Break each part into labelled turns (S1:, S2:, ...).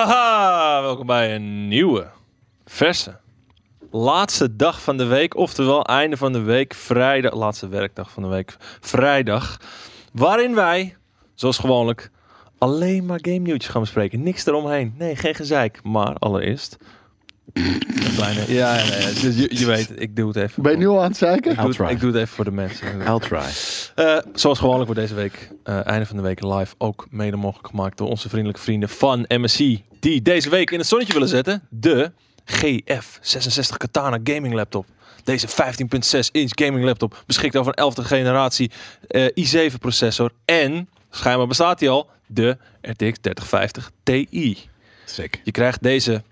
S1: Haha, welkom bij een nieuwe, verse, laatste dag van de week. Oftewel einde van de week, vrijdag, laatste werkdag van de week, vrijdag. Waarin wij, zoals gewoonlijk, alleen maar game nieuwtjes gaan bespreken. Niks eromheen. Nee, geen gezeik. Maar allereerst... Een kleine, ja, ja, ja, dus je, je weet, ik doe het even.
S2: Ben je nu al aan het zeiken?
S1: ik, doe
S3: I'll
S1: het,
S3: try.
S1: ik doe het even voor de mensen.
S3: I'll try.
S1: Eh, zoals gewoonlijk wordt deze week, eh, einde van de week, live ook mede mogelijk gemaakt door onze vriendelijke vrienden van MSI. Die deze week in het zonnetje willen zetten de GF66 Katana Gaming Laptop. Deze 15.6 inch gaming laptop beschikt over een 11e generatie eh, i7 processor. En, schijnbaar bestaat die al, de RTX 3050 Ti.
S3: Sick.
S1: Je krijgt deze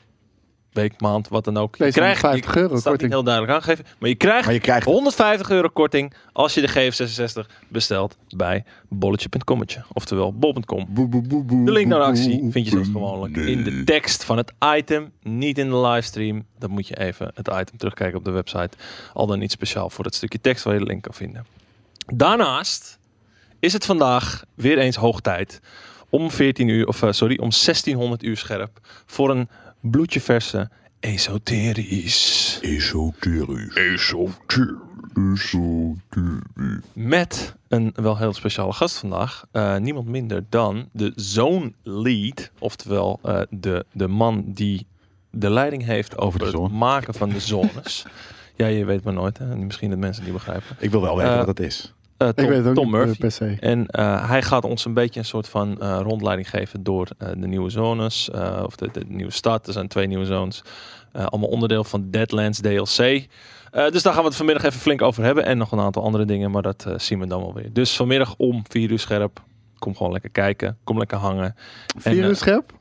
S1: week, maand, wat dan ook.
S2: Deze
S1: je krijgt,
S2: 50
S1: je-
S2: euro
S1: staat niet
S2: korting.
S1: heel duidelijk aangegeven, maar je krijgt
S3: Maar je krijgt
S1: 150 euro korting als je de GF66 bestelt bij bolletje.commetje. Oftewel bol.com.
S3: boe, boe, boe, boe,
S1: De link naar de
S3: boe,
S1: actie
S3: boe,
S1: vind je zoals
S3: boe.
S1: gewoonlijk
S3: Nee.
S1: in de tekst van het item. Niet in de livestream. Dan moet je even het item terugkijken op de website. Al dan niet speciaal voor het stukje tekst waar je de link kan vinden. Daarnaast is het vandaag weer eens hoog tijd om 14 uur, of eh, sorry, om 1600 uur scherp voor een bloedje verse esoterisch.
S3: Esoterisch. Esoterisch. Esoterisch.
S1: Met een wel heel speciale gast vandaag. Eh, niemand minder dan de zoon lead. Oftewel eh, de, de man die de leiding heeft over,
S3: de
S1: het
S3: zone.
S1: maken van de zones. ja, je weet maar nooit. Hè? Misschien dat mensen het niet begrijpen.
S3: Ik wil wel weten
S1: Eh,
S3: wat dat is.
S1: Eh, Tom,
S2: ik weet het ook
S1: Tom
S2: niet
S1: Murphy.
S2: eh, per se.
S1: En eh, hij gaat ons een beetje een soort van eh, rondleiding geven door eh, de nieuwe zones. eh, of de, de nieuwe stad. Er zijn twee nieuwe zones. Eh, allemaal onderdeel van Deadlands DLC. Eh, dus daar gaan we het vanmiddag even flink over hebben. En nog een aantal andere dingen. Maar dat eh, zien we dan wel weer. Dus vanmiddag om 4 uur scherp. Kom gewoon lekker kijken. Kom lekker hangen. En,
S2: Vier
S1: eh,
S2: uur scherp?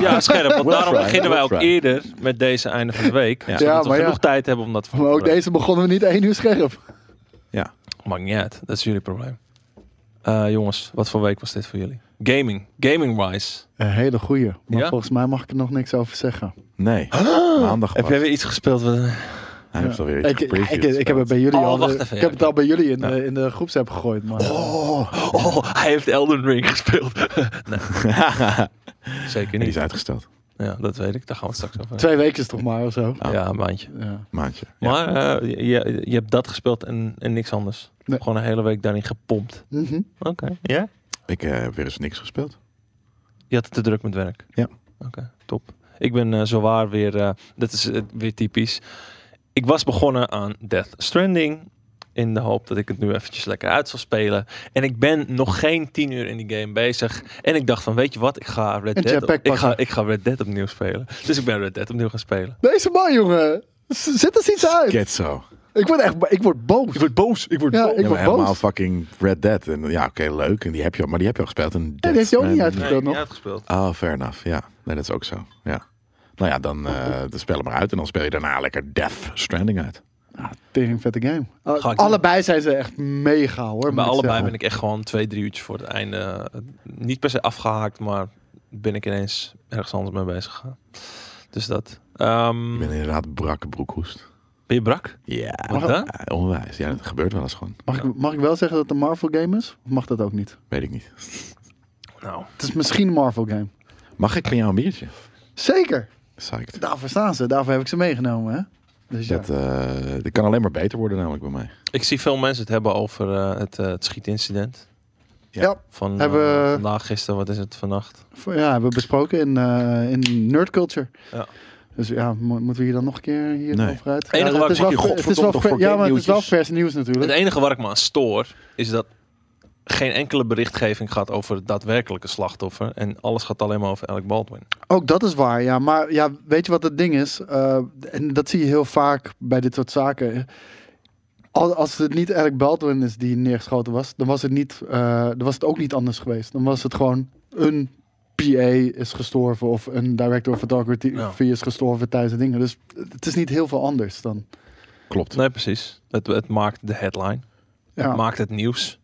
S1: ja, scherp. Want
S3: We'll
S1: daarom
S3: try,
S1: beginnen
S3: we'll
S1: wij ook
S3: try.
S1: eerder met deze einde van de week.
S3: Ja.
S1: Zodat
S2: Ja,
S1: we
S2: maar ja.
S1: genoeg tijd hebben om dat te
S2: Maar ook
S1: voorbereiden.
S2: deze begonnen we niet één uur scherp.
S3: Ja.
S1: Maakt niet uit. Dat is jullie probleem. Eh, jongens, wat voor week was dit voor jullie? Gaming. Gaming-wise.
S2: Een hele goeie. Maar
S1: Ja?
S2: volgens mij mag ik er nog niks over zeggen.
S3: Nee. Maandag
S1: Heb
S3: pas.
S1: jij weer iets gespeeld? Wat...
S3: Hij heeft alweer iets
S2: Ah! Ik, ik,
S3: gepreviewd.
S2: ik, ik heb het bij jullie
S1: Oh,
S2: al.
S1: wacht
S2: eh,
S1: even,
S2: ik
S1: ja,
S2: heb het al bij jullie in,
S1: Ja.
S2: de, in de groepsapp gegooid. Maar, eh,
S1: Oh, oh, hij heeft Elden Ring gespeeld. Zeker
S3: Die is
S1: niet.
S3: uitgesteld.
S1: Ja, dat weet ik. Daar gaan we het straks over hebben.
S2: Twee weken toch maar of zo.
S3: Ah.
S1: Ja, een maandje.
S2: Ja.
S3: Maandje. Ja.
S1: Maar eh, je, je hebt dat gespeeld en, en niks anders.
S2: Nee.
S1: Gewoon een hele week daarin gepompt.
S2: Mhm.
S1: Oké. Ja?
S3: Ik eh, heb weer eens niks gespeeld.
S1: Je had het te druk met werk.
S3: Ja.
S1: Oké, top. Ik ben eh zowaar weer, eh, dat is eh, weer typisch. Ik was begonnen aan Death Stranding. In de hoop dat ik het nu eventjes lekker uit zal spelen. En ik ben nog geen tien uur in die game bezig. En ik dacht van, weet je wat, ik ga Red,
S2: Een
S1: Dead,
S2: jetpack
S1: ik ga,
S2: pakken.
S1: ik ga Red Dead opnieuw spelen. Dus ik ben Red Dead opnieuw gaan spelen.
S2: Deze man, jongen. Z- Zit er iets uit?
S3: Get zo.
S2: Ik word echt ik word boos.
S1: word boos, ik word
S2: Ja, boos.
S3: Ik
S2: Ik
S3: ben
S2: word
S3: helemaal
S2: boos.
S3: fucking Red Dead. En, ja, oké, leuk. En die heb je, al- maar die heb je al gespeeld. En
S2: die heeft je ook niet
S1: Nee,
S2: uitgespeeld.
S1: ik heb
S2: nog.
S1: uitgespeeld.
S3: Ah, fair enough. Ja, nee, dat is ook zo. Ja. Nou ja, dan eh dan spel hem maar uit. En dan speel je daarna lekker Death Stranding uit.
S2: Ah, tering vette game. Ah,
S1: Ga ik doen.
S2: allebei zijn ze echt mega hoor.
S1: Bij allebei ben ik echt gewoon twee, drie uurtjes voor het einde. eh, Niet per se afgehaakt, maar ben ik ineens ergens anders mee bezig gegaan. Dus dat. Ehm,
S3: Ik ben inderdaad brakke broekhoest.
S1: ben je brak?
S3: Ja.
S1: Wat dan?
S3: Ja, onwijs. Ja, dat gebeurt wel eens gewoon.
S2: Mag, ik, mag ik wel zeggen dat het een Marvel game is? Of mag dat ook niet?
S3: Weet ik niet.
S1: Nou,
S2: Het is misschien een Marvel game.
S3: Mag ik van jou een biertje?
S2: Zeker.
S3: Psyched.
S2: Daarvoor staan ze. Daarvoor heb ik ze meegenomen. Hè? Dus ja.
S3: Dat, eh, dat kan alleen maar beter worden namelijk bij mij.
S1: ik zie veel mensen het hebben over eh, het, eh, het schietincident.
S3: ja.
S2: ja.
S1: Van eh,
S2: Hebben we-
S1: vandaag, gisteren, wat is het, vannacht?
S2: voor- ja, hebben we besproken in, eh in Nerd Culture.
S1: Ja.
S2: Dus ja, mo- moeten we hier dan nog een keer hier
S3: Nee.
S2: over uit?
S1: Het enige
S2: ja,
S1: waar ik
S2: het is
S1: me-
S2: wel, ver- het is
S3: Godverdomme,
S2: wel
S3: toch
S2: ver-
S3: voor
S2: ja, maar het is wel
S3: nieuwtjes.
S2: vers nieuws natuurlijk.
S1: Het enige waar ik me aan stoor, is dat geen enkele berichtgeving gaat over het daadwerkelijke slachtoffer. En alles gaat alleen maar over Alec Baldwin.
S2: Ook dat is waar, ja. Maar ja, weet je wat het ding is? Eh, en dat zie je heel vaak bij dit soort zaken. Al- Als het niet Alec Baldwin is die neergeschoten was, dan was het, niet, eh, dan was het ook niet anders geweest. Dan was het gewoon een PA is gestorven of een director of photography
S1: Ja.
S2: is gestorven tijdens de dingen. Dus het is niet heel veel anders dan.
S3: Klopt.
S1: Nee, precies. Het, het maakt de headline.
S2: Ja.
S1: Het maakt het nieuws.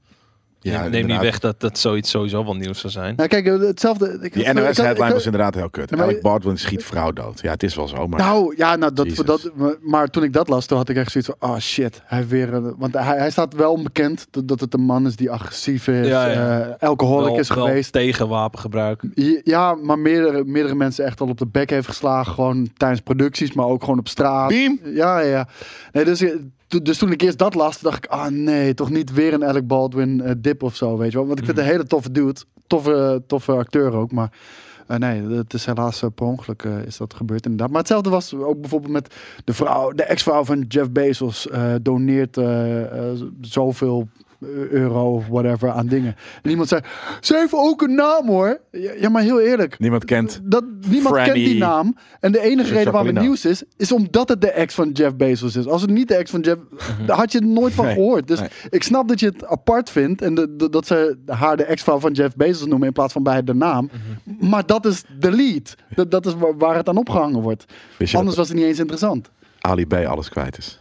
S3: Ja,
S1: neem
S3: inderdaad.
S1: niet weg dat dat zoiets sowieso wel nieuws zou zijn.
S2: Nou, kijk, eh, hetzelfde. Ik,
S3: Die
S2: ik- ik- ik-
S3: NOS-headline was inderdaad heel kut.
S2: Ja, maar-
S3: Alec Baldwin schiet vrouw dood. Ja, het is wel zo, maar...
S2: Nou, ja, nou, dat,
S3: Jezus.
S2: dat, maar- maar toen ik dat las, toen had ik echt zoiets van, ah shit, hij heeft weer, een- want hij, hij staat wel onbekend dat, dat het een man is die agressief is,
S1: Ja, ja.
S2: eh, alcoholic
S1: Wel-
S2: is
S1: wel
S2: geweest.
S1: tegen wapengebruik.
S2: Je- Ja, maar meerdere, meerdere mensen echt al op de bek heeft geslagen, gewoon tijdens producties, maar ook gewoon op straat.
S3: Beam!
S2: Ja, ja, ja. Nee, dus, eh, to- dus toen ik eerst dat las, dacht ik, ah nee, toch niet weer een Alec Baldwin eh, dip of zo, weet je wel. Want ik vind het een hele toffe dude, toffe, toffe acteur ook, maar eh, nee, het is helaas eh, per ongeluk eh, is dat gebeurd inderdaad. Maar hetzelfde was ook bijvoorbeeld met de vrouw, de ex-vrouw van Jeff Bezos eh, doneert eh, eh, zoveel eh, euro of whatever aan dingen. En iemand zei, ze heeft ook een naam hoor. Ja, ja, maar heel eerlijk.
S3: Niemand kent.
S2: Dat, niemand
S3: Franny.
S2: kent die naam. En de enige reden waarom het
S3: Jacqueline.
S2: nieuws is, is omdat het de ex van Jeff Bezos is. Als het niet de ex van Jeff, daar had je er nooit van
S3: Mhm. Nee,
S2: gehoord. Dus
S3: nee.
S2: ik snap dat je het apart vindt en de- de- dat ze haar de ex-vrouw van Jeff Bezos noemen in plaats van bij de naam.
S3: Mhm.
S2: Maar dat is de lead. Dat, dat is waar, waar het aan opgehangen wordt.
S3: Wist je
S2: Anders
S3: dat
S2: was het niet eens interessant.
S3: Ali B. alles kwijt is?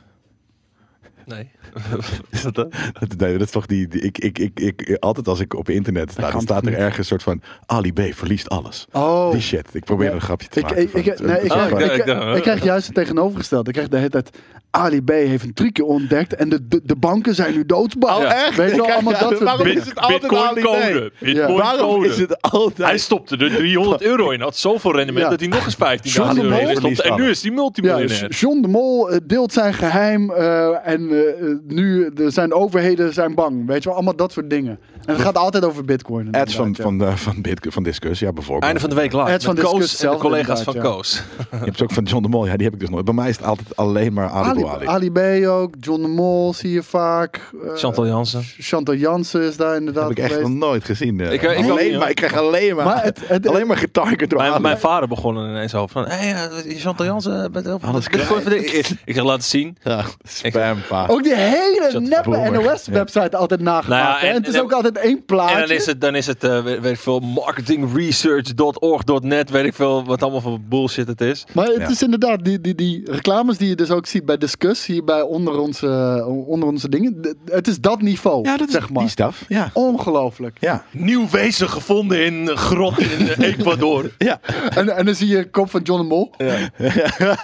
S1: Nee. is dat dat?
S3: Dat, nee, dat is toch die... die- ik, ik, ik, ik, altijd als ik op internet sta, dan
S2: kan
S3: staat er
S2: toch niet?
S3: ergens een soort van... Ali B. verliest alles.
S2: Oh.
S3: Die shit. Ik probeer
S2: Ja.
S3: een grapje te
S2: Ik,
S3: maken.
S2: ik,
S3: van
S2: ik,
S3: het-
S2: nee, ik,
S3: van-
S1: Ah,
S2: ik,
S1: oké,
S2: ik,
S1: oké.
S2: ik krijg juist het tegenovergesteld. Ik krijg de hele tijd... Ali B heeft een trucje ontdekt en de, de, de banken zijn nu doodsbang.
S1: Oh,
S3: echt?
S2: Weet je wel,
S3: Ja,
S2: allemaal
S3: ja,
S2: dat soort
S3: waarom
S2: dingen.
S3: is het altijd Ali B?
S2: Ja.
S3: Waarom is het
S1: Hij
S3: altijd...
S1: stopte er 300 euro in. Had zoveel rendement
S2: Ja.
S1: dat hij nog eens 15.000
S2: John de
S1: euro
S2: Mol
S1: in stopte. En nu is dus hij
S2: Ja, dus
S1: multimiljonair.
S2: John de Mol eh, deelt zijn geheim eh, en eh, eh, nu de, zijn overheden zijn bang. Weet je wel, allemaal dat soort dingen. En het gaat altijd over bitcoin.
S3: Ads van,
S2: inderdaad, ja.
S3: van, eh, van, Bit- van Discus, ja, bijvoorbeeld.
S1: Einde van de week live.
S2: Het van
S1: met
S2: Discus
S1: Koos en de
S2: zelf
S1: collega's van
S2: inderdaad, ja.
S1: Koos.
S3: Je hebt ze ook van John de Mol. Ja, die heb ik dus nooit. Bij mij is het altijd alleen maar Ali
S2: Ali,
S3: B. Ali.
S2: Ali B ook, John de Mol zie je vaak. eh,
S1: Chantal Jansen.
S2: Chantal Jansen is daar inderdaad
S3: Dat heb ik echt nog
S2: geweest.
S3: nooit gezien. eh.
S1: Ik- ik ook niet,
S3: alleen
S1: hoor.
S3: maar, ik krijg alleen maar,
S2: Maar het- het-
S3: alleen maar getarget door
S1: Mijn,
S3: Ali.
S1: mijn vader begon er ineens over van, hey, eh, Chantal Jansen, bent heel veel.
S3: Alles
S1: bent gewoon
S3: kwijt.
S1: verd- Ik zeg, laat het zien.
S3: Ja, spampaar.
S2: Ook die hele
S1: Shut the
S2: neppe
S3: boomer.
S2: NOS-website altijd nagemaakt.
S1: Nou ja,
S2: hè? en,
S1: en-
S2: het is
S1: en-
S2: ook altijd één
S1: En
S2: plaatje.
S1: dan is het, dan is het eh, weet, weet ik veel, marketingresearch.org.net, weet ik veel, wat allemaal voor bullshit het is.
S2: Maar het
S3: Ja.
S2: is inderdaad, die, die, die reclames die je dus ook ziet bij Discuss, hier bij onder onze, eh, onder onze dingen. d- Het is dat niveau,
S3: Ja, dat is
S2: zeg maar. Oh.
S3: die staf. Ja.
S2: Ongelooflijk.
S3: Ja.
S1: Nieuw wezen gevonden in een grot in eh, Ecuador.
S3: Ja.
S2: En, en dan zie je kop van John de Mol.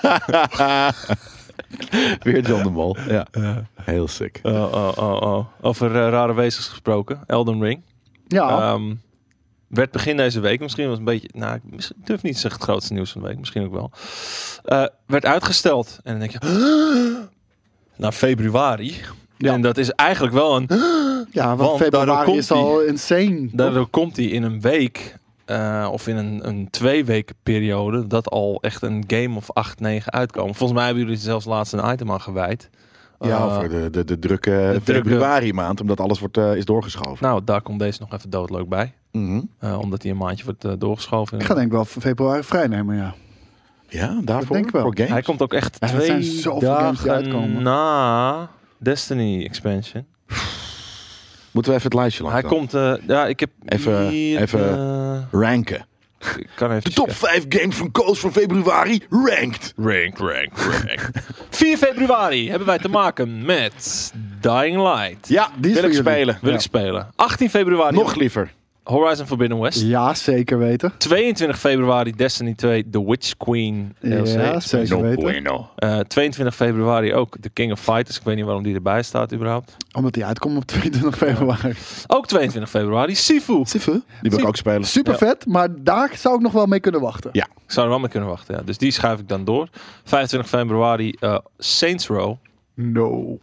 S3: Weer John de Mol. Ja. Heel sick.
S1: Oh, oh, oh, oh. Over eh, rare wezens gesproken, Elden Ring.
S3: Oh.
S2: Ja,
S1: Ehm, werd begin deze week, misschien was een beetje, nou, ik misschien- ik durf niet te zeggen het grootste nieuws van de week, misschien ook wel. Eh, werd uitgesteld. En dan denk je, naar februari.
S2: Ja.
S1: En dat is eigenlijk wel een
S2: ja
S1: want
S2: want,
S1: daardoor
S2: februari
S1: komt
S2: is al insane.
S1: Daardoor komt hij in een week eh, of in een, een twee weken periode dat al echt een game of 8, 9 uitkomen. Volgens mij hebben jullie er zelfs laatst een item aan gewijd.
S3: ja,
S1: Eh,
S3: over de, de, de drukke
S1: drukke-
S3: februari maand, omdat alles wordt, eh, is doorgeschoven.
S1: Nou, daar komt deze nog even doodleuk bij.
S3: Mhm.
S1: Eh, omdat hij een maandje wordt eh, doorgeschoven.
S2: Ik ga denk ik wel februari vrijnemen, ja.
S3: Ja, daarvoor.
S2: denk ik wel.
S3: Voor games.
S1: Hij komt ook echt
S2: Ja, dat
S1: twee
S2: zijn zoveel games die
S1: dagen
S2: uitkomen.
S1: na Destiny expansion.
S3: Moeten we even het lijstje langs
S1: Hij
S3: dan?
S1: komt, eh, ja, ik heb
S3: Even-
S1: hier,
S3: even-
S1: eh,
S3: Ranken.
S1: ik kan even
S3: De top 5 games van Koos van februari ranked.
S1: Rank, rank, rank. 4 februari hebben wij te maken met Dying Light.
S3: Ja,
S2: Die is
S3: wil
S2: voor
S3: ik
S2: jullie.
S3: spelen.
S1: Wil ik spelen. 18 februari
S3: Nog liever.
S1: Horizon Forbidden West.
S2: Ja, zeker weten.
S1: 22 februari Destiny 2 The Witch Queen DLC.
S2: Ja, zeker weten.
S3: bueno.
S1: Eh, 22 februari ook The King of Fighters. Ik weet niet waarom die erbij staat überhaupt.
S2: Omdat die uitkomt op 22 februari.
S1: Ook 22 februari Sifu.
S3: Die wil ik ook spelen.
S2: Super vet, maar daar zou ik nog wel mee kunnen wachten.
S3: Ja.
S1: Ik zou er wel mee kunnen wachten. Ja. Dus die schuif ik dan door. 25 februari eh, Saints Row.
S2: No.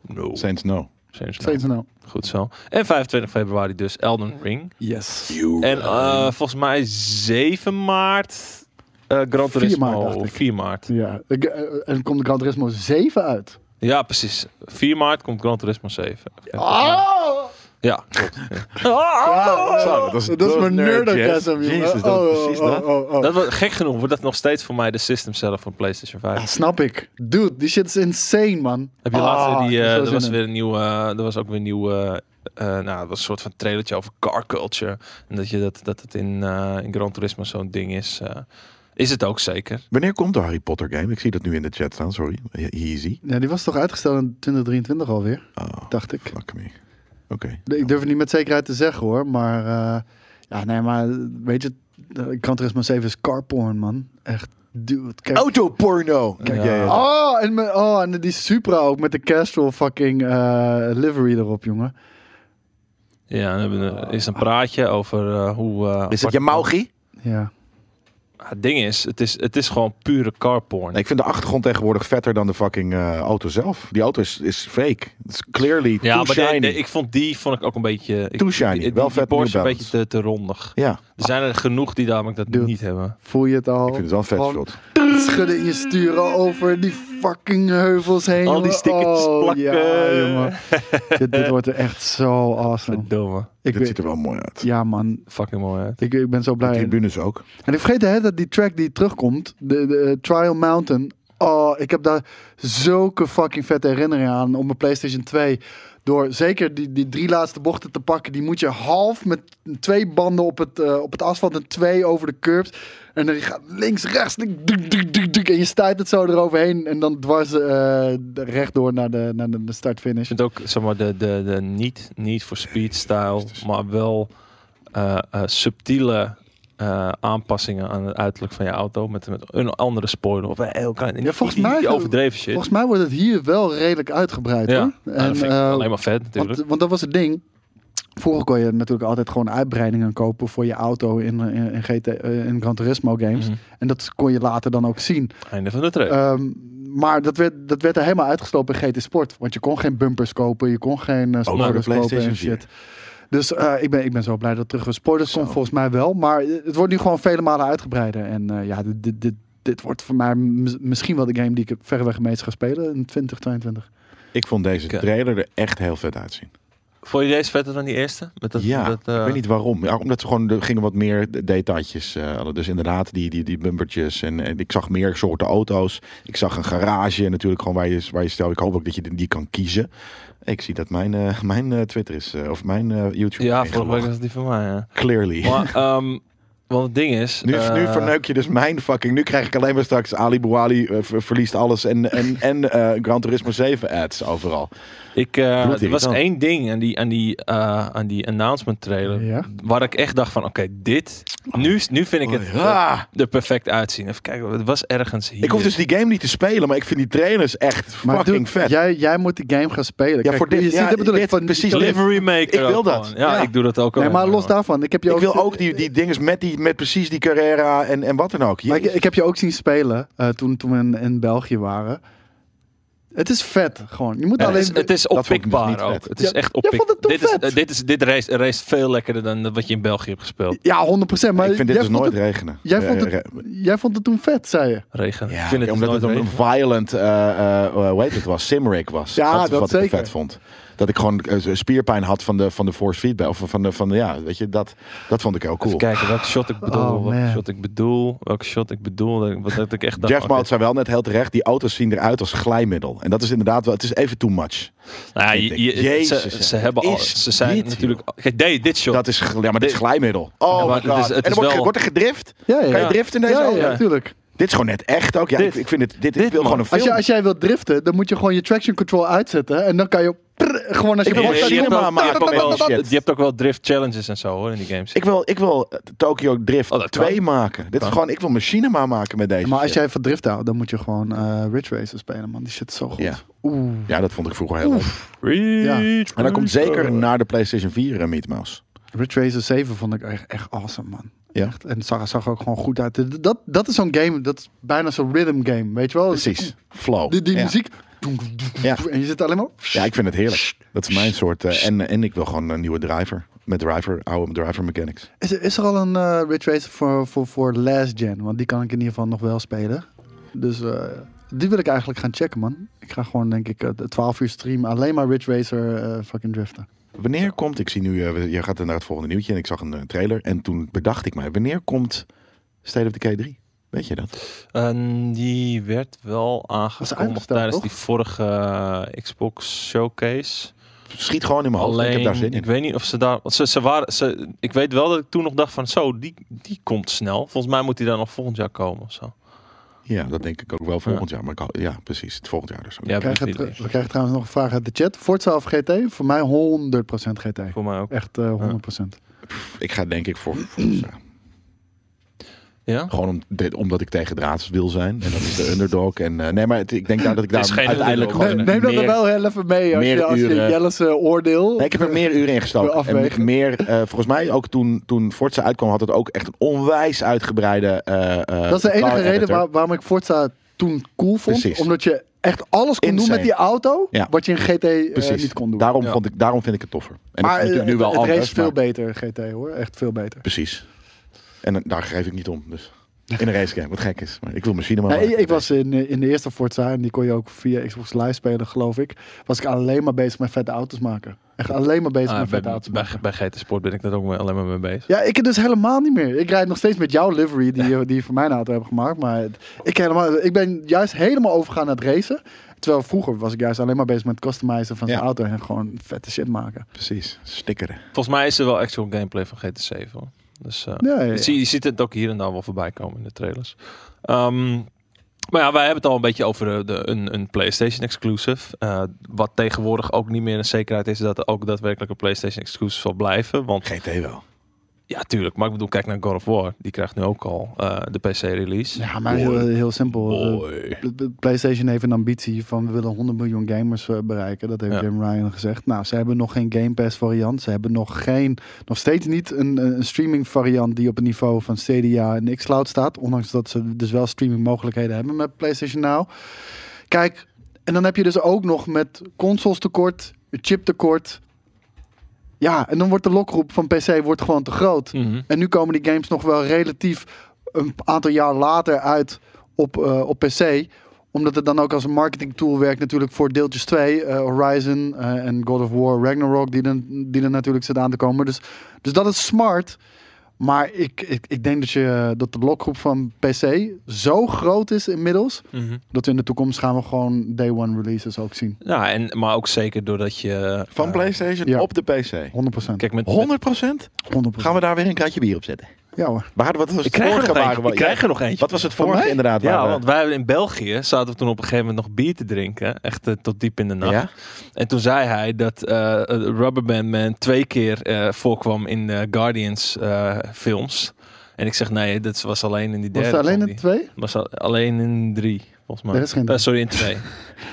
S1: No.
S3: Saints No.
S1: Saints Row.
S2: Steeds nou.
S1: Goed zo. En 25 februari dus Elden Ring.
S2: Yes.
S1: En eh, volgens mij 7 maart eh Gran
S2: 4
S1: Turismo.
S2: maart, dacht ik.
S1: 4 maart.
S2: Ja. ik- eh, En komt Gran Turismo 7 uit.
S1: Ja, precies. 4 maart komt Gran Turismo 7.
S3: Ah!
S2: Oh!
S1: Ja, klopt.
S3: Zo, dat is- dat is
S2: mijn
S3: nerd,
S2: nerdgasm,
S3: yes.
S2: jongen.
S3: Jezus, dat- precies dat.
S2: oh, oh.
S1: Dat was gek genoeg, wordt dat nog steeds voor mij de system seller van PlayStation 5.
S2: Ja, snap ik. Dude, die shit is insane, man.
S1: Heb je
S2: Ah,
S1: laatst weer die,
S2: ik heb
S1: eh,
S2: zo
S1: er
S2: zin
S1: was
S2: in.
S1: weer een nieuw, eh, er was ook weer een nieuw, eh, eh, nou, het was een soort van trailertje over car culture. En dat, je dat, dat het in, eh, in Gran Turismo zo'n ding is. eh, is het ook zeker.
S3: Wanneer komt de Harry Potter game? Ik zie dat nu in de chat staan, sorry. Easy.
S2: Ja, die was toch uitgesteld in 2023 alweer,
S3: Oh,
S2: dacht ik.
S3: fuck me. Oké.
S2: Ik durf het niet met zekerheid te zeggen hoor, maar eh, ja, nee, maar weet je, eh, ik kan het er eens maar eens even eens carporn, man. Echt, dude. Kijk.
S1: Oh,
S3: Autoporno. Kijk
S1: Ja.
S3: jij. eh,
S2: Oh, en, me- oh, en die Supra ook met de Castrol fucking eh, livery erop, jongen.
S1: Ja, dan hebben we- is een praatje over eh, hoe... eh,
S3: Is het
S1: apart-
S3: je Maugi?
S2: Ja.
S1: Het ding is het, is, het is gewoon pure carporn.
S3: Nee, ik vind de achtergrond tegenwoordig vetter dan de fucking eh, auto zelf. Die auto is, is fake. Het is clearly
S1: ja,
S3: too
S1: maar die-
S3: shiny.
S1: die- ik vond die vond ik ook een beetje... Ik,
S3: Too shiny.
S1: die- die-
S3: Wel
S1: die
S3: vet
S1: Porsche
S3: New
S1: een beetje
S3: Balance.
S1: te, te rondig.
S3: Ja, ik
S1: Er zijn er genoeg die namelijk dat
S2: Dude.
S1: niet hebben.
S2: Voel je het al?
S3: vind het wel een vet
S2: Gewoon
S3: shot.
S2: Schudden in je sturen over die fucking heuvels heen.
S1: Al die
S2: jongen.
S1: stickertjes
S2: oh,
S1: plakken.
S2: Ja, jongen. dit, dit wordt echt zo awesome.
S1: Verdomme.
S2: Ik
S3: Dit
S2: weet,
S3: ziet er wel mooi uit.
S2: ja, man.
S1: Fucking mooi uit.
S2: Ik, ik ben zo
S3: De
S2: blij.
S3: tribunes ook.
S2: En ik vergeet hè, dat die track die terugkomt, de, de Trial Mountain. Oh, ik heb daar zulke fucking vette herinneringen aan op mijn PlayStation 2. Door zeker die, die drie laatste bochten te pakken, die moet je half met twee banden op het, eh, op het asfalt en twee over de curbs. En dan gaat links, rechts, dik, dik, dik, dik, dik, en je stuit het zo eroverheen. En dan dwars eh, rechtdoor naar de, naar de, de
S1: Ik
S2: start-finish.
S1: vind ook zeg maar, de, de, de niet, niet voor speed stijl, maar wel eh, eh, subtiele eh, aanpassingen aan het uiterlijk van je auto met, met een andere spoiler of een heel klein. niet-
S2: volgens
S1: niet- niet
S2: mij-
S1: overdreven shit.
S2: Volgens mij wordt het hier wel redelijk uitgebreid.
S1: ja,
S2: hoor.
S1: Nou, dat vind ik
S2: eh,
S1: alleen maar vet natuurlijk.
S2: Want, want dat was het ding. Vroeger kon je natuurlijk altijd gewoon uitbreidingen kopen voor je auto in, in, in, GT, eh, in Gran Turismo games.
S1: Mhm.
S2: En dat kon je later dan ook zien.
S1: Einde van de trek.
S2: Ehm, maar dat werd, dat werd er helemaal uitgestopt in GT Sport. Want je kon geen bumpers kopen, je kon geen eh
S3: voor de
S2: spoilers kopen en
S3: PlayStation
S2: shit. Dus eh, ik, ben, ik ben zo blij dat het terug was. Spoilers komt volgens mij wel. Maar het wordt nu gewoon vele malen uitgebreider. En eh, ja, dit, dit, dit, dit wordt voor mij mis- misschien wel de game die ik verreweg het meest ga spelen in 2022.
S3: Ik vond deze
S1: Oké.
S3: trailer er echt heel vet uitzien.
S1: Vond je deze vetter dan die eerste? Met dat,
S3: ja,
S1: dat, eh,
S3: ik weet niet waarom. Ja, omdat ze gewoon, er gingen wat meer de- detailtjes. eh, hadden. dus inderdaad, die, die, die bumpertjes. En, en ik zag meer soorten auto's. Ik zag een garage natuurlijk gewoon waar je, waar je stel. Ik hoop ook dat je die, die kan kiezen. Ik zie dat mijn, eh, mijn eh, Twitter is, eh, of mijn eh, YouTube
S1: Ja,
S3: is
S1: volgens mij
S3: ingelogd.
S1: was het die van mij. Ja.
S3: Clearly.
S1: Maar, ehm, want het ding is.
S3: Nu, nu
S1: eh,
S3: verneuk je dus mijn fucking. Nu krijg ik alleen maar straks Ali Bouali eh, ver- verliest alles en, en, en eh, Gran Turismo 7 ads overal.
S1: Ik, eh, er was
S3: Bloedirritant.
S1: één ding aan die, aan die, eh, aan die announcement trailer.
S2: Ja. Oh,
S1: Waar ik echt dacht van, oké, dit... Nu, is- nu vind ik het eh,
S3: Ah,
S1: er perfect uitzien. Even kijken, het was ergens hier.
S3: ik hoef dus die game niet te spelen, maar ik vind die trailers echt
S2: Maar
S3: fucking
S2: dude,
S3: vet.
S2: Jij, jij moet die game gaan spelen. Kijk,
S3: voor dit- ja,
S2: je ziet, dit bedoel ik,
S3: dit-
S2: van,
S3: precies.
S1: Delivery maker.
S3: Ik wil
S1: ook
S3: dat.
S1: gewoon. Ja,
S3: Ja.
S1: ik doe dat ook.
S2: Nee,
S1: al
S2: maar
S1: helemaal.
S2: los daarvan. Ik heb je
S3: ik
S2: ook,
S3: wil ook die, die dinges met, die, met precies die Carrera en, en wat dan ook.
S2: maar ik,
S3: Jezus.
S2: ik heb je ook zien spelen eh, toen, toen we in, in België waren. Het is vet, gewoon. Je moet
S1: Ja, het,
S2: alleen...
S1: is, het is
S3: vond ik dus niet
S1: oppikbaar
S3: vet.
S1: ook. Het is
S2: Ja,
S1: echt
S2: jij vond
S1: oppikbaar.
S2: het toch
S1: Dit, is,
S2: vet?
S1: eh, dit, is, dit race, race veel lekkerder dan wat je in België hebt gespeeld.
S2: ja, 100%. Maar
S3: ik vind dit
S2: jij
S3: dus
S2: vond
S3: nooit
S2: het-
S3: regenen.
S2: jij vond
S3: Eh,
S2: het-
S3: re-
S2: Jij vond het toen vet, zei je.
S1: Regen.
S3: Ja,
S1: ik vind het dus
S3: omdat
S1: nooit
S3: het een
S1: regen.
S3: violent, eh, eh, hoe heet het was, simrig was.
S2: Ja,
S3: is
S2: dat
S3: wat ik
S2: zeker.
S3: er vet vond. Dat ik gewoon eh, spierpijn had van de, van de force feedback. Of van de, van de, ja, weet je, dat, dat vond ik heel cool.
S1: Even kijken welke shot ik bedoel.
S2: Oh,
S1: welke
S2: man.
S1: shot ik bedoel. Welke shot ik bedoel. dat ik- Wat dat ik echt dacht.
S3: Jeff
S1: oké.
S3: Maalt zei wel net heel terecht, die auto's zien eruit als glijmiddel. En dat is inderdaad wel, het is even too much.
S1: Nou ja, je- je-
S3: Jezus,
S1: ze,
S3: hè.
S1: ze hebben
S3: Wat
S1: al,
S3: is
S1: ze zijn
S3: dit,
S1: natuurlijk. Kijk, dit, dit shot.
S3: Dat is, gl- ja, maar dit is glijmiddel. Oh
S1: Ja, maar
S3: my
S1: het is-
S3: god.
S1: het
S3: en
S1: is
S3: dan wordt,
S1: wel-
S3: ge- wordt er gedrift?
S2: Ja, ja.
S3: Kan je driften in deze
S2: Ja,
S3: auto?
S2: ja, natuurlijk.
S3: Dit is gewoon net echt ook. Ja,
S1: Dit.
S3: ik, ik vind het, dit,
S1: Dit,
S3: ik wil
S1: man.
S3: gewoon een
S2: Als,
S3: film.
S2: jij- als jij wilt driften, dan moet je gewoon je traction control uitzetten. En dan kan je... prrr, gewoon als je...
S3: Ik wil
S1: Ja,
S3: ook
S1: je,
S3: dat
S1: hebt
S3: helemaal
S1: ook- je, hebt
S3: eh, maken
S1: ook wel,
S3: met die shit.
S1: je hebt ook wel drift challenges en zo hoor in die games.
S3: Ik wil, ik wil eh, Tokyo Drift
S1: Oh, dat kan.
S3: 2 maken. Dit is
S1: Kan.
S3: gewoon, ik wil machinima maken met deze
S2: maar als
S3: shit.
S2: jij van drift houdt, dan moet je gewoon eh Ridge Racer spelen, man. Die shit is zo goed.
S3: Ja.
S2: Oeh.
S3: Ja, dat vond ik vroeger heel leuk.
S2: Ja.
S3: Maar dat komt zeker naar de PlayStation 4, eh, Meat Mouse.
S2: Ridge Racer 7 vond ik echt, echt awesome, man.
S3: Ja.
S2: Echt. En het zag, zag er ook gewoon goed uit. Dat, dat is zo'n game, dat is bijna zo'n rhythm game, weet je wel?
S3: Precies. Flow.
S2: Die, die
S3: ja.
S2: muziek.
S3: Ja.
S2: En je zit alleen maar...
S3: Ja, ik vind het heerlijk. Dat is mijn soort. eh, en, en ik wil gewoon een nieuwe driver. Met driver, oude driver mechanics.
S2: Is, er- is er al een eh Ridge Racer voor, voor, voor last gen? Want die kan ik in ieder geval nog wel spelen. Dus eh, die wil ik eigenlijk gaan checken, man. Ik ga gewoon, denk ik, eh, de 12 uur stream alleen maar Ridge Racer eh, fucking driften.
S3: Wanneer komt, ik zie nu, eh, je gaat naar het volgende nieuwtje en ik zag een eh, trailer. En toen bedacht ik mij, wanneer komt State of Decay 3? Weet je dat?
S1: En die werd wel aangekondigd
S2: uitgesteld,
S1: tijdens
S2: toch?
S1: die vorige eh, Xbox Showcase.
S3: Schiet gewoon in mijn hoofd.
S1: Alleen,
S3: ik heb daar zin in.
S1: ik weet niet of ze daar... want Ze, ze waren, ze, ik weet wel dat ik toen nog dacht van... Zo, die, die komt snel. Volgens mij moet die dan nog volgend jaar komen of zo.
S3: Ja, dat denk ik ook wel volgend jaar. Maar ik hou- ja, precies. Het volgend jaar dus.
S1: Ja,
S2: We krijgen,
S1: precies.
S2: het- we krijgen trouwens nog een vraag uit de chat. Forza of GT? Voor mij 100% GT.
S1: Voor mij ook.
S2: Echt eh 100%.
S3: Ik ga denk ik voor Forza.
S1: Ja?
S3: Gewoon om, dit- omdat ik tegen draads wil zijn. En dat is de underdog. En, eh, nee, maar het- ik denk daar dat ik
S1: Het is
S3: daar
S1: geen
S3: uiteindelijk
S1: underdog.
S3: gewoon...
S2: Neem, neem dat
S3: meer-
S2: er wel heel even mee als
S3: meer
S2: je, als je
S3: uren.
S2: Jelles eh, oordeel.
S3: Nee, ik heb er meer uren in gestoken.
S2: Wil afwegen.
S3: En meer, eh, volgens mij ook toen, toen Forza uitkwam, had het ook echt een onwijs uitgebreide. eh, eh,
S2: dat is de
S3: car
S2: enige reden
S3: editor.
S2: waar- waarom ik Forza toen cool vond.
S3: Precies.
S2: Omdat je echt alles kon doen
S3: Insane.
S2: met die auto.
S3: Ja.
S2: Wat je in GT eh,
S3: Precies.
S2: niet kon doen.
S3: Daarom,
S1: Ja.
S3: vond ik, daarom vind ik het toffer. En
S2: maar
S3: het is
S2: het,
S3: natuurlijk nu wel
S2: het
S3: anders.
S2: race veel
S3: maar-
S2: beter GT hoor. Echt veel beter.
S3: Precies. En eh, daar geef ik niet om. Dus. In een racegame, wat gek is. Maar ik wil machine maar.
S2: Nee, ik, ik was in, eh, in de eerste Forza, en die kon je ook via Xbox Live spelen, geloof ik. Was ik alleen maar bezig met vette auto's maken. Echt alleen maar bezig
S1: Ah,
S2: met
S1: bij,
S2: vette auto's
S1: bij,
S2: maken.
S1: bij GT Sport ben ik daar ook mee- alleen maar mee bezig.
S2: Ja, ik dus helemaal niet meer. Ik rijd nog steeds met jouw livery die, je- die je voor mijn auto hebt gemaakt. Maar het- ik, helemaal, ik ben juist helemaal overgegaan naar het racen. Terwijl vroeger was ik juist alleen maar bezig met het customizen van zijn
S3: Ja.
S2: auto. En gewoon vette shit maken.
S3: Precies, stickeren.
S1: Volgens mij is er wel actual gameplay van GT 7. Hoor. Dus eh,
S2: Ja, ja, ja.
S1: je zie- je ziet het ook hier en daar wel voorbij komen in de trailers. Ehm, maar ja, wij hebben het al een beetje over de, de- een, een PlayStation exclusive. Eh, wat tegenwoordig ook niet meer een zekerheid is dat er ook daadwerkelijk een PlayStation exclusive zal blijven. Want
S3: GT wel.
S1: ja, tuurlijk. Maar ik bedoel, kijk naar God of War. Die krijgt nu ook al eh, de PC-release.
S2: Ja, maar heel, heel simpel. eh,
S1: Boy.
S2: De- de PlayStation heeft een ambitie van we willen 100 miljoen gamers eh, bereiken. Dat heeft
S1: Ja.
S2: Jim Ryan gezegd. Nou, ze hebben nog geen Game Pass variant. Ze hebben nog geen, nog steeds niet een, een streaming variant die op het niveau van Stadia en xCloud staat. Ondanks dat ze dus wel streaming mogelijkheden hebben met PlayStation Now. Kijk, en dan heb je dus ook nog met consoles tekort, chip tekort. Ja, en dan wordt de lokroep van PC wordt gewoon te groot.
S1: Mhm.
S2: En nu komen die games nog wel relatief een aantal jaar later uit op, eh, op PC. Omdat het dan ook als een marketing tool werkt natuurlijk voor deeltjes 2. eh, Horizon eh, en God of War, Ragnarok die dan die er natuurlijk zit aan te komen. Dus, dus dat is smart. Maar ik, ik, ik denk dat, je, dat de blokgroep van PC zo groot is inmiddels.
S1: Mhm.
S2: Dat we in de toekomst gaan we gewoon day one releases ook zien. 100%.
S1: Ja, en, maar ook zeker doordat je...
S3: Van
S1: eh,
S3: PlayStation
S2: ja.
S3: op de PC.
S1: Kijk, met,
S3: 100%
S2: 100%.
S3: gaan we daar weer een kratje bier op zetten.
S2: Ja hoor.
S3: Maar wat was
S1: Ik
S3: het
S1: krijg er
S3: vorige
S1: nog eentje.
S3: waren we-
S1: Ik krijg er nog eentje.
S3: Wat was het
S2: Van
S3: vorige
S2: mij?
S3: inderdaad?
S1: Ja,
S3: waar we-
S1: want wij in België zaten we toen op een gegeven moment nog bier te drinken. Echt eh, tot diep in de nacht.
S3: ja?
S1: En toen zei hij dat eh Rubberband Man twee keer eh, voorkwam in de Guardians eh, films. En ik zeg nee, dat was alleen in die
S2: Was
S1: derde.
S2: het alleen
S1: van
S2: in
S1: die-
S2: twee?
S1: was al- alleen in drie, volgens mij.
S2: Er is geen drie.
S1: Eh, sorry, in twee.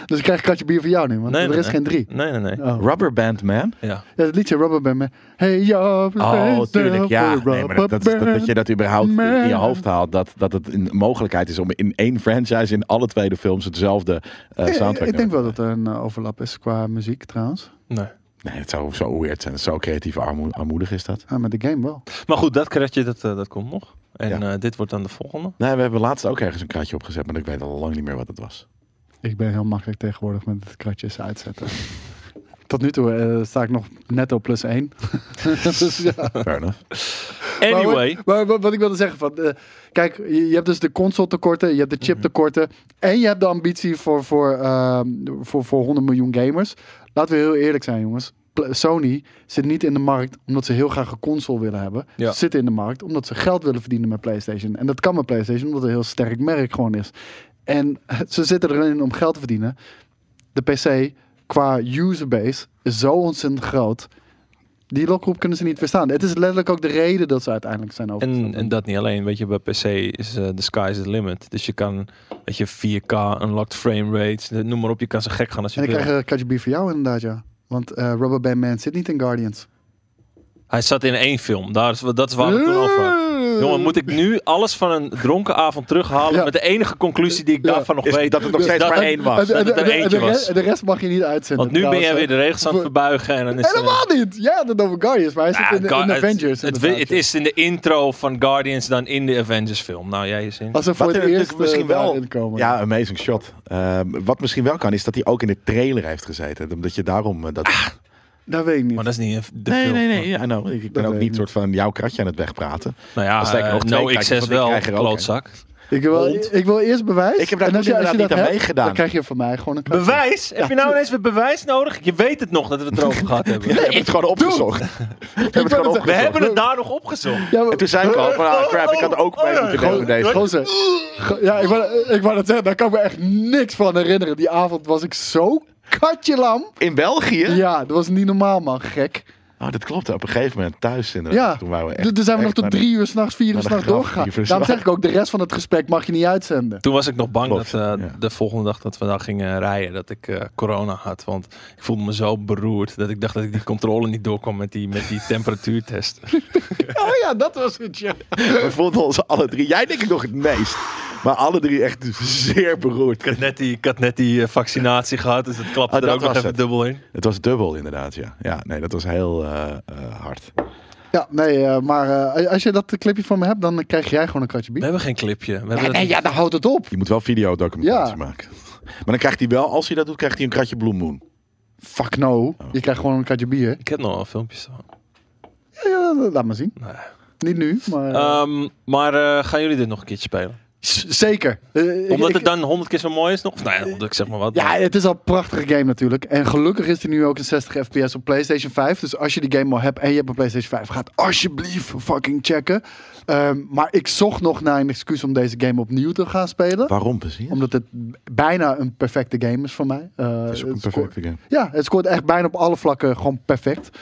S2: Dus ik krijg een kratje bier voor jou nu, want
S1: Nee,
S2: er
S1: nee,
S2: is
S1: nee.
S2: geen drie.
S1: Nee, nee, nee.
S2: Oh.
S3: Rubber Band Man.
S1: Ja.
S2: Ja, het liedje Rubber Band Man. Hey, ja,
S3: Oh, tuurlijk. Ja, nee, maar dat, dat, is- dat, dat je dat überhaupt in je
S2: Man.
S3: hoofd haalt. Dat, dat het een mogelijkheid is om in één franchise in alle tweede films hetzelfde eh soundtrack
S2: Ik denk
S3: te
S2: wel dat er een eh, overlap is qua muziek trouwens.
S1: Nee.
S3: Nee, het zou zo weird zijn. Zo creatief armo armoedig is dat.
S2: Ah, met de game wel.
S1: Maar goed, dat kratje, dat, eh, dat komt nog. En
S3: Ja.
S1: eh, dit wordt dan de volgende.
S3: Nee, we hebben laatst ook ergens een kratje opgezet, maar ik weet al lang niet meer wat het was.
S2: Ik ben heel makkelijk tegenwoordig met het kratjes uitzetten. Tot nu toe eh, sta ik nog netto plus één. dus ja.
S3: Fair enough.
S1: Anyway.
S2: Maar, wat- maar wat ik wilde zeggen van, eh, kijk, je, je hebt dus de console tekorten, je hebt de chip tekorten en je hebt de ambitie voor, voor, ehm, voor, voor 100 miljoen gamers. Laten we heel eerlijk zijn, jongens. Pl- Sony zit niet in de markt omdat ze heel graag een console willen hebben.
S1: Ja.
S2: Ze zitten in de markt omdat ze geld willen verdienen met PlayStation. En dat kan met PlayStation omdat het een heel sterk merk gewoon is. En ze zitten erin om geld te verdienen. De PC qua userbase is zo ontzettend groot. Die lokroep kunnen ze niet verstaan. Het is letterlijk ook de reden dat ze uiteindelijk zijn
S1: En,
S2: overgestapt.
S1: en dat niet alleen. Weet je, bij PC is de sky is the limit. Dus je kan, weet je, 4K, unlocked frame rates, eh, noem maar op. Je kan zo gek gaan als je
S2: En ik
S1: wil.
S2: krijg een katje bier voor jou inderdaad, ja. Want eh Rubber Band Man zit niet in Guardians.
S1: Hij zat in één film. Daar is, dat is waar we toen over Jongen, moet ik nu alles van een dronken avond terughalen
S2: Ja.
S1: met de enige conclusie die ik
S2: Ja.
S1: daarvan nog
S3: Is
S1: weet?
S3: dat het nog steeds
S1: dat
S3: maar
S1: er
S3: één
S1: dat
S3: was.
S1: het er eentje
S2: de, re-
S1: was.
S2: de rest mag je niet uitzenden.
S1: Want nu ben jij
S2: trouwens,
S1: weer de regels aan het
S2: Voor-
S1: verbuigen en dan
S2: hè.
S1: is eh, er-
S2: Helemaal niet! Jij had het over Guardians, maar hij zit
S1: Ah,
S2: in, de-
S1: Ga-
S2: in
S1: het-
S2: Avengers.
S1: Het,
S2: inderdaad,
S1: het
S2: ja.
S1: is in de intro van Guardians dan in de Avengers film. Nou, jij is in.
S2: Als ze voor
S3: Wat
S2: het
S3: er
S2: eerst eh,
S3: natuurlijk misschien wel-
S2: inkomen.
S3: Ja, amazing shot. Ehm, wat misschien wel kan, is dat hij ook in de trailer heeft gezeten. Omdat je daarom... eh, dat...
S2: Dat weet ik niet.
S1: Maar dat is niet een- de
S3: nee,
S1: film.
S3: nee, nee. Ja, nou, ik- ik ben
S2: weet
S3: ook
S2: ik
S3: niet
S2: niet.
S3: soort van jouw kratje aan het wegpraten.
S1: Nou ja,
S3: Als ik er nog
S1: eh,
S3: twee
S1: No
S3: kijk,
S1: X6
S3: want ik
S1: wel,
S3: krijg er ook
S1: klootzak.
S2: Ik wil,
S3: Hond.
S2: ik wil eerst bewijs.
S3: Ik heb daar
S2: En als
S3: toen
S2: je- als je
S3: inderdaad niet
S2: dat
S3: aan
S2: hebt,
S3: meegedaan.
S2: Dan krijg je van mij gewoon een klap.
S1: Bewijs? Heb je nou ineens weer bewijs nodig? Je weet het nog dat we het erover gehad hebben.
S3: ik heb het gewoon opgezocht. Ik heb het gewoon
S2: het-
S1: We
S3: opgezocht.
S1: hebben het daar nog opgezocht.
S2: Ja, maar-
S3: En toen zei ik al van,
S2: Oh,
S3: ah, crap, ik had er ook bij moeten
S1: Gewoon-
S3: nemen deze.
S2: Gozer. Go- Ja, ik wou, ik wou dat zeggen, daar kan ik me echt niks van herinneren. Die avond was ik zo katje lam.
S3: In België?
S2: Ja, dat was niet normaal, man. Gek.
S3: Oh, dat klopt. Op een gegeven moment thuis inderdaad.
S2: Ja,
S3: Toen waren we echt,
S2: d- toen zijn we nog
S3: echt
S2: tot
S3: naar de-
S2: drie uur s'nachts, vier uur
S3: naar de
S2: s'nachts
S3: graf,
S2: doorgegaan.
S3: die verzwa-
S2: Daarom zeg ik ook, de rest van het gesprek mag je niet uitzenden.
S1: Toen was ik nog bang
S3: Klopt,
S1: dat eh,
S3: ja.
S1: de volgende dag dat we daar gingen rijden, dat ik eh, corona had. Want ik voelde me zo beroerd dat ik dacht dat ik die controle niet doorkwam met die, met die temperatuurtest.
S2: Oh ja, dat was het, ja.
S3: We voelden ons alle drie. Jij denk ik nog het meest. Maar alle drie echt zeer beroerd.
S1: Ik had net die, ik had net die eh, vaccinatie gehad, dus dat klapte
S3: Ah,
S1: er
S3: dat
S1: ook nog
S3: was
S1: even
S3: het.
S1: dubbel in.
S3: Het was dubbel inderdaad, ja. Ja, nee, dat was heel eh, eh, hard.
S2: Ja, nee, eh, maar eh, als je dat clipje van me hebt, dan krijg jij gewoon een kratje
S1: We
S2: bier.
S1: hebben geen clipje. We hebben
S2: Nee,
S1: dat
S2: nee,
S1: niet-
S2: ja, dan houdt het op.
S3: Je moet wel videodocumentatie
S2: Ja.
S3: maken. Maar dan krijgt hij wel, als hij dat doet, krijgt hij een kratje bloemmoen.
S2: Fuck no. Je krijgt gewoon een kratje bier.
S1: Ik heb nog wel filmpjes van.
S2: Ja, ja, ja, laat maar zien.
S1: Nee.
S2: Niet nu, maar... eh,
S1: Ehm, maar eh, gaan jullie dit nog een keertje spelen?
S2: z- zeker. Eh, ik-
S1: Omdat
S2: ik-
S1: het dan honderd keer zo mooi is nog? Of, nou ja, ik zeg maar wat.
S2: Ja, het is al een prachtige game natuurlijk. En gelukkig is die nu ook in 60 fps op PlayStation 5. Dus als je die game al hebt en je hebt een PlayStation 5, ga het alsjeblieft fucking checken. Ehm, maar ik zocht nog naar een excuus om deze game opnieuw te gaan spelen.
S3: Waarom precies?
S2: Omdat het bijna een perfecte game is voor mij. Eh,
S3: Het is ook een
S2: het scoort-
S3: perfecte game.
S2: ja, het scoort echt bijna op alle vlakken gewoon perfect.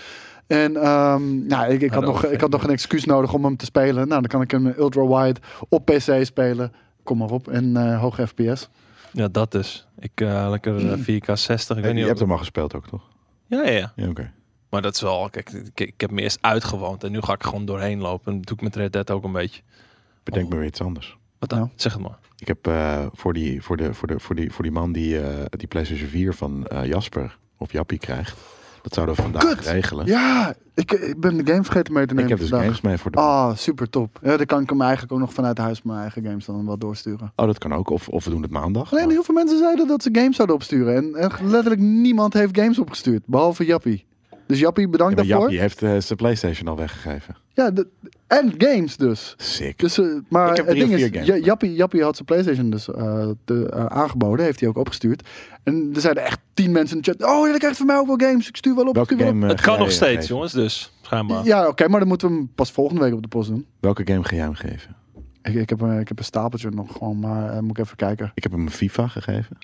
S2: En ehm, nou, ik, ik, had
S1: Hallo,
S2: nog, ik had nog een excuus nodig om hem te spelen. Nou, dan kan ik hem ultra-wide op PC spelen. Kom maar op. En eh hoge FPS.
S1: Ja, dat dus. Ik eh, lekker eh, 4K 60. Ik weet
S3: je
S1: niet
S3: hebt
S1: of...
S3: hem al gespeeld ook, toch?
S1: Ja, ja, ja.
S3: Ja, oké.
S1: Maar dat is wel... Kijk, ik, ik heb me eerst uitgewoond. En nu ga ik er gewoon doorheen lopen. En dat doe ik met Red Dead ook een beetje. Oh.
S3: Bedenk me weer iets anders.
S1: Wat dan?
S2: Ja.
S1: Zeg het maar.
S3: Ik heb eh, voor, die, voor, de, voor, de, voor, die, voor die man die eh, die PlayStation 4 van eh, Jasper of Jappie krijgt. Dat zouden we vandaag
S2: Kut!
S3: regelen.
S2: Ja, ik, ik ben de game vergeten mee te nemen.
S3: ik heb dus
S2: vandaag.
S3: games mee voor de...
S2: Ah, super top. Ja, dan kan ik hem eigenlijk ook nog vanuit huis mijn eigen games dan wel doorsturen.
S3: Oh, dat kan ook. Of, of we doen het maandag.
S2: Alleen heel veel mensen zeiden dat ze games zouden opsturen. En echt letterlijk niemand heeft games opgestuurd, behalve Jappie. Dus Jappie, bedankt
S3: Ja, maar
S2: daarvoor.
S3: Jappie heeft eh, zijn PlayStation al weggegeven.
S2: Ja, de- en games dus.
S3: Sick.
S2: dus eh, maar
S3: Ik heb
S2: het
S3: drie
S2: ding
S3: of
S2: is,
S3: vier games.
S2: Ja- Jappie, Jappie had zijn PlayStation dus eh, de- eh, aangeboden, heeft hij ook opgestuurd. En er zeiden echt tien mensen in de chat, oh, ja, dan krijgt van mij ook wel games, ik stuur wel op. ik
S3: Welke
S2: stuur wel
S3: game, eh,
S1: het
S3: ga
S1: kan
S3: jij
S1: nog
S3: hem
S1: steeds,
S3: geven?
S1: jongens. Dus, schijnbaar.
S2: op. Ja, oké, maar dan moeten we hem pas volgende week op de post doen.
S3: Welke game ga jij hem geven?
S2: Ik, ik, heb, een- ik heb een stapeltje nog gewoon, maar eh, moet ik even kijken.
S3: Ik heb hem een FIFA gegeven.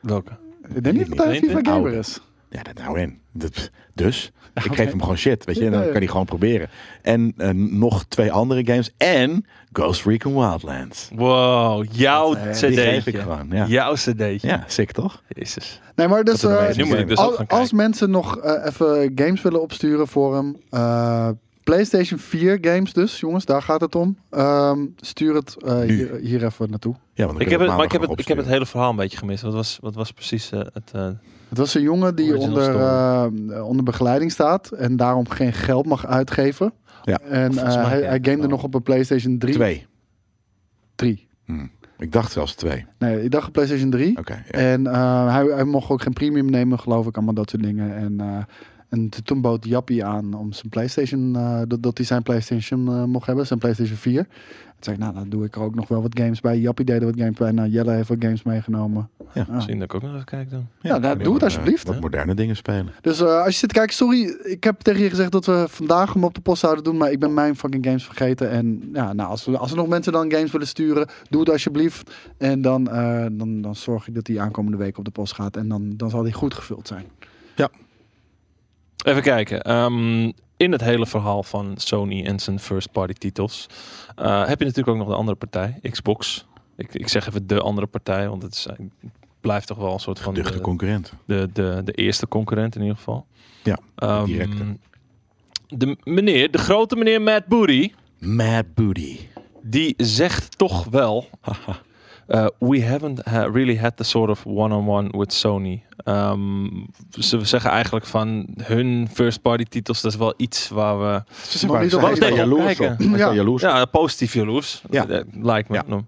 S1: Welke?
S2: Ik denk niet dat hij een
S1: Niet, hè?
S2: FIFA gamer
S3: Oude.
S2: is.
S3: Ja, dat nou in. Dat, dus, ik
S2: oké.
S3: geef hem gewoon shit, weet je. En dan
S2: Ja, ja.
S3: kan hij gewoon proberen. En eh, nog twee andere games. En Ghost Recon Wildlands.
S1: Wow, jouw
S2: eh,
S1: cd.
S2: die
S3: Die geef ik gewoon, ja.
S1: Jouw cd.
S3: Ja, sick toch?
S1: Jezus.
S2: Nee, maar dus,
S3: Dat er
S2: eh,
S3: dan
S1: Nu moet ik dus
S2: al-
S1: ook gaan
S2: als
S1: kijken.
S2: mensen nog eh, even games willen opsturen voor hem. eh, PlayStation 4 games dus, jongens, daar gaat het om. Ehm, stuur het eh,
S3: Nu.
S2: hier, hier even naartoe.
S3: Ja, want dan
S1: Ik
S3: kunnen we
S1: heb, het, maar
S3: maandag
S1: ik, heb
S3: nog
S1: het, ik heb het
S3: opsturen.
S1: hele verhaal een beetje gemist. Wat was, wat was precies eh, het... eh,
S2: Het was een jongen die
S1: Original
S2: onder, eh, onder begeleiding staat en daarom geen geld mag uitgeven.
S3: Ja,
S2: en eh,
S1: volgens mij
S2: hij,
S1: ken
S2: hij
S1: ik
S2: gamede
S1: wel.
S2: nog op een PlayStation 3.
S3: Twee.
S2: 3.
S3: Hm. Ik dacht zelfs twee.
S2: Nee, ik dacht op PlayStation 3.
S3: Oké. ja.
S2: En eh, hij, hij mocht ook geen premium nemen, geloof ik, allemaal dat soort dingen. En, eh, en t- toen bood Jappie aan om zijn PlayStation, eh, dat, dat hij zijn PlayStation eh, mocht hebben, zijn PlayStation 4. Toen zei ik, nou, dan doe ik er ook nog wel wat games bij. Jappie deed er wat games bij. Nou, Jelle heeft wat games meegenomen.
S3: Ja,
S2: Ah.
S1: Misschien dat ik ook nog even kijk dan.
S2: nou, doe
S3: die
S2: het
S3: wat, eh,
S2: alsjeblieft,
S3: Wat
S1: hè.
S3: moderne dingen spelen.
S2: Dus eh, als je zit te kijken, sorry, ik heb tegen je gezegd dat we vandaag hem op de post zouden doen, maar ik ben mijn fucking games vergeten. En ja, nou, als, we, als er nog mensen dan games willen sturen, doe het alsjeblieft. En dan, eh, dan, dan zorg ik dat die aankomende week op de post gaat en dan, dan zal die goed gevuld zijn.
S1: Even kijken. Ehm, in het hele verhaal van Sony en zijn first party titels eh, heb je natuurlijk ook nog de andere partij, Xbox. Ik, ik zeg even de andere partij, want het, is, eh, het blijft toch wel een soort van
S3: Duchte
S1: de,
S3: concurrenten.
S1: de, de, de eerste concurrent in ieder geval.
S3: Ja, de
S1: Ehm,
S3: directe.
S1: de meneer, de grote meneer Matt Booty,
S3: Mad Booty.
S1: die zegt toch wel. eh, we haven't ha- really had the sort of one-on-one with Sony. Ehm, ze zeggen eigenlijk van hun first-party titels, dat is wel iets waar we
S3: Ze
S2: nog niet
S3: ze
S2: op
S3: zijn
S1: tegen
S3: jaloers
S1: kijken.
S3: op. Ze zijn
S2: Ja.
S3: jaloers op.
S1: Ja, positief jaloers.
S3: Ja.
S1: Eh, Lijkt me.
S3: Ja.
S1: Nou.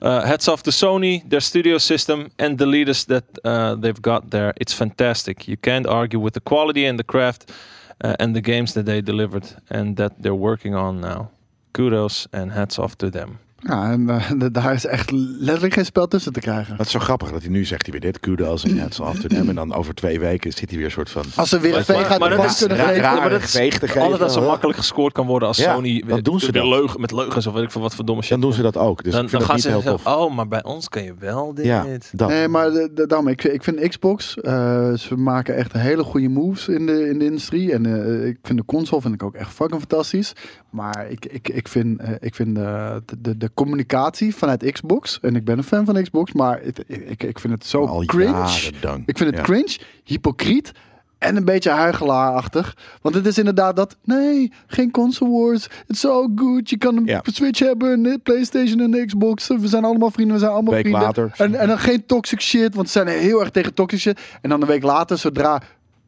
S1: Uh, heads off to Sony, their studio system, and the leaders that uh, they've got there. It's fantastic. You can't argue with the quality and the craft uh, and the games that they delivered and that they're working on now. Kudos and hats off to them.
S2: Ja, en eh, d- daar is echt letterlijk geen spel tussen te krijgen.
S3: Dat is zo grappig dat hij nu zegt, hij weer dit kudos en net zo af te nemen. En dan over twee weken zit hij weer een soort van...
S2: Als ze weer een
S1: Maar-
S2: vee gaat
S1: maar dat
S2: de baan
S1: is
S2: kunnen
S1: raar-
S2: geven.
S1: maar dat is
S3: geveeg te
S1: Altijd dat
S3: geven,
S1: zo
S3: huh?
S1: makkelijk gescoord kan worden als
S3: Ja,
S1: Sony...
S3: dan doen ze
S1: de
S3: dat.
S1: leugen, met leugens of weet ik veel wat voor domme shit.
S3: Dan doen ze dat ook. Dus
S1: dan
S3: ik
S1: dan
S3: vind dat
S1: gaan
S3: niet
S1: ze
S3: heel
S1: zeggen,
S3: tof.
S1: oh, maar bij ons kan je wel dit.
S3: ja, dat.
S2: Nee, maar de- de- daarom, ik, ik vind Xbox, eh, ze maken echt hele goede moves in de, in de industrie. En eh, ik vind de console vind ik ook echt fucking fantastisch. Maar ik, ik, ik vind, eh, ik vind de, de, de communicatie vanuit Xbox, en ik ben een fan van Xbox, maar het- ik, ik vind het zo
S3: Al
S2: cringe.
S3: jaren dank.
S2: Ik vind het
S3: Ja.
S2: cringe, hypocriet en een beetje huigelaarachtig. Want het is inderdaad dat, nee, geen console wars. It's so good, je kan een
S3: Ja.
S2: Switch hebben, een Playstation en een Xbox. We zijn allemaal vrienden, we zijn allemaal
S3: Week
S2: vrienden.
S3: later.
S2: En, en dan geen toxic shit, want ze zijn heel erg tegen toxic shit. En dan een week later, zodra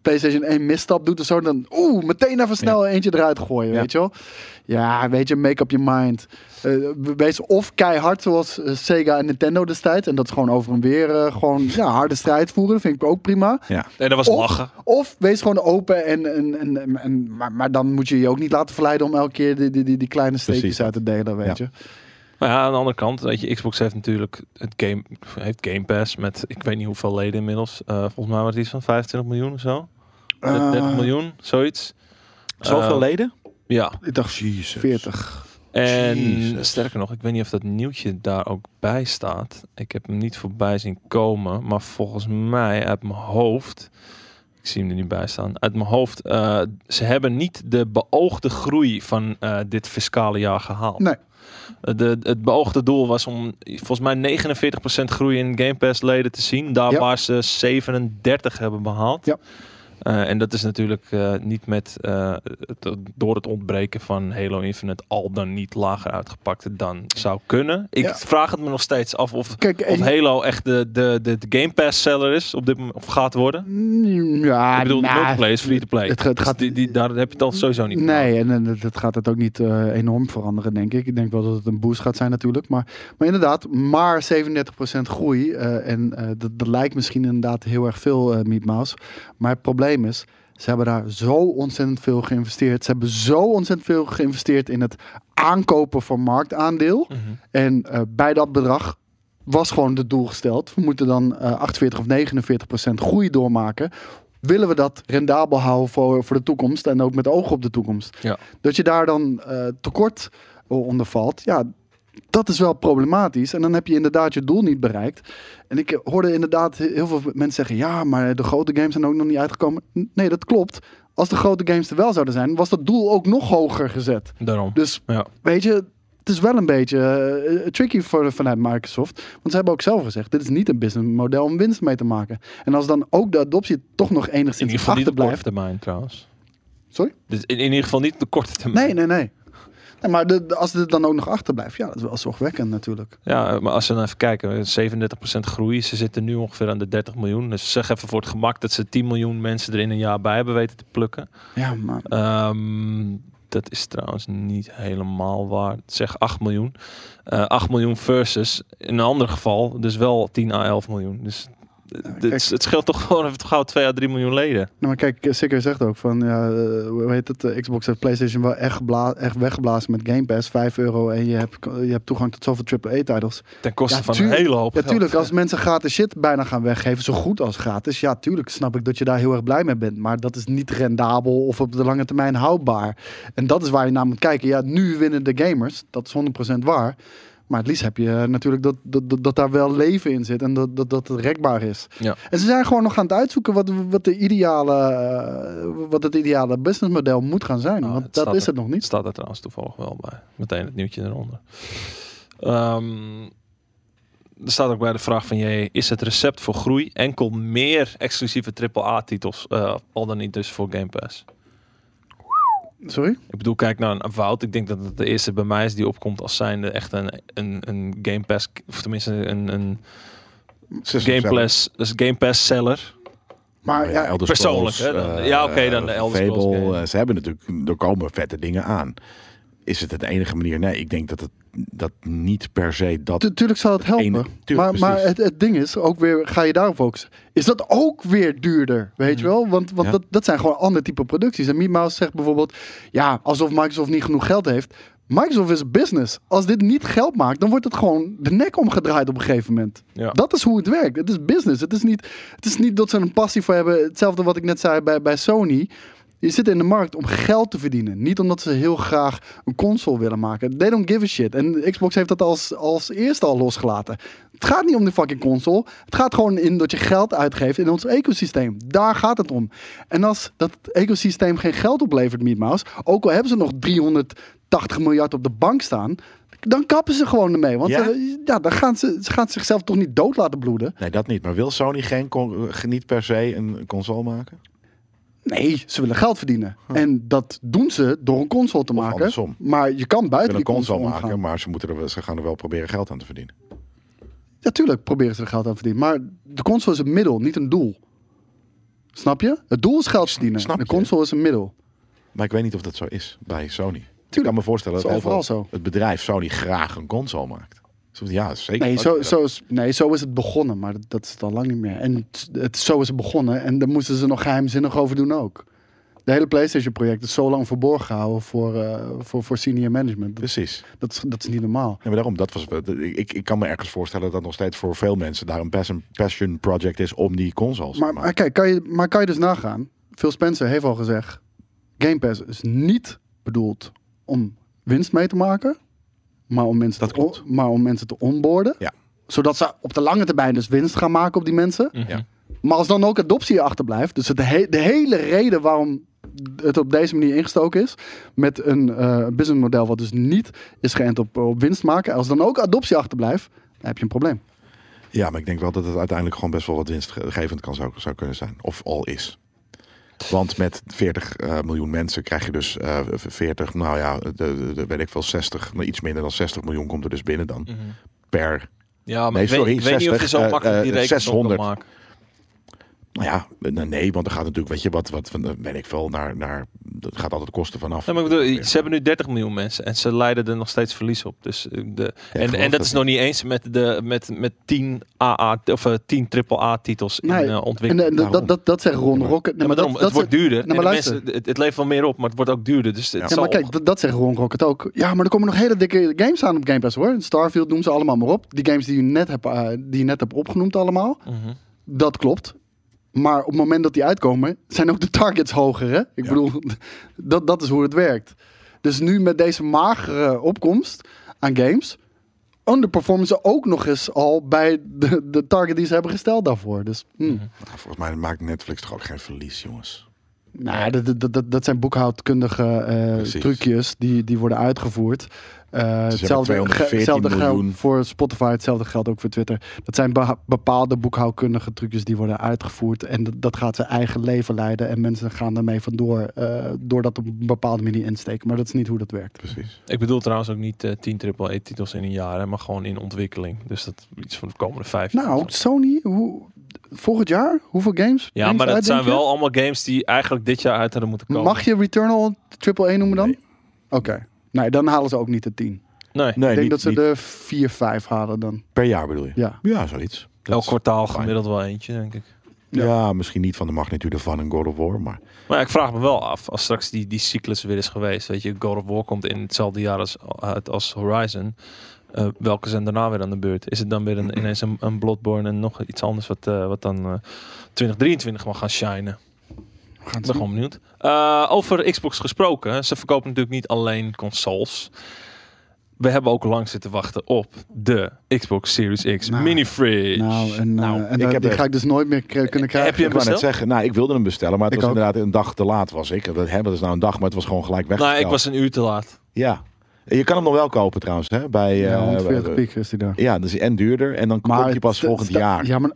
S2: PlayStation 1 misstap doet of zo, dan oeh, meteen even snel eentje eruit gooien,
S3: Ja.
S2: weet je wel. Ja, weet je, make up your mind. Eh, wees of keihard zoals eh, Sega en Nintendo destijds. En dat is gewoon over en weer eh, gewoon ja, harde strijd voeren. Vind ik ook prima.
S3: Ja.
S1: Nee, dat was
S2: Of,
S1: lachen.
S2: of wees gewoon open en, en, en, en, en- maar, maar dan moet je je ook niet laten verleiden om elke keer die, die, die, die kleine steekjes
S3: Precies.
S2: uit te delen, weet
S3: Ja.
S2: je.
S1: Maar ja, aan de andere kant, weet je, Xbox heeft natuurlijk het game, heeft game Pass met ik weet niet hoeveel leden inmiddels. Eh, volgens mij was het iets van 25 miljoen of zo. 30
S2: Eh,
S1: miljoen, zoiets.
S3: Zoveel
S1: Eh,
S3: leden?
S1: Ja.
S2: Ik dacht
S3: Jezus.
S2: 40.
S1: En
S3: Jezus.
S1: sterker nog, ik weet niet of dat nieuwtje daar ook bij staat. Ik heb hem niet voorbij zien komen, maar volgens mij uit mijn hoofd. Ik zie hem er niet bij staan. Uit mijn hoofd, eh, ze hebben niet de beoogde groei van eh, dit fiscale jaar gehaald.
S2: Nee.
S1: Eh, De, het beoogde doel was om eh, volgens mij 49% groei in Game Pass leden te zien. Daar
S2: Ja.
S1: waar ze 37 hebben behaald.
S2: Ja.
S1: Eh, en dat is natuurlijk eh, niet met, eh, het- door het ontbreken van Halo Infinite al dan niet lager uitgepakt dan zou kunnen. Ik
S2: Ja.
S1: vraag het me nog steeds af of,
S2: Kijk,
S1: of
S2: en-
S1: Halo echt de, de, de, de Game Pass seller is op dit moment, of gaat worden.
S2: Mm, Ja,
S1: Ik bedoel, de
S2: nou,
S1: multiplayer is free to play.
S2: het- het
S1: Dus
S2: gaat-
S1: die, die, daar heb je het al sowieso niet. voor.
S2: Nee, en, en dat- dat gaat het ook niet eh, enorm veranderen, denk ik. Ik denk wel dat het een boost gaat zijn natuurlijk. Maar, maar inderdaad, maar 37% groei. eh, en eh, dat, dat lijkt misschien inderdaad heel erg veel, eh Meat Mouse. Maar het probleem is, ze hebben daar zo ontzettend veel geïnvesteerd. Ze hebben zo ontzettend veel geïnvesteerd in het aankopen van marktaandeel.
S1: Mhm.
S2: En eh, bij dat bedrag was gewoon het doel gesteld. We moeten dan eh, 48 of 49 procent groei doormaken. Willen we dat rendabel houden voor, voor de toekomst en ook met oog op de toekomst?
S1: Ja.
S2: Dat je daar dan eh, tekort eh, onder valt, ja, dat is wel problematisch. En dan heb je inderdaad je doel niet bereikt. En ik eh, hoorde inderdaad he- heel veel mensen zeggen: ja, maar de grote games zijn ook nog niet uitgekomen. N- Nee, dat klopt. Als de grote games er wel zouden zijn, was dat doel ook nog hoger gezet.
S1: Daarom.
S2: Dus
S1: ja.
S2: weet je, het is wel een beetje eh, tricky voor, vanuit Microsoft. Want ze hebben ook zelf gezegd, dit is niet een businessmodel om winst mee te maken. En als dan ook de adoptie toch nog
S1: In ieder
S2: enigszins
S1: geval niet op korte
S2: achterblijft...
S1: termijn trouwens.
S2: Sorry?
S1: Dus in, in ieder geval niet op de korte termijn.
S2: Nee, nee, nee. nee maar de, de- als dit dan ook nog achterblijft, ja, dat is wel zorgwekkend natuurlijk.
S1: Ja, maar als we dan even kijken, eh, 37% groei. Ze zitten nu ongeveer aan de 30 miljoen. Dus zeg even voor het gemak dat ze 10 miljoen mensen er in een jaar bij hebben weten te plukken.
S2: Ja, maar...
S1: Ehm, dat is trouwens niet helemaal waar. Zeg 8 miljoen. Eh 8 miljoen versus in een ander geval dus wel 10 à 11 miljoen. Dus het-
S2: kijk.
S1: het, het scheelt toch gewoon even gauw 2 à 3 miljoen leden.
S2: Nou, maar kijk, Sikker zegt ook van, ja, eh, hoe heet het, eh, Xbox heeft PlayStation wel echt, gebla- echt weggeblazen met Game Pass, 5 euro en je hebt, je hebt toegang tot zoveel AAA-titels.
S1: Ten koste
S2: Ja,
S1: van een
S2: tuurlijk.
S1: hele hoop
S2: Ja,
S1: geld.
S2: tuurlijk, als mensen gratis shit bijna gaan weggeven, zo goed als gratis, ja, tuurlijk snap ik dat je daar heel erg blij mee bent. Maar dat is niet rendabel of op de lange termijn houdbaar. En dat is waar je naar moet kijken. Ja, nu winnen de gamers, dat is 100% waar. Maar het liefst heb je eh, natuurlijk dat, dat, dat, dat daar wel leven in zit en dat, dat, dat het rekbaar is.
S1: Ja.
S2: En ze zijn gewoon nog aan het uitzoeken wat, wat, de ideale, eh, wat het ideale businessmodel moet gaan
S1: Ah,
S2: zijn.
S1: het
S2: want dat
S1: staat
S2: is
S1: er.
S2: het nog niet.
S1: Het staat er trouwens toevallig wel bij. Meteen het nieuwtje eronder. Ehm, er staat ook bij de vraag van jij, is het recept voor groei enkel meer exclusieve AAA-titels, eh, al dan niet dus voor Game Pass?
S2: Sorry?
S1: Ik bedoel, kijk naar een Wout. Ik denk dat het de eerste bij mij is die opkomt als zijnde echt een, een, een Game Pass, of tenminste een, een
S3: Ze zijn
S1: Game,
S3: zelf-
S1: Pass, dus Game Pass seller. Nou
S2: Maar ja,
S3: Elder
S1: persoonlijk,
S3: Scrolls,
S1: hè, dan-
S3: eh,
S1: ja, oké, dan de
S3: eh,
S1: Elder
S3: Fable,
S1: Scrolls game.
S3: eh, ze hebben natuurlijk, er komen vette dingen aan. Is het de enige manier? Nee, ik denk dat het dat niet per se dat.
S2: Tu- tuurlijk zal het helpen.
S3: Eén- tuurlijk,
S2: maar maar
S3: precies.
S2: het, het ding is, ook weer ga je daarop focussen. Is dat ook weer duurder? Weet je wel? Want, want
S3: Mhm. Ja.
S2: dat, dat zijn gewoon ander type producties. En Mimaus zegt bijvoorbeeld: ja, alsof Microsoft niet genoeg geld heeft. Microsoft is business. Als dit niet geld maakt, dan wordt het gewoon de nek omgedraaid op een gegeven moment.
S1: Ja.
S2: Dat is hoe het werkt. Het is business. Het is niet, het is niet dat ze er een passie voor hebben. Hetzelfde wat ik net zei bij, bij Sony. Je zit in de markt om geld te verdienen. Niet omdat ze heel graag een console willen maken. They don't give a shit. En Xbox heeft dat als, als eerste al losgelaten. Het gaat niet om de fucking console. Het gaat gewoon in dat je geld uitgeeft in ons ecosysteem. Daar gaat het om. En als dat ecosysteem geen geld oplevert, Meatmouse... ook al hebben ze nog 380 miljard op de bank staan... dan kappen ze gewoon ermee. Want
S3: Ja?
S2: ze- ja, dan gaan ze, ze gaan zichzelf toch niet dood laten bloeden.
S3: Nee, dat niet. Maar wil Sony geen con- eh, niet per se een console maken?
S2: Nee, ze willen geld verdienen. En dat doen ze door een console te maken.
S3: andersom.
S2: Maar je kan
S3: Ze
S2: buiten
S3: willen
S2: die
S3: een console
S2: console
S3: maken,
S2: omgaan.
S3: maar ze, moeten er, wel- ze gaan er wel proberen geld aan te verdienen.
S2: Natuurlijk proberen ze er geld aan te verdienen. Maar de console is een middel, niet een doel. Snap je? Het doel is geld verdienen.
S3: snap
S2: de
S3: je.
S2: console is een middel.
S3: Maar ik weet niet of dat zo is bij Sony. Ik
S2: Tuurlijk.
S3: kan me voorstellen
S2: Dat
S3: dat
S2: is overal
S3: overal het bedrijf Sony graag een console maakt. Dus Ja, dat is zeker.
S2: Nee
S3: ook
S2: zo,
S3: weer
S2: zo is, nee, zo is het begonnen. Maar dat, dat is het al lang niet meer. En het, het- zo is het begonnen. En daar moesten ze nog geheimzinnig over doen ook. De hele PlayStation-project is zo lang verborgen gehouden voor, eh, voor, voor senior management. Dat,
S3: Precies.
S2: dat, is, dat is niet normaal.
S3: Ja, maar daarom, dat was, dat- ik, ik kan me ergens voorstellen dat dat nog steeds voor veel mensen daar een passion, passion project is om die consoles
S2: Maar,
S3: te
S2: maar
S3: maken.
S2: kijk, kan je, maar kan je dus nagaan. Phil Spencer heeft al gezegd... Game Pass is niet bedoeld om winst mee te maken... maar om mensen,
S3: Dat
S2: te, on-
S3: klopt.
S2: maar om mensen te onboarden.
S3: Ja.
S2: Zodat ze op de lange termijn dus winst gaan maken op die mensen.
S1: Mhm.
S3: Ja.
S2: Maar als dan ook adoptie achterblijft... dus het he- de hele reden waarom het op deze manier ingestoken is... met een eh businessmodel wat dus niet is geënt op, op winst maken... als dan ook adoptie achterblijft, dan heb je een probleem.
S3: Ja, maar ik denk wel dat het uiteindelijk gewoon best wel wat winstgevend kan zou, zou kunnen zijn. Of al is. Want met 40 eh, miljoen mensen krijg je dus eh, 40, nou ja, de, de, de- weet ik veel, 60, nou, iets minder dan 60 miljoen komt er dus binnen dan.
S1: Mhm.
S3: Per,
S1: Ja, maar
S3: Nee,
S1: ik weet-
S3: sorry,
S1: ik weet, niet of je
S3: 60,
S1: zo makkelijk
S3: eh,
S1: die
S3: eh,
S1: rekening
S3: 600.
S1: kan maken.
S3: nou ja, nou nee, want er gaat natuurlijk, weet je, wat, wat van, eh, weet ik veel, naar, naar, dat gaat altijd kosten vanaf.
S1: Nee, maar ik bedoel, ze hebben nu 30 miljoen mensen en ze leiden er nog steeds verlies op. Dus eh, de, en,
S3: geloof
S1: en dat
S3: dat
S1: is
S3: niet.
S1: nog niet eens met, de, met, met 10 AA of eh, 10 AAA titels in
S2: Nee,
S1: eh,
S2: En,
S1: ontwikkeling.
S2: eh, dat, dat, dat, dat zegt Ron
S3: maar-
S2: Rocket.
S1: Ja, maar daarom,
S2: dat,
S1: het
S2: dat
S1: wordt duurder. en
S2: maar
S1: de
S2: luister.
S1: mensen, het, het leeft wel meer op, maar het wordt ook duurder. Dus het
S2: Ja,
S1: zal
S2: maar kijk, dat, dat zegt Ron Rocket ook. Ja, maar er komen nog hele dikke games aan op Game Pass hoor. Starfield doen ze allemaal maar op. Die games die je net hebt, eh, die je net hebt opgenoemd allemaal.
S1: Mhm.
S2: Dat klopt. Maar op het moment dat die uitkomen, zijn ook de targets hoger. Hè? Ik
S3: Ja.
S2: bedoel, dat, dat is hoe het werkt. Dus nu met deze magere opkomst aan games, underperformen ze ook nog eens al bij de, de target die ze hebben gesteld daarvoor. Dus hm.
S3: Nou, volgens mij maakt Netflix toch ook geen verlies, jongens.
S2: Nou, dat- dat, dat, dat zijn boekhoudkundige eh,
S3: Precies.
S2: trucjes die, die worden uitgevoerd. Eh, hetzelfde
S3: 214
S2: hetzelfde
S3: miljoen.
S2: geldt voor Spotify, hetzelfde geldt ook voor Twitter. Dat zijn beha- bepaalde boekhoudkundige trucjes die worden uitgevoerd. En dat, dat gaat zijn eigen leven leiden. En mensen gaan daarmee vandoor eh, door dat op een bepaalde manier insteken. Maar dat is niet hoe dat werkt.
S3: Precies.
S1: Ik bedoel trouwens ook niet eh 10 AAA-titels in een jaar, hè, maar gewoon in ontwikkeling. Dus dat iets van de komende vijf jaar
S2: Nou,
S1: of zo.
S2: Sony, hoe, volgend jaar, hoeveel games?
S1: Ja,
S2: brengt
S1: maar
S2: ze
S1: dat
S2: uit,
S1: zijn
S2: denk je?
S1: wel allemaal games die eigenlijk dit jaar uit hadden moeten komen.
S2: Mag je Returnal triple 1 noemen dan?
S3: Nee.
S2: Oké. Nee, dan halen ze ook niet de 10.
S1: Nee,
S3: Nee,
S2: Ik denk
S3: niet,
S2: dat ze
S3: niet
S2: de 4, 5 halen dan.
S3: per jaar bedoel je?
S2: Ja.
S3: Ja, zoiets. Dat
S1: elk
S3: is-
S1: kwartaal
S3: fijn.
S1: gemiddeld wel eentje, denk ik.
S3: Ja. misschien niet van de magnitude van een God of War, maar
S1: Maar ja, ik vraag me wel af, als straks die, die cyclus weer is geweest, weet je, God of War komt in hetzelfde jaar als, uit als Horizon, eh, welke zijn daarna weer aan de beurt? Is het dan weer een, ineens een, een Bloodborne en nog iets anders wat, eh, wat dan eh, 2023 mag gaan shinen?
S2: We gaan
S1: Ik
S2: het
S1: ben
S2: zien.
S1: gewoon benieuwd. Eh, over Xbox gesproken, ze verkopen natuurlijk niet alleen consoles. We hebben ook lang zitten wachten op de Xbox Series X
S2: Nou,
S1: mini fridge.
S2: Nou, en, eh,
S3: Nou,
S2: en
S3: ik
S2: daar-
S3: heb Eh,
S2: die
S3: er-
S2: ga ik dus nooit meer k- kunnen krijgen.
S1: Heb je
S3: ik wou net
S1: besteld?
S3: zeggen, nou, ik wilde hem bestellen, maar het
S2: Ik
S3: was
S2: ook.
S3: inderdaad een dag te laat was ik. Dat hebben dus nou een dag, maar het was gewoon gelijk weg.
S1: Nou, ik was een uur te laat.
S3: Ja. Je kan hem nog wel kopen trouwens, hè? Bij, eh,
S2: ja,
S3: bij-
S2: 140 piek is die daar.
S3: Ja, dus en duurder en dan komt je pas
S2: het-
S3: volgend
S2: het-
S3: jaar. Ja.
S2: Ja, maar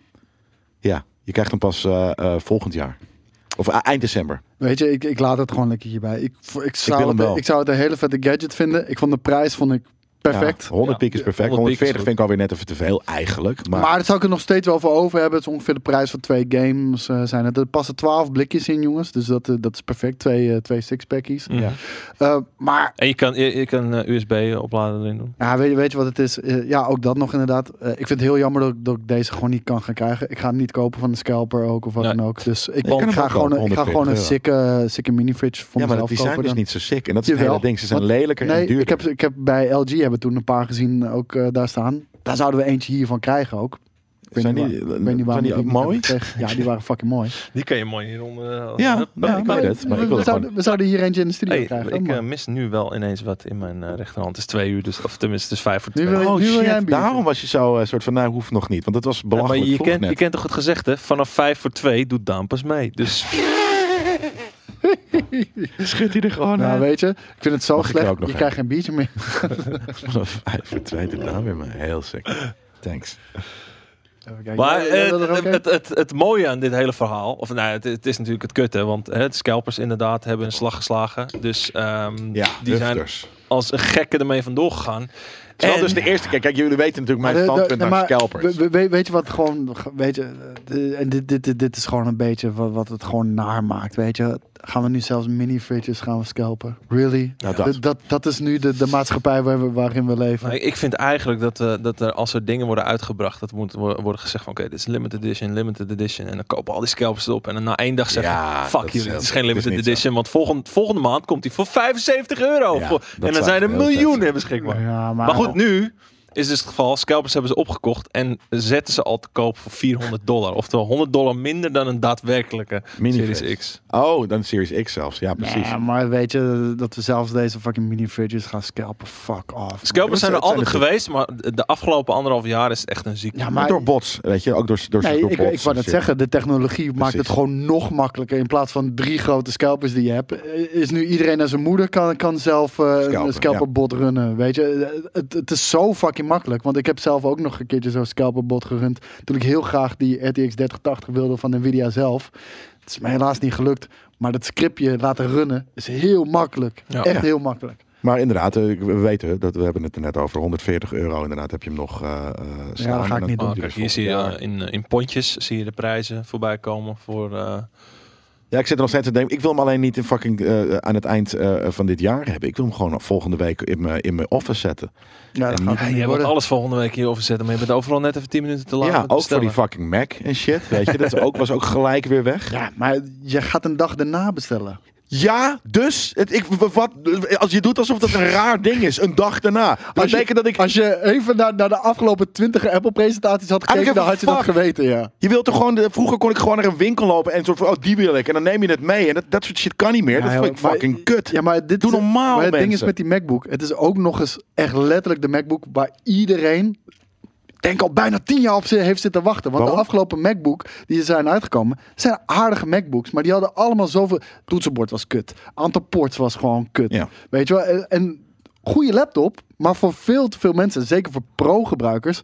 S3: je krijgt hem pas eh, eh, volgend jaar. Of eh, eind december.
S2: weet je, ik, ik laat het gewoon lekker hierbij. Ik, v- ik, zou
S3: wil hem
S2: het,
S3: wel.
S2: ik zou het een hele vette gadget vinden. Ik vond de prijs vond ik perfect.
S3: Ja, 100
S1: Ja.
S3: piek is perfect.
S1: 100 piek is
S3: 140 vind ik alweer net even te veel eigenlijk. Maar,
S2: Maar, daar zou ik het nog steeds wel voor over hebben. Het is ongeveer de prijs van twee games. eh, zijn het. Er passen 12 blikjes in, jongens. Dus dat, eh, dat is perfect. Twee, eh, twee sixpackies.
S1: Mhm.
S3: Ja.
S2: Eh, maar
S1: En je kan, je, je kan eh, USB opladen erin doen.
S2: ja, weet, je- weet je wat het is? Eh, ja, ook dat nog inderdaad. Eh, ik vind het heel jammer dat, ik- dat ik deze gewoon niet kan gaan krijgen. Ik ga hem niet kopen van de scalper ook of wat
S1: Nee.
S2: dan ook. Dus ik,
S3: kan hem
S2: ik, ga,
S3: ook
S2: gewoon,
S3: kopen,
S2: een- ik ga gewoon een
S3: 140
S2: sikke, sikke mini-fridge voor
S3: ja, maar
S2: mezelf
S3: die
S2: kopen
S3: zijn dus
S2: dan.
S3: niet zo sick. En dat is het
S2: Jawel.
S3: hele ding. Ze zijn
S2: Want-
S3: lelijker en
S2: Nee,
S3: duurder.
S2: ik heb, ik heb bij LG hebben we toen een paar gezien ook eh, daar staan. Daar zouden we eentje hiervan krijgen ook. Ik weet
S3: Zijn
S2: niet
S3: die-
S2: waar- ik weet niet
S3: zijn
S2: waarom
S3: die
S2: ik
S3: ook
S2: niet heb
S3: mooi?
S2: gekregen. Ja, die waren fucking mooi.
S1: Die kan je mooi eh, hieronder.
S3: Ja, ja, ik weet
S2: Maar
S3: het, maar ik
S2: we,
S3: wil
S2: we
S3: het
S2: zouden, we zouden hier eentje in de studio
S1: Hey,
S2: krijgen.
S1: ik
S2: hoor,
S1: eh,
S2: man.
S1: mis nu wel ineens wat in mijn eh, rechterhand. Het is twee uur, dus, of tenminste, het is vijf voor
S2: Nu
S1: twee.
S2: wil
S3: Oh
S2: Nu wil jij een
S3: shit,
S2: biertje.
S3: daarom was je zo eh, soort van, nou hoeft nog niet. Want dat was
S1: Ja, maar
S3: belachelijk
S1: je
S3: vroeg
S1: kent,
S3: net.
S1: je kent toch het gezegde, vanaf vijf voor twee doet Daan pas mee. Dus
S3: Schudt hij er gewoon
S2: nou,
S3: uit.
S2: weet je, ik vind het zo
S3: eh, Mag ik er
S2: slecht.
S3: ook nog
S2: Je
S3: een?
S2: krijgt geen biertje meer.
S3: Vanaf vijf voor twee doet Daan nou weer maar heel sick. Thanks.
S2: Even kijken.
S1: Maar
S2: Ja, ja,
S1: eh,
S2: dat is
S1: het,
S2: oké.
S1: het, het, het mooie aan dit hele verhaal, of nou, het, het is natuurlijk het kutte, want hè, de scalpers inderdaad hebben een slag geslagen. Dus ehm,
S3: Ja,
S1: die zijn
S3: hufters.
S1: als een gekke ermee vandoor gegaan.
S3: Terwijl
S1: En-
S3: dus de eerste keer, kijk, jullie weten natuurlijk mijn
S2: Maar de- de-
S3: standpunt
S2: nee,
S3: naar
S2: maar
S3: scalpers.
S2: we- we- Weet je wat gewoon, weet je, de- en dit, dit, dit, dit is gewoon een beetje wat, wat het gewoon naar maakt, weet je. Gaan we nu zelfs mini-fridges gaan we scalpen? Really?
S3: Nou,
S2: Dat,
S3: dat.
S2: dat, dat is nu de, de maatschappij waar we, waarin we leven.
S1: Maar ik- ik vind eigenlijk dat, eh, dat er als er dingen worden uitgebracht, dat moet wo- worden gezegd van oké, dit is limited edition, limited edition. En dan kopen al die scalpers erop. En dan na één dag zeggen,
S3: Ja, dat
S1: fuck
S3: is
S1: jullie,
S3: heel-
S1: het is geen
S3: dat is
S1: limited
S3: niet zo.
S1: edition. Want volgend, volgende maand komt die voor 75 euro.
S3: Ja,
S1: Voor-
S3: dat
S1: en dan
S3: zou
S1: zijn er
S3: echt heel vet
S1: miljoenen
S3: zijn.
S1: beschikbaar.
S2: Ja, maar,
S1: Maar goed, nu is dus het geval, scalpers hebben ze opgekocht en zetten ze al te koop voor 400 dollar. Oftewel 100 dollar minder dan een daadwerkelijke
S3: Mini
S1: Series X.
S3: Oh, dan Series X zelfs. Ja, precies.
S2: Ja, maar weet je, dat we zelfs deze fucking mini-fridges gaan scalpen, fuck off.
S1: Scalpers
S3: dat
S1: zijn er
S3: zijn
S1: altijd
S3: er
S1: geweest, maar de afgelopen anderhalf jaar is het echt een ziekte.
S2: Ja,
S3: maar
S2: maar
S3: door bots, weet je. Ook door, door,
S2: Nee,
S3: door
S2: ik,
S3: bots
S2: ik wou
S3: en
S2: net
S3: shit.
S2: zeggen, de technologie maakt het
S3: Precies.
S2: gewoon nog makkelijker. In plaats van drie grote scalpers die je hebt, eh, is nu iedereen en zijn moeder kan, kan zelf eh,
S3: Scalpen,
S2: een scalperbot runnen. Weet je, Eh, het, het is zo fucking makkelijk. Want ik heb zelf ook nog een keertje zo'n scalperbot gerund. Toen ik heel graag die RTX 3080 wilde van Nvidia zelf. Het is me helaas niet gelukt. Maar dat scriptje laten runnen is heel makkelijk.
S1: Ja.
S2: Echt
S1: Ja.
S2: heel makkelijk.
S3: Maar inderdaad, eh, we weten dat we hebben het er net over 140 euro. Inderdaad, heb je hem nog eh, eh, staan.
S2: ga ik
S3: En
S2: niet
S3: komt
S2: doen.
S1: Oh,
S3: hij
S1: kijk,
S3: dus
S1: hier zie je
S3: volgend jaar.
S1: eh, in, eh, in pontjes zie je de prijzen voorbij komen voor... eh,
S3: Ja, ik zit er nog steeds aan te denken. Ik wil hem alleen niet in fucking, eh, aan het eind eh, van dit jaar hebben. Ik wil hem gewoon volgende week in mijn in mijn office zetten.
S2: Ja,
S3: En
S2: dat gaat
S3: niet-
S2: het
S1: ja,
S2: niet
S1: jij wordt
S2: worden.
S1: alles volgende week hierover zetten, maar je bent overal net even 10 minuten te laat. met
S3: ja, ook voor die
S1: bestellen.
S3: fucking Mac en shit. Weet je, dat is ook, was ook gelijk weer weg.
S2: Ja, maar je gaat een dag daarna bestellen.
S3: Ja, dus het, ik, w- wat, als je doet alsof dat een raar ding is, een dag daarna. Dat
S2: Als je-
S3: betekent dat ik.
S2: Als je even naar, naar de afgelopen 20 Apple-presentaties had gekeken,
S3: Eigenlijk
S2: dan
S3: even
S2: had je dat
S3: fuck.
S2: geweten, ja.
S3: Je wilt toch gewoon. de- vroeger kon ik gewoon naar een winkel lopen en soort van. Oh, die wil ik. En dan neem je het mee. En dat, dat soort shit kan niet meer. dat
S2: Ja,
S3: vind ik
S2: maar-
S3: fucking kut.
S2: Ja, maar dit
S3: Doe
S2: is-
S3: normaal,
S2: maar het ding is
S3: mensen.
S2: met die MacBook. Het is ook nog eens echt letterlijk de MacBook waar iedereen, ik denk al bijna 10 jaar op zit- heeft zitten wachten. Want de
S3: Waarom?
S2: afgelopen MacBook die er zijn uitgekomen, zijn aardige MacBooks. Maar die hadden allemaal zoveel... Toetsenbord was kut. Aantal ports was gewoon kut.
S3: Ja.
S2: Weet je wel? En, en goede laptop, maar voor veel te veel mensen, zeker voor pro-gebruikers,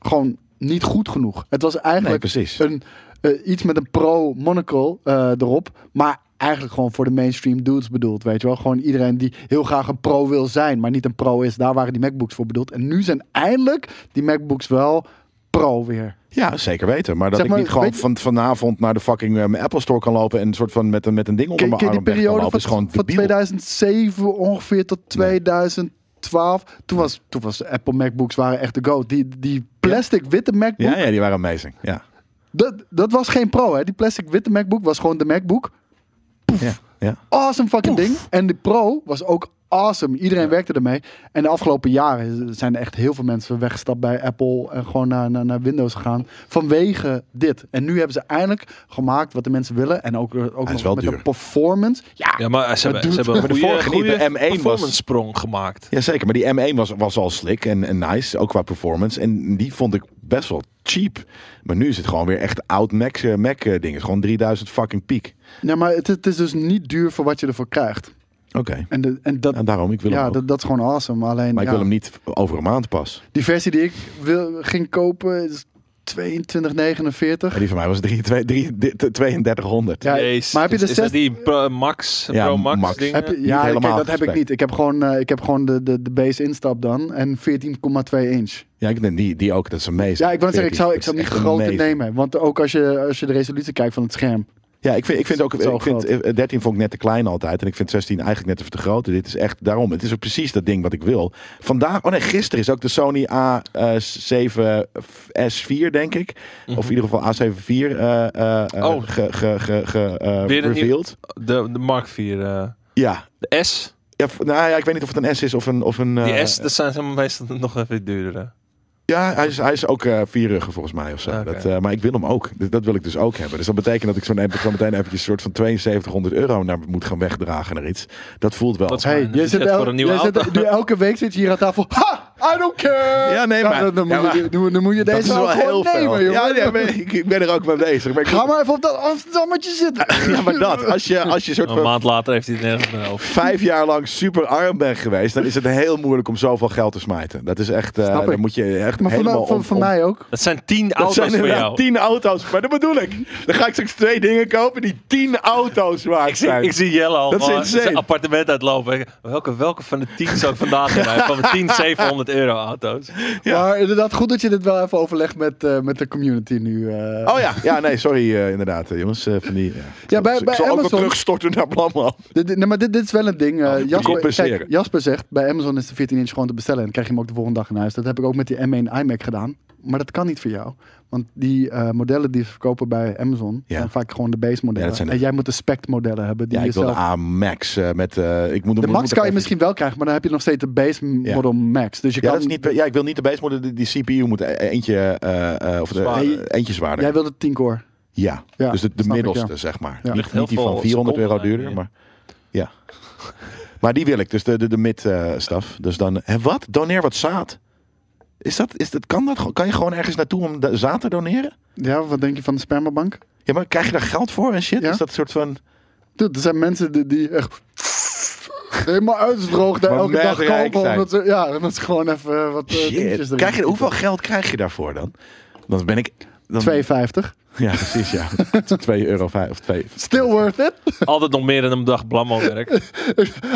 S2: gewoon niet goed genoeg. Het was eigenlijk
S3: Nee, precies.
S2: een, eh, iets met een pro-monocle eh, erop, maar eigenlijk gewoon voor de mainstream dudes bedoeld, weet je wel? Gewoon iedereen die heel graag een pro wil zijn, maar niet een pro is. Daar waren die MacBooks voor bedoeld. En nu zijn eindelijk die MacBooks wel pro weer.
S3: Ja, zeker weten. Maar dat
S2: Zeg maar,
S3: ik niet gewoon
S2: weet je-
S3: van, vanavond naar de fucking eh, mijn Apple Store kan lopen en een soort van met, een- met een ding onder
S2: Ken,
S3: mijn
S2: ken
S3: arm
S2: die
S3: weg kan
S2: periode
S3: lopen,
S2: van,
S3: is gewoon
S2: van
S3: debiel.
S2: 2007 ongeveer tot 2012? Toen was, toen was de Apple MacBooks waren echt de go. Die, die plastic witte MacBook,
S3: Ja, ja, die waren amazing. Ja.
S2: Dat, dat was geen pro, hè? Die plastic witte MacBook was gewoon de MacBook.
S3: Ja, ja.
S2: Awesome fucking ding. En de pro was ook awesome. Iedereen werkte ermee. En de afgelopen jaren zijn er echt heel veel mensen weggestapt bij Apple en gewoon naar, naar, naar Windows gegaan. Vanwege dit. En nu hebben ze eindelijk gemaakt wat de mensen willen. En ook, ook
S3: is
S2: nog
S3: wel
S2: met
S3: duur.
S2: een performance. Ja,
S1: Ja, maar ze hebben, ze
S2: doet-
S1: hebben een
S3: Maar de
S1: goede,
S3: vorige niet, de
S1: goede
S3: M1 was-
S1: performance sprong gemaakt.
S3: Jazeker, maar die M1 was, was al slick en, en nice, ook qua performance. En die vond ik best wel cheap. Maar nu is het gewoon weer echt oud Mac, eh, Mac eh, dingen. Gewoon 3000 fucking piek.
S2: nee, maar het, het is dus niet duur voor wat je ervoor krijgt.
S3: Oké.
S2: En, de, en dat,
S3: En daarom, ik wil hem
S2: ja,
S3: ook.
S2: dat, dat is gewoon awesome. Alleen,
S3: maar ik
S2: ja.
S3: wil hem niet over een maand pas.
S2: Die versie die ik wil, ging kopen is 2249.
S3: En die van mij was 3, 2, 3, 3200.
S2: Ja,
S1: Jezus.
S2: maar heb je de
S1: Is dat
S2: zes-
S1: die Pro Max,
S3: Ja,
S1: Pro Max,
S3: Max.
S1: dingen?
S2: Heb je-
S3: niet
S2: ja, oké,
S3: helemaal
S2: dat heb ik
S3: gesprek.
S2: niet. Ik heb gewoon, eh, ik heb gewoon de, de, de base instap dan. En 14,2 inch.
S3: Ja, ik denk die, die ook. Dat is amazing.
S2: Ja, ik wou zeggen, ik zou, ik zou
S3: Dat
S2: niet
S3: is echt
S2: groter
S3: amazing.
S2: nemen. Want ook als je, als je de resolutie kijkt van het scherm.
S3: Ja, ik vind, ik vind ook.
S2: Zo
S3: Ik vind,
S2: groot.
S3: eh, 13 vond ik net te klein altijd. En ik vind 16 eigenlijk net even te groot. Dit is echt daarom. Het is ook precies dat ding wat ik wil. Vandaag, oh nee, gisteren is ook de Sony A7S4, denk ik. Of in ieder geval A74 eh, eh, eh,
S1: Mhm. Oh.
S3: ge, ge, ge, ge, eh,
S1: Weer een nieuw-
S3: revealed.
S1: De, de Mark 4. eh,
S3: Ja.
S1: de S.
S3: Ja, v- nou ja, ik weet niet of het een S is of een. Of een
S1: Die
S3: eh,
S1: S, dat zijn ze meestal nog even duurdere.
S3: Ja, hij is, hij is ook eh vier ruggen volgens mij of zo.
S1: Oké.
S3: Dat, eh, maar ik wil hem ook. Dat, dat wil ik dus ook hebben. Dus dat betekent dat ik zo'n app- zo meteen eventjes een soort van 7200 euro naar, moet gaan wegdragen naar iets. Dat voelt wel.
S1: Dat is
S2: Hey,
S1: mijn
S2: je zit
S1: budget
S2: el-
S1: voor een nieuwe
S2: jij zit-
S1: auto.
S2: nu elke week zit je hier aan tafel. Ha! I don't care!
S3: Ja, nee, maar-
S2: dan, dan,
S3: ja,
S2: moet je,
S3: maar-
S2: dan, dan moet je
S3: dat
S2: deze ook gewoon nemen,
S3: veel.
S2: joh.
S3: Ja, nee, maar ik, ik ben er ook mee bezig. Maar ik,
S2: Ga maar even op dat Amsterdammetje zitten.
S3: ja, maar dat. Als je, als je soort
S1: Een
S3: van
S1: maand later heeft hij het nergens meer over.
S3: vijf jaar lang super arm bent geweest, dan is het heel moeilijk om zoveel geld te smijten. Dat is echt. eh,
S2: Snap ik.
S3: dan moet je echt
S2: Maar voor,
S3: helemaal
S2: mij, voor,
S3: om-
S2: voor
S3: om-
S2: mij ook.
S1: Dat zijn tien
S3: Dat
S1: auto's
S3: zijn
S1: voor
S3: inderdaad
S1: jou.
S3: tien auto's. Maar dat bedoel ik. Dan ga ik straks twee dingen kopen die tien auto's waard
S1: Ik zie,
S3: zijn.
S1: ik zie Jelle al
S3: Dat is
S1: eh,
S3: insane.
S1: zijn appartement uitlopen. Ik- Welke, welke van de tien zou ik vandaag rijden? Van de tien 700 euro auto's.
S3: Ja.
S2: Maar inderdaad, goed dat je dit wel even overlegt met, eh, met de community nu. eh.
S3: Oh ja, ja nee, sorry eh, inderdaad, eh, jongens. eh, van die, ja.
S2: Ja, bij-
S3: ik
S2: bij
S3: zal ook wel
S2: Amazon-
S3: terugstorten naar Blamman.
S2: Dit, dit- nee, maar dit, dit is wel een ding. eh, Jasper,
S3: Nou, compenseren.
S2: kijk, Jasper zegt, bij Amazon is de 14 inch gewoon te bestellen. En dan krijg je hem ook de volgende dag in huis. Dat heb ik ook met die M1 iMac gedaan. Maar dat kan niet voor jou. Want die eh, modellen die ze verkopen bij Amazon...
S3: Ja.
S2: zijn vaak gewoon de base modellen.
S3: Ja, dat zijn de-
S2: En jij moet de spec modellen hebben. Die
S3: Ja,
S2: je
S3: ik wil
S2: zelf...
S3: de A-Max eh, met... eh, ik moet,
S2: De
S3: moet-
S2: Max
S3: moet
S2: kan je
S3: even-
S2: misschien wel krijgen, maar dan heb je nog steeds de base model Max. Dus je
S3: Ja,
S2: kan...
S3: dat is niet, ja, ik wil niet de base model. Die, die CPU moet e- eentje, eh, eh, of de,
S1: Zwaarder.
S3: eh, eentje zwaarder.
S2: Jij wilde 10 core.
S3: ja.
S2: Ja,
S3: dus de, de
S2: snap ik,
S3: middelste, zeg maar.
S2: Ja.
S3: Niet,
S1: Ligt heel
S3: niet die van
S1: veel
S3: 400 euro
S1: seconden
S3: duurder, maar... Ja. maar die wil ik, dus de, de, de mid-staf. dus dan... Hè, wat? Doneer wat zaad? Is dat, is dat, kan, dat, gewoon- kan je gewoon ergens naartoe om da- zaad te doneren?
S2: Ja, wat denk je van de spermabank?
S3: Ja, maar krijg je daar geld voor en shit?
S2: Ja.
S3: Is dat een soort van...
S2: Dude, er zijn mensen die, die echt... Helemaal uitdroogd daar
S3: Maar
S2: elke dag
S3: merkrijk
S2: kopen.
S3: zijn.
S2: Omdat ze, ja, en dat is gewoon even eh, wat eh, dingetjes
S3: Shit.
S2: erin
S3: Krijg je,
S2: gieten.
S3: hoeveel geld krijg je daarvoor dan? Dan ben ik... Dan,
S2: 2,50.
S3: Ja, precies, ja. 2 euro vijf- of 2.
S2: Still worth it.
S1: Altijd nog meer dan een dag blammo werkt.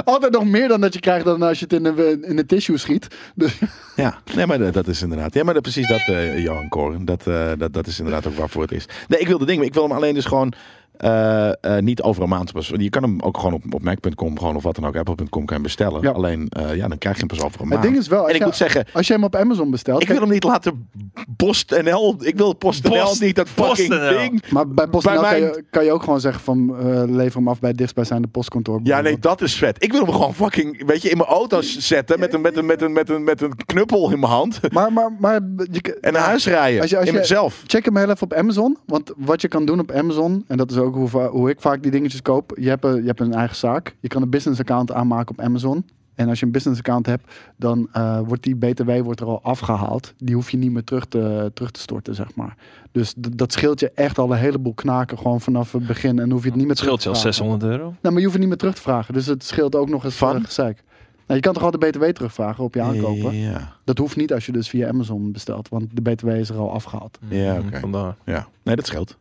S2: Altijd nog meer dan dat je krijgt dan als je het in een, eh, in een tissue schiet. Dus,
S3: Ja, nee, maar dat, dat is inderdaad. Ja, maar dat, precies dat, eh Johan Koren. Dat, eh, dat, dat is inderdaad ook waarvoor het is. Nee, ik wil de ding, maar ik wil hem alleen dus gewoon eh, eh, niet over een maand. pas- Je kan hem ook gewoon op, op Mac.com, gewoon of wat dan ook, Apple.com kan je hem bestellen.
S2: Ja.
S3: Alleen, eh, ja, dan krijg je hem pas over een
S2: het
S3: maand.
S2: ding is wel,
S3: en
S2: als,
S3: ik
S2: jij-
S3: moet zeggen,
S2: als je hem op Amazon bestelt...
S3: ik wil hem niet laten PostNL. Ik wil PostNL
S1: Post-
S3: niet dat fucking
S1: PostNL.
S3: ding.
S2: maar bij PostNL
S3: Bij
S2: kan,
S3: mijn-
S2: je, kan je ook gewoon zeggen van eh, lever hem af bij het dichtstbijzijnde postkantoor.
S3: Ja, nee, dat is vet. Ik wil hem gewoon fucking, weet je, in mijn auto zetten met een, met een, met een, met een, met een knuppel in mijn hand.
S2: Maar, maar, maar je,
S3: En naar huis rijden.
S2: Als je- als
S3: in
S2: je-
S3: mezelf.
S2: Check hem heel even op Amazon. Want wat je kan doen op Amazon, en dat is ook hoe, va- hoe ik vaak die dingetjes koop. Je hebt, een, je hebt een eigen zaak. Je kan een business account aanmaken op Amazon. En als je een business account hebt, dan eh, wordt die BTW wordt er al afgehaald. Die hoef je niet meer terug te, terug te storten, zeg maar. Dus d- dat scheelt je echt al een heleboel knaken gewoon vanaf het begin. En hoef je het niet meer
S1: Het
S2: terug
S1: scheelt
S2: te
S1: zelfs
S2: vragen.
S1: 600 euro.
S2: Nou, maar je hoeft het niet meer terug te vragen. Dus het scheelt ook nog eens
S3: Van?
S2: van gezeik. Nou, je kan toch al de BTW terugvragen op je aankopen?
S3: Ja,
S2: Dat hoeft niet als je dus via Amazon bestelt. Want de BTW is er al afgehaald.
S3: Ja, oké.
S1: Vandaar.
S3: ja. Nee, dat scheelt.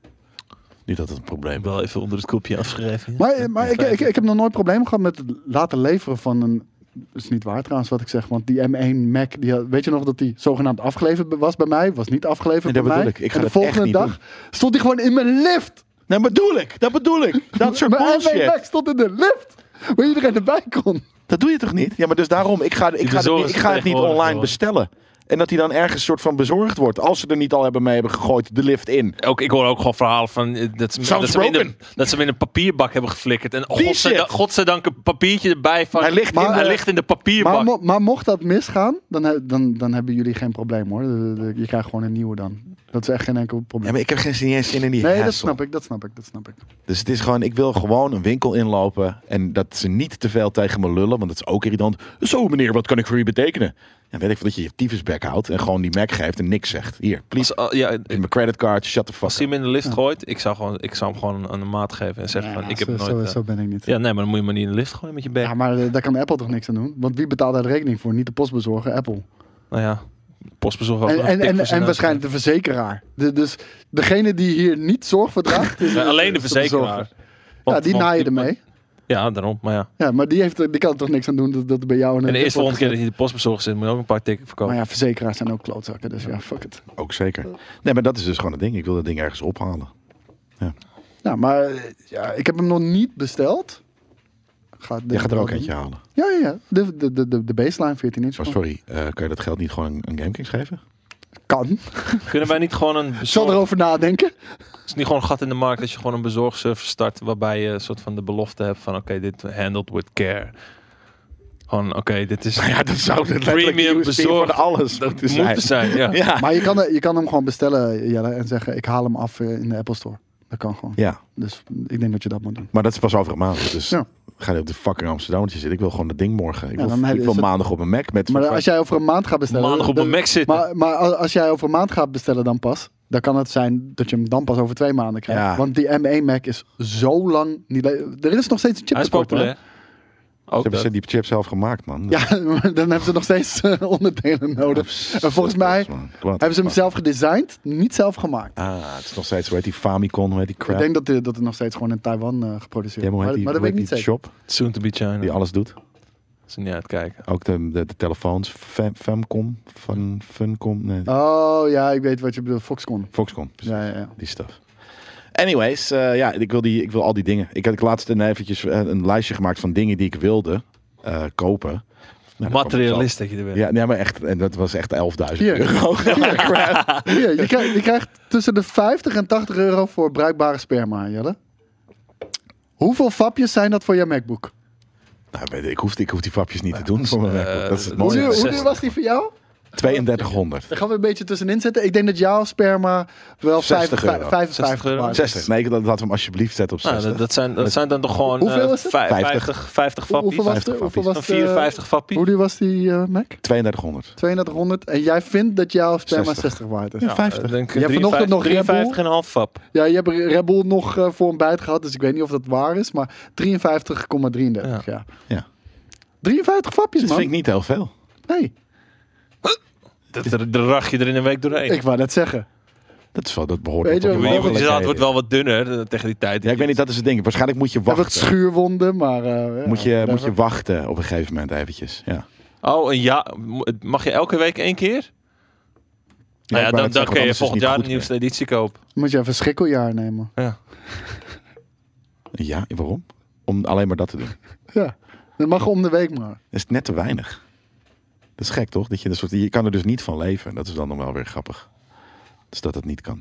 S3: Niet dat het een probleem
S1: Ik
S3: is.
S1: wel even onder het kopje afschrijven.
S2: Maar, maar ik, ik, ik heb nog nooit problemen gehad met het laten leveren van een. Dat is niet waar trouwens wat ik zeg, want die M1 Mac, die, had- weet je nog dat die zogenaamd afgeleverd was bij mij? Was niet afgeleverd
S3: Nee, dat
S2: bij mij.
S3: bedoel ik. Ik ga
S2: en de
S3: dat echt
S2: volgende
S3: niet
S2: dag stond die gewoon in mijn lift.
S3: Nee, bedoel ik. Dat bedoel ik. Dat soort
S2: mijn M1 Mac
S3: bullshit.
S2: stond in de lift, waar iedereen erbij kon.
S3: Dat doe je toch niet? Ja, maar dus daarom. Ik ga, ik ga, het,
S1: bezorgers
S3: niet, ik ga het niet
S1: tegenwoordig,
S3: online
S1: hoor.
S3: bestellen. En dat hij dan ergens soort van bezorgd wordt. Als ze er niet al hebben mee hebben gegooid de lift in.
S1: Ook, ik hoor ook gewoon verhalen van eh, dat ze, dat,
S3: Sounds
S1: ze hem in de,
S3: broken.
S1: dat ze hem in een papierbak hebben geflikkerd. En
S3: Die
S1: godzijdank,
S3: shit.
S1: godzijdank een papiertje erbij van...
S3: Hij ligt
S2: Maar-
S3: in de...
S1: hij ligt in de papierbak.
S2: Maar, mo- maar mocht dat misgaan, dan, he- dan, dan hebben jullie geen probleem hoor. De- de- de- Je krijgt gewoon een nieuwe dan. Dat is echt geen enkel
S3: Ja,
S2: probleem.
S3: maar ik heb geen zin eens in die
S2: Nee, dat
S3: hassle.
S2: snap ik, dat snap ik, dat snap ik.
S3: Dus het is gewoon, ik wil gewoon een winkel inlopen en dat ze niet te veel tegen me lullen, want dat is ook irritant. Zo meneer, wat kan ik voor u betekenen? Ja, weet ik veel dat je je tyfusbek houdt en gewoon die Mac geeft en niks zegt. Hier, please,
S1: Als, ah, ja,
S3: in mijn creditcard, shut the fuck
S1: als
S3: up.
S1: hij hem in de lift gooit, ik zou, gewoon, ik zou hem gewoon een, een maat geven en zeggen van...
S2: Ja,
S1: Ik heb
S2: zo,
S1: nooit...
S2: zo,
S1: eh,
S2: zo ben ik niet.
S1: Ja, nee, maar dan moet je maar niet in de lift gooien met je bek.
S2: Ja, maar eh, daar kan Apple toch niks aan doen? Want wie betaalt daar de rekening voor? Niet de postbezorger, Apple.
S1: Nou ja, postbezorger
S2: En,
S1: ook nog een
S2: en,
S1: tik
S2: en,
S1: voor zijn neus
S2: en waarschijnlijk de verzekeraar. De- dus degene die hier niet zorg voor draagt, is
S1: krijgt. Alleen de
S2: is
S1: verzekeraar.
S2: bezorger.
S1: Want-
S2: Ja, die
S1: want-
S2: naaien ermee.
S1: Ja, daarom. Maar ja.
S2: Ja, maar die, heeft, er- die kan er toch niks aan doen dat, dat er bij jou... een-
S1: En de eerste volgende keer dat je de postbezorger zit, moet je ook een paar tikken verkopen.
S2: Maar ja, verzekeraars zijn ook klootzakken, dus ja, fuck it.
S3: Ook zeker. Nee, maar dat is dus gewoon het ding. Ik wil dat ding ergens ophalen.
S2: Ja, maar eh, ja, ik heb hem nog niet besteld. Ga,
S3: Jij gaat er ook eentje halen.
S2: Ja, ja, ja. De, de, de- de, de baseline 14 inch.
S3: Oh, sorry, eh, kan je dat geld niet gewoon aan GameKings geven?
S2: Kan.
S1: Kunnen wij niet gewoon een
S2: Ik zal
S1: bezorg...
S2: erover nadenken.
S1: Is niet gewoon een gat in de markt dat je gewoon een bezorgservice start waarbij je een soort van de belofte hebt van oké, dit handled with care. Gewoon oké, dit is...
S3: Ja, dat zou het
S1: Premium bezorgd.
S3: alles moeten
S1: moet er zijn, ja.
S3: Ja.
S2: Maar je kan, er- je kan hem gewoon bestellen, Jelle, en zeggen ik haal hem af eh, in de Apple Store. Dat kan gewoon.
S3: ja,
S2: Dus ik denk dat je dat moet doen.
S3: maar dat is pas over een maand. Dus
S2: Ja.
S3: ga je op de fucking Amsterdammetje zitten. Ik wil gewoon dat ding morgen. Ik
S2: Ja,
S3: wil,
S2: dan heb-
S3: ik wil
S2: is het-
S3: maandag op een Mac met...
S2: Maar als jij over een maand gaat bestellen...
S1: Maandag op een
S2: dan-
S1: Mac zitten.
S2: Maar, maar a- als jij over een maand gaat bestellen dan pas, dan kan het zijn dat je hem dan pas over twee maanden krijgt.
S3: Ja.
S2: Want die M1 Mac is zo lang niet... le- Er is nog steeds een chip
S1: Hij is populair.
S3: Ze
S1: Ook
S3: hebben
S1: dat.
S3: ze die chip zelf gemaakt, man.
S2: Ja, maar dan hebben ze nog steeds eh, onderdelen nodig. En volgens mij Hebben ze hem zelf gedesigned, niet zelf gemaakt.
S3: Ah, het is nog steeds, hoe heet die Famicom, hoe heet die crap?
S2: Ik denk dat, eh, dat het nog steeds gewoon in Taiwan eh, geproduceerd
S3: Ja, maar hoe
S2: wordt. Maar,
S3: heet die,
S2: maar dat
S3: hoe
S2: weet ik
S3: heet
S2: niet
S3: die shop
S2: zeker.
S1: Soon to be China.
S3: die alles doet?
S1: Ze niet uitkijken.
S3: Ook de, de, de telefoons, Fam- Famcom, Fun, Funcom, nee,
S2: Oh ja, ik weet wat je bedoelt. Foxconn.
S3: Foxcom. precies.
S2: Ja, ja, ja.
S3: die stuff. Anyways, eh, ja, ik wil, die, ik wil al die dingen. Ik had ik laatst een, eventjes eh, een lijstje gemaakt van dingen die ik wilde eh, kopen. Nou, daar kwam ik zo.
S1: Materialist dat je er bent.
S3: Ja, nee, maar echt, en dat was echt 11.000
S2: Hier.
S3: euro. Ja, crap.
S2: Hier, je, krijgt, je krijgt tussen de 50 en 80 euro voor bruikbare sperma, Jelle. Hoeveel fapjes zijn dat voor je MacBook?
S3: nou, weet je, ik, hoef, ik hoef die fapjes niet te doen voor mijn
S1: eh,
S3: MacBook. Dat is het
S1: dat
S2: Hoe
S1: is-
S3: mooie.
S2: duur, hoe duur
S1: zestig.
S2: was die voor jou?
S3: 3200.
S2: Daar gaan we een beetje tussenin zetten. Ik denk dat jouw sperma wel
S3: 60
S2: 55
S3: euro.
S2: 55
S1: euro.
S2: waard is.
S3: 60. Nee, ik- dat laten we hem alsjeblieft zetten op 60.
S1: Nou, dat, dat zijn, dat zijn dan toch gewoon
S2: Hoeveel
S1: eh,
S2: is het?
S1: vij- 50,
S3: Vijftig.
S1: 50
S2: Hoe- Hoeveel
S1: fappies.
S2: was, de,
S3: 50
S2: hoeveel
S3: fappies.
S2: was
S1: Een
S2: de-
S1: 54 fappie.
S2: Hoe duur was die eh, Mac?
S3: 3200.
S2: 3200. En jij vindt dat jouw sperma
S3: 60.
S2: 60 waard is?
S3: Ja, 50.
S1: eh, denk
S2: Ja, vanochtend nog Red Bull.
S1: 53 en een half fap.
S2: Ja, je hebt Red Bull nog eh, voor een bijt gehad, dus ik weet niet of dat waar is, maar 53,33. Ja. Ja.
S3: Ja.
S2: 53 fapjes,
S3: Dat
S1: Dus
S2: man.
S3: vind ik niet heel veel.
S2: Nee,
S1: Dat, dat, dat rach je er in een week doorheen.
S2: ik wou net zeggen.
S3: Dat, is wel, dat behoort
S2: Weet
S3: wel
S2: je
S3: tot
S1: Je
S3: de
S2: wel,
S1: je- je zaad
S3: mogelijkheden.
S1: wordt wel wat dunner eh, tegen die tijd.
S3: Ja, ik weet niet, dat is het ding. Waarschijnlijk moet je
S2: Wel wat
S3: wachten.
S2: schuurwonden, maar... eh, ja,
S3: Moet je,
S2: whatever.
S3: moet je wachten op een gegeven moment eventjes. Ja.
S1: Oh, een ja. mo- Mag je elke week één keer? Nou
S3: ik wou
S1: ja,
S3: net
S1: dan, dan
S3: zeggen,
S1: kun je
S3: want
S1: volgend
S3: anders is het
S1: jaar
S3: niet
S1: de nieuwste editie kopen.
S2: Moet je even een schrikkeljaar nemen.
S1: Ja.
S3: Ja, waarom? Om alleen maar dat te doen.
S2: Ja, dat mag om de week maar.
S3: Dat is net te weinig. Dat is gek, toch? Dat je, dat soort, je kan er dus niet van leven. Dat is dan nog wel weer grappig. Dus dat het niet kan.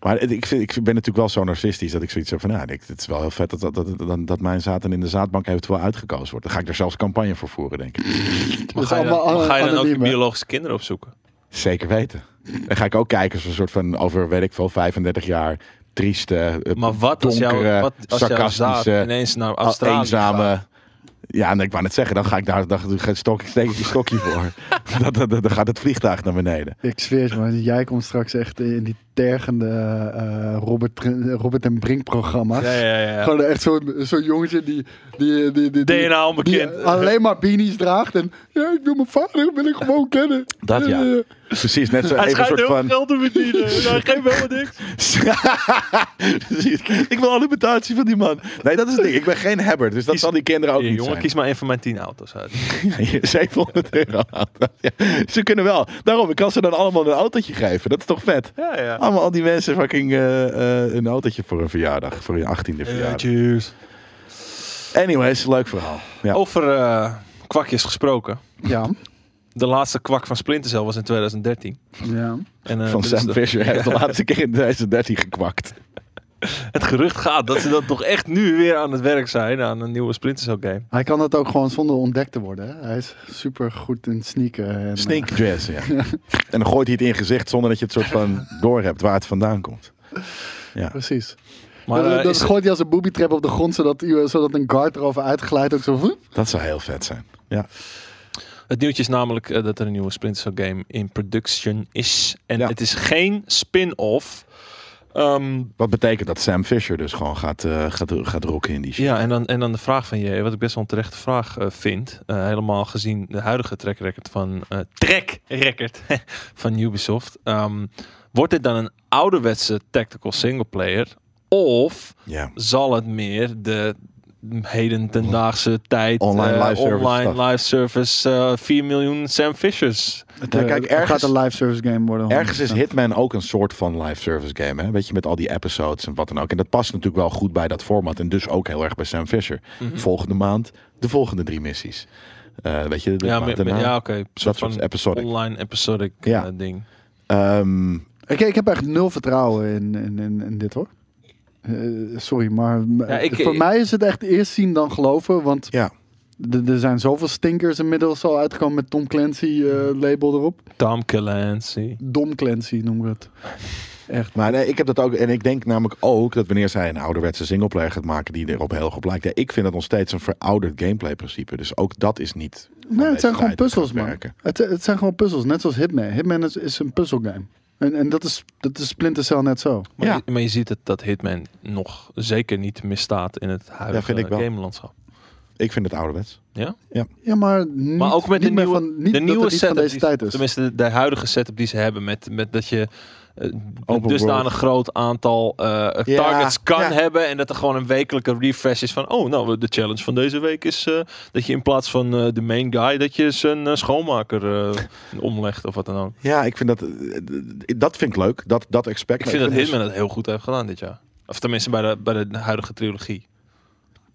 S3: Maar het- ik, vind, ik ben natuurlijk wel zo narcistisch dat ik zoiets heb van... Nou, ik- het is wel heel vet dat, dat, dat, dat, dat mijn zaad dan in de zaadbank eventueel uitgekozen wordt. Dan ga ik er zelfs campagne voor voeren, denk ik.
S1: Maar
S2: is
S1: ga je dan,
S2: allemaal
S1: maar ga je dan ook je
S2: anoniem, hè?
S1: biologische kinderen opzoeken?
S3: Zeker weten. Dan ga ik ook kijken zo'n soort van over, weet ik veel, 35 jaar... Trieste, eh,
S1: Maar wat als
S3: donkere,
S1: jouw, wat als jouw zaad
S3: sarcastische,
S1: ineens naar
S3: al-
S1: Australië gaat?
S3: Ah, eenzame... Ja, en ik wou net zeggen, dan ga ik daar dan stok, steek ik die stokje voor. Dan- dan- dan- dan gaat het vliegtuig naar beneden.
S2: Ik zweer het, man. Jij komt straks echt in die tergende eh, Robert, Robert en Brink programma's.
S1: Ja, ja, ja.
S2: Gewoon echt zo'n zo'n jongetje die... die, die, die, die
S1: DNA onbekend.
S2: Die alleen maar beanies draagt en ja, ik wil mijn vader wil ik gewoon kennen.
S3: Dat ja.
S2: Eh,
S3: Precies, net zo
S1: Hij
S3: even een
S1: schijnt heel
S3: soort
S1: veel
S3: van...
S1: geld te verdienen. Hij geeft helemaal niks.
S3: Precies. ik wil alimentatie van die man. Nee, dat is het ding. Ik ben geen hebber, dus dat zal die kinderen ook
S1: Hier,
S3: niet
S1: jongen,
S3: zijn.
S1: kies maar één van mijn tien auto's uit.
S3: Ja, hier, 700 euro. Ja, ze kunnen wel. Daarom, ik kan ze dan allemaal een autootje geven. Dat is toch vet?
S1: Ja, ja.
S3: Allemaal al die mensen fucking eh, eh, een autootje voor een verjaardag. Voor hun 18e
S1: Eh,
S3: verjaardag.
S1: cheers.
S3: Anyways, leuk verhaal. Ja.
S1: Over eh, kwakjes gesproken.
S2: Ja.
S1: De laatste kwak van Splinter Cell was in 2013.
S2: ja.
S1: En, eh,
S3: van
S1: dit is
S3: Sam
S1: de-
S3: Fisher heeft de laatste keer in 2013 gekwakt.
S1: Het gerucht gaat dat ze dat toch echt nu weer aan het werk zijn aan een nieuwe Splinter Cell game.
S2: Hij kan dat ook gewoon zonder ontdekt te worden. Hè? Hij is super goed in sneaken. En, eh,
S3: Snake dress, ja. En dan gooit hij het in je gezicht zonder dat je het soort van doorhebt waar het vandaan komt.
S2: eh, precies.
S1: Maar
S2: dat
S1: eh,
S2: dat
S1: is,
S2: gooit hij als een booby trap op de grond, zodat, u- eh, zodat een guard erover uitglijdt. Ook zo. vroep.
S3: Dat zou heel vet zijn. Ja.
S1: het nieuwtje is namelijk eh, dat er een nieuwe Splinter Cell game in production is. En
S3: Ja.
S1: het is geen spin-off. Ehm,
S3: Wat betekent dat Sam Fisher dus gewoon gaat, eh, gaat, gaat rocken in die shit.
S1: ja, en dan, en dan de vraag van je, wat ik best wel een terechte vraag eh, vind. eh, helemaal gezien de huidige track record van, eh track record van Ubisoft. Ehm, wordt dit dan een ouderwetse tactical singleplayer? Of
S3: Ja.
S1: zal het meer de heden tendaagse tijd
S3: Online
S1: eh,
S3: live service
S1: online
S3: stuff.
S1: live service eh, 4 miljoen Sam Fishers.
S2: Ja,
S3: kijk,
S2: kijk,
S3: ergens-
S2: Eh, gaat een live service game worden.
S3: Ergens is
S2: 100%.
S3: Hitman ook een soort van live service game. Hè? Weet je, met al die episodes en wat dan ook. En dat past natuurlijk wel goed bij dat format. En dus ook heel erg bij Sam Fisher.
S1: Mhm.
S3: Volgende maand de volgende drie missies. Eh, weet je, de
S1: Ja,
S3: maand
S1: met-
S3: daarna.
S1: met- ja oké.
S3: dat
S1: soort
S3: soort
S1: van
S3: episodic.
S1: online episodic eh,
S3: nou. Ja.
S1: ding.
S3: Ehm,
S2: Ik, ik heb echt nul vertrouwen in, in, in, in dit hoor. Eh, sorry, maar m-
S1: Ja, ik-
S2: voor
S1: ik-
S2: mij is het echt eerst zien dan geloven. Want
S3: ja.
S2: d- er zijn zoveel stinkers inmiddels al uitgekomen met Tom Clancy eh, label erop.
S1: Tom Clancy.
S2: Dom Clancy noemen we het. Echt.
S3: Maar nee, ik heb dat ook. En ik denk namelijk ook dat wanneer zij een ouderwetse singleplayer gaat maken die erop heel erg op lijkt. Ja, ik vind dat nog steeds een verouderd gameplay principe. Dus ook dat is niet. van
S2: Nee,
S3: deze
S2: Nou, het zijn gewoon
S3: tijd aan het
S2: puzzels, man.
S3: werken.
S2: Het, het zijn gewoon puzzels, net zoals Hitman. Hitman is, is een puzzelgame. En, en dat, is, dat is Splinter Cell net zo.
S1: Maar,
S3: Ja.
S1: je, maar je ziet het, dat Hitman nog zeker niet misstaat in het huidige
S3: vind ik wel.
S1: gamelandschap.
S3: Ik vind het ouderwets.
S1: Ja?
S2: Ja, maar, niet,
S1: maar ook met
S2: niet
S1: de
S2: meer
S1: nieuwe,
S2: van, niet
S1: de
S2: dat het
S1: nieuwe
S2: niet
S1: setup.
S2: van deze
S1: die-
S2: tijd is.
S1: Tenminste, de, de huidige setup die ze hebben. Met, met dat je eh, een
S3: world.
S1: dusdanig groot aantal eh,
S3: Ja,
S1: targets kan
S3: ja.
S1: hebben. En dat er gewoon een wekelijke refresh is van... Oh, nou, de challenge van deze week is eh, dat je in plaats van eh, de main guy... dat je zijn eh, schoonmaker eh, omlegt of wat dan ook.
S3: Ja, ik vind dat. eh, eh, Dat vind ik leuk. Dat, dat expect.
S1: Ik vind dat
S3: dus-
S1: Hitman het heel goed heeft gedaan dit jaar. Of tenminste bij de, bij de huidige trilogie.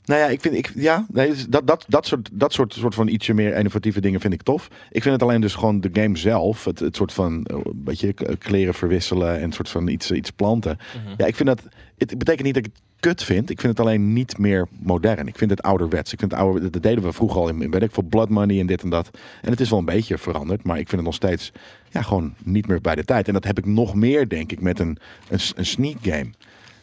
S3: Nou ja, ik vind ik, ja, nee, dus dat, dat, dat, soort, dat soort, soort van ietsje meer innovatieve dingen vind ik tof. Ik vind het alleen dus gewoon de game zelf, het, het soort van eh, weet je, k- kleren verwisselen en soort van iets, iets planten. Ja, ik vind dat. Het betekent niet dat ik het kut vind. Ik vind het alleen niet meer modern. Ik vind het ouderwets. Ik vind het ouder, dat deden we vroeger al in, in weet ik voor Blood Money en dit en dat. En het is wel een beetje veranderd, maar ik vind het nog steeds ja, gewoon niet meer bij de tijd. En dat heb ik nog meer, denk ik, met een, een, s- een sneak game.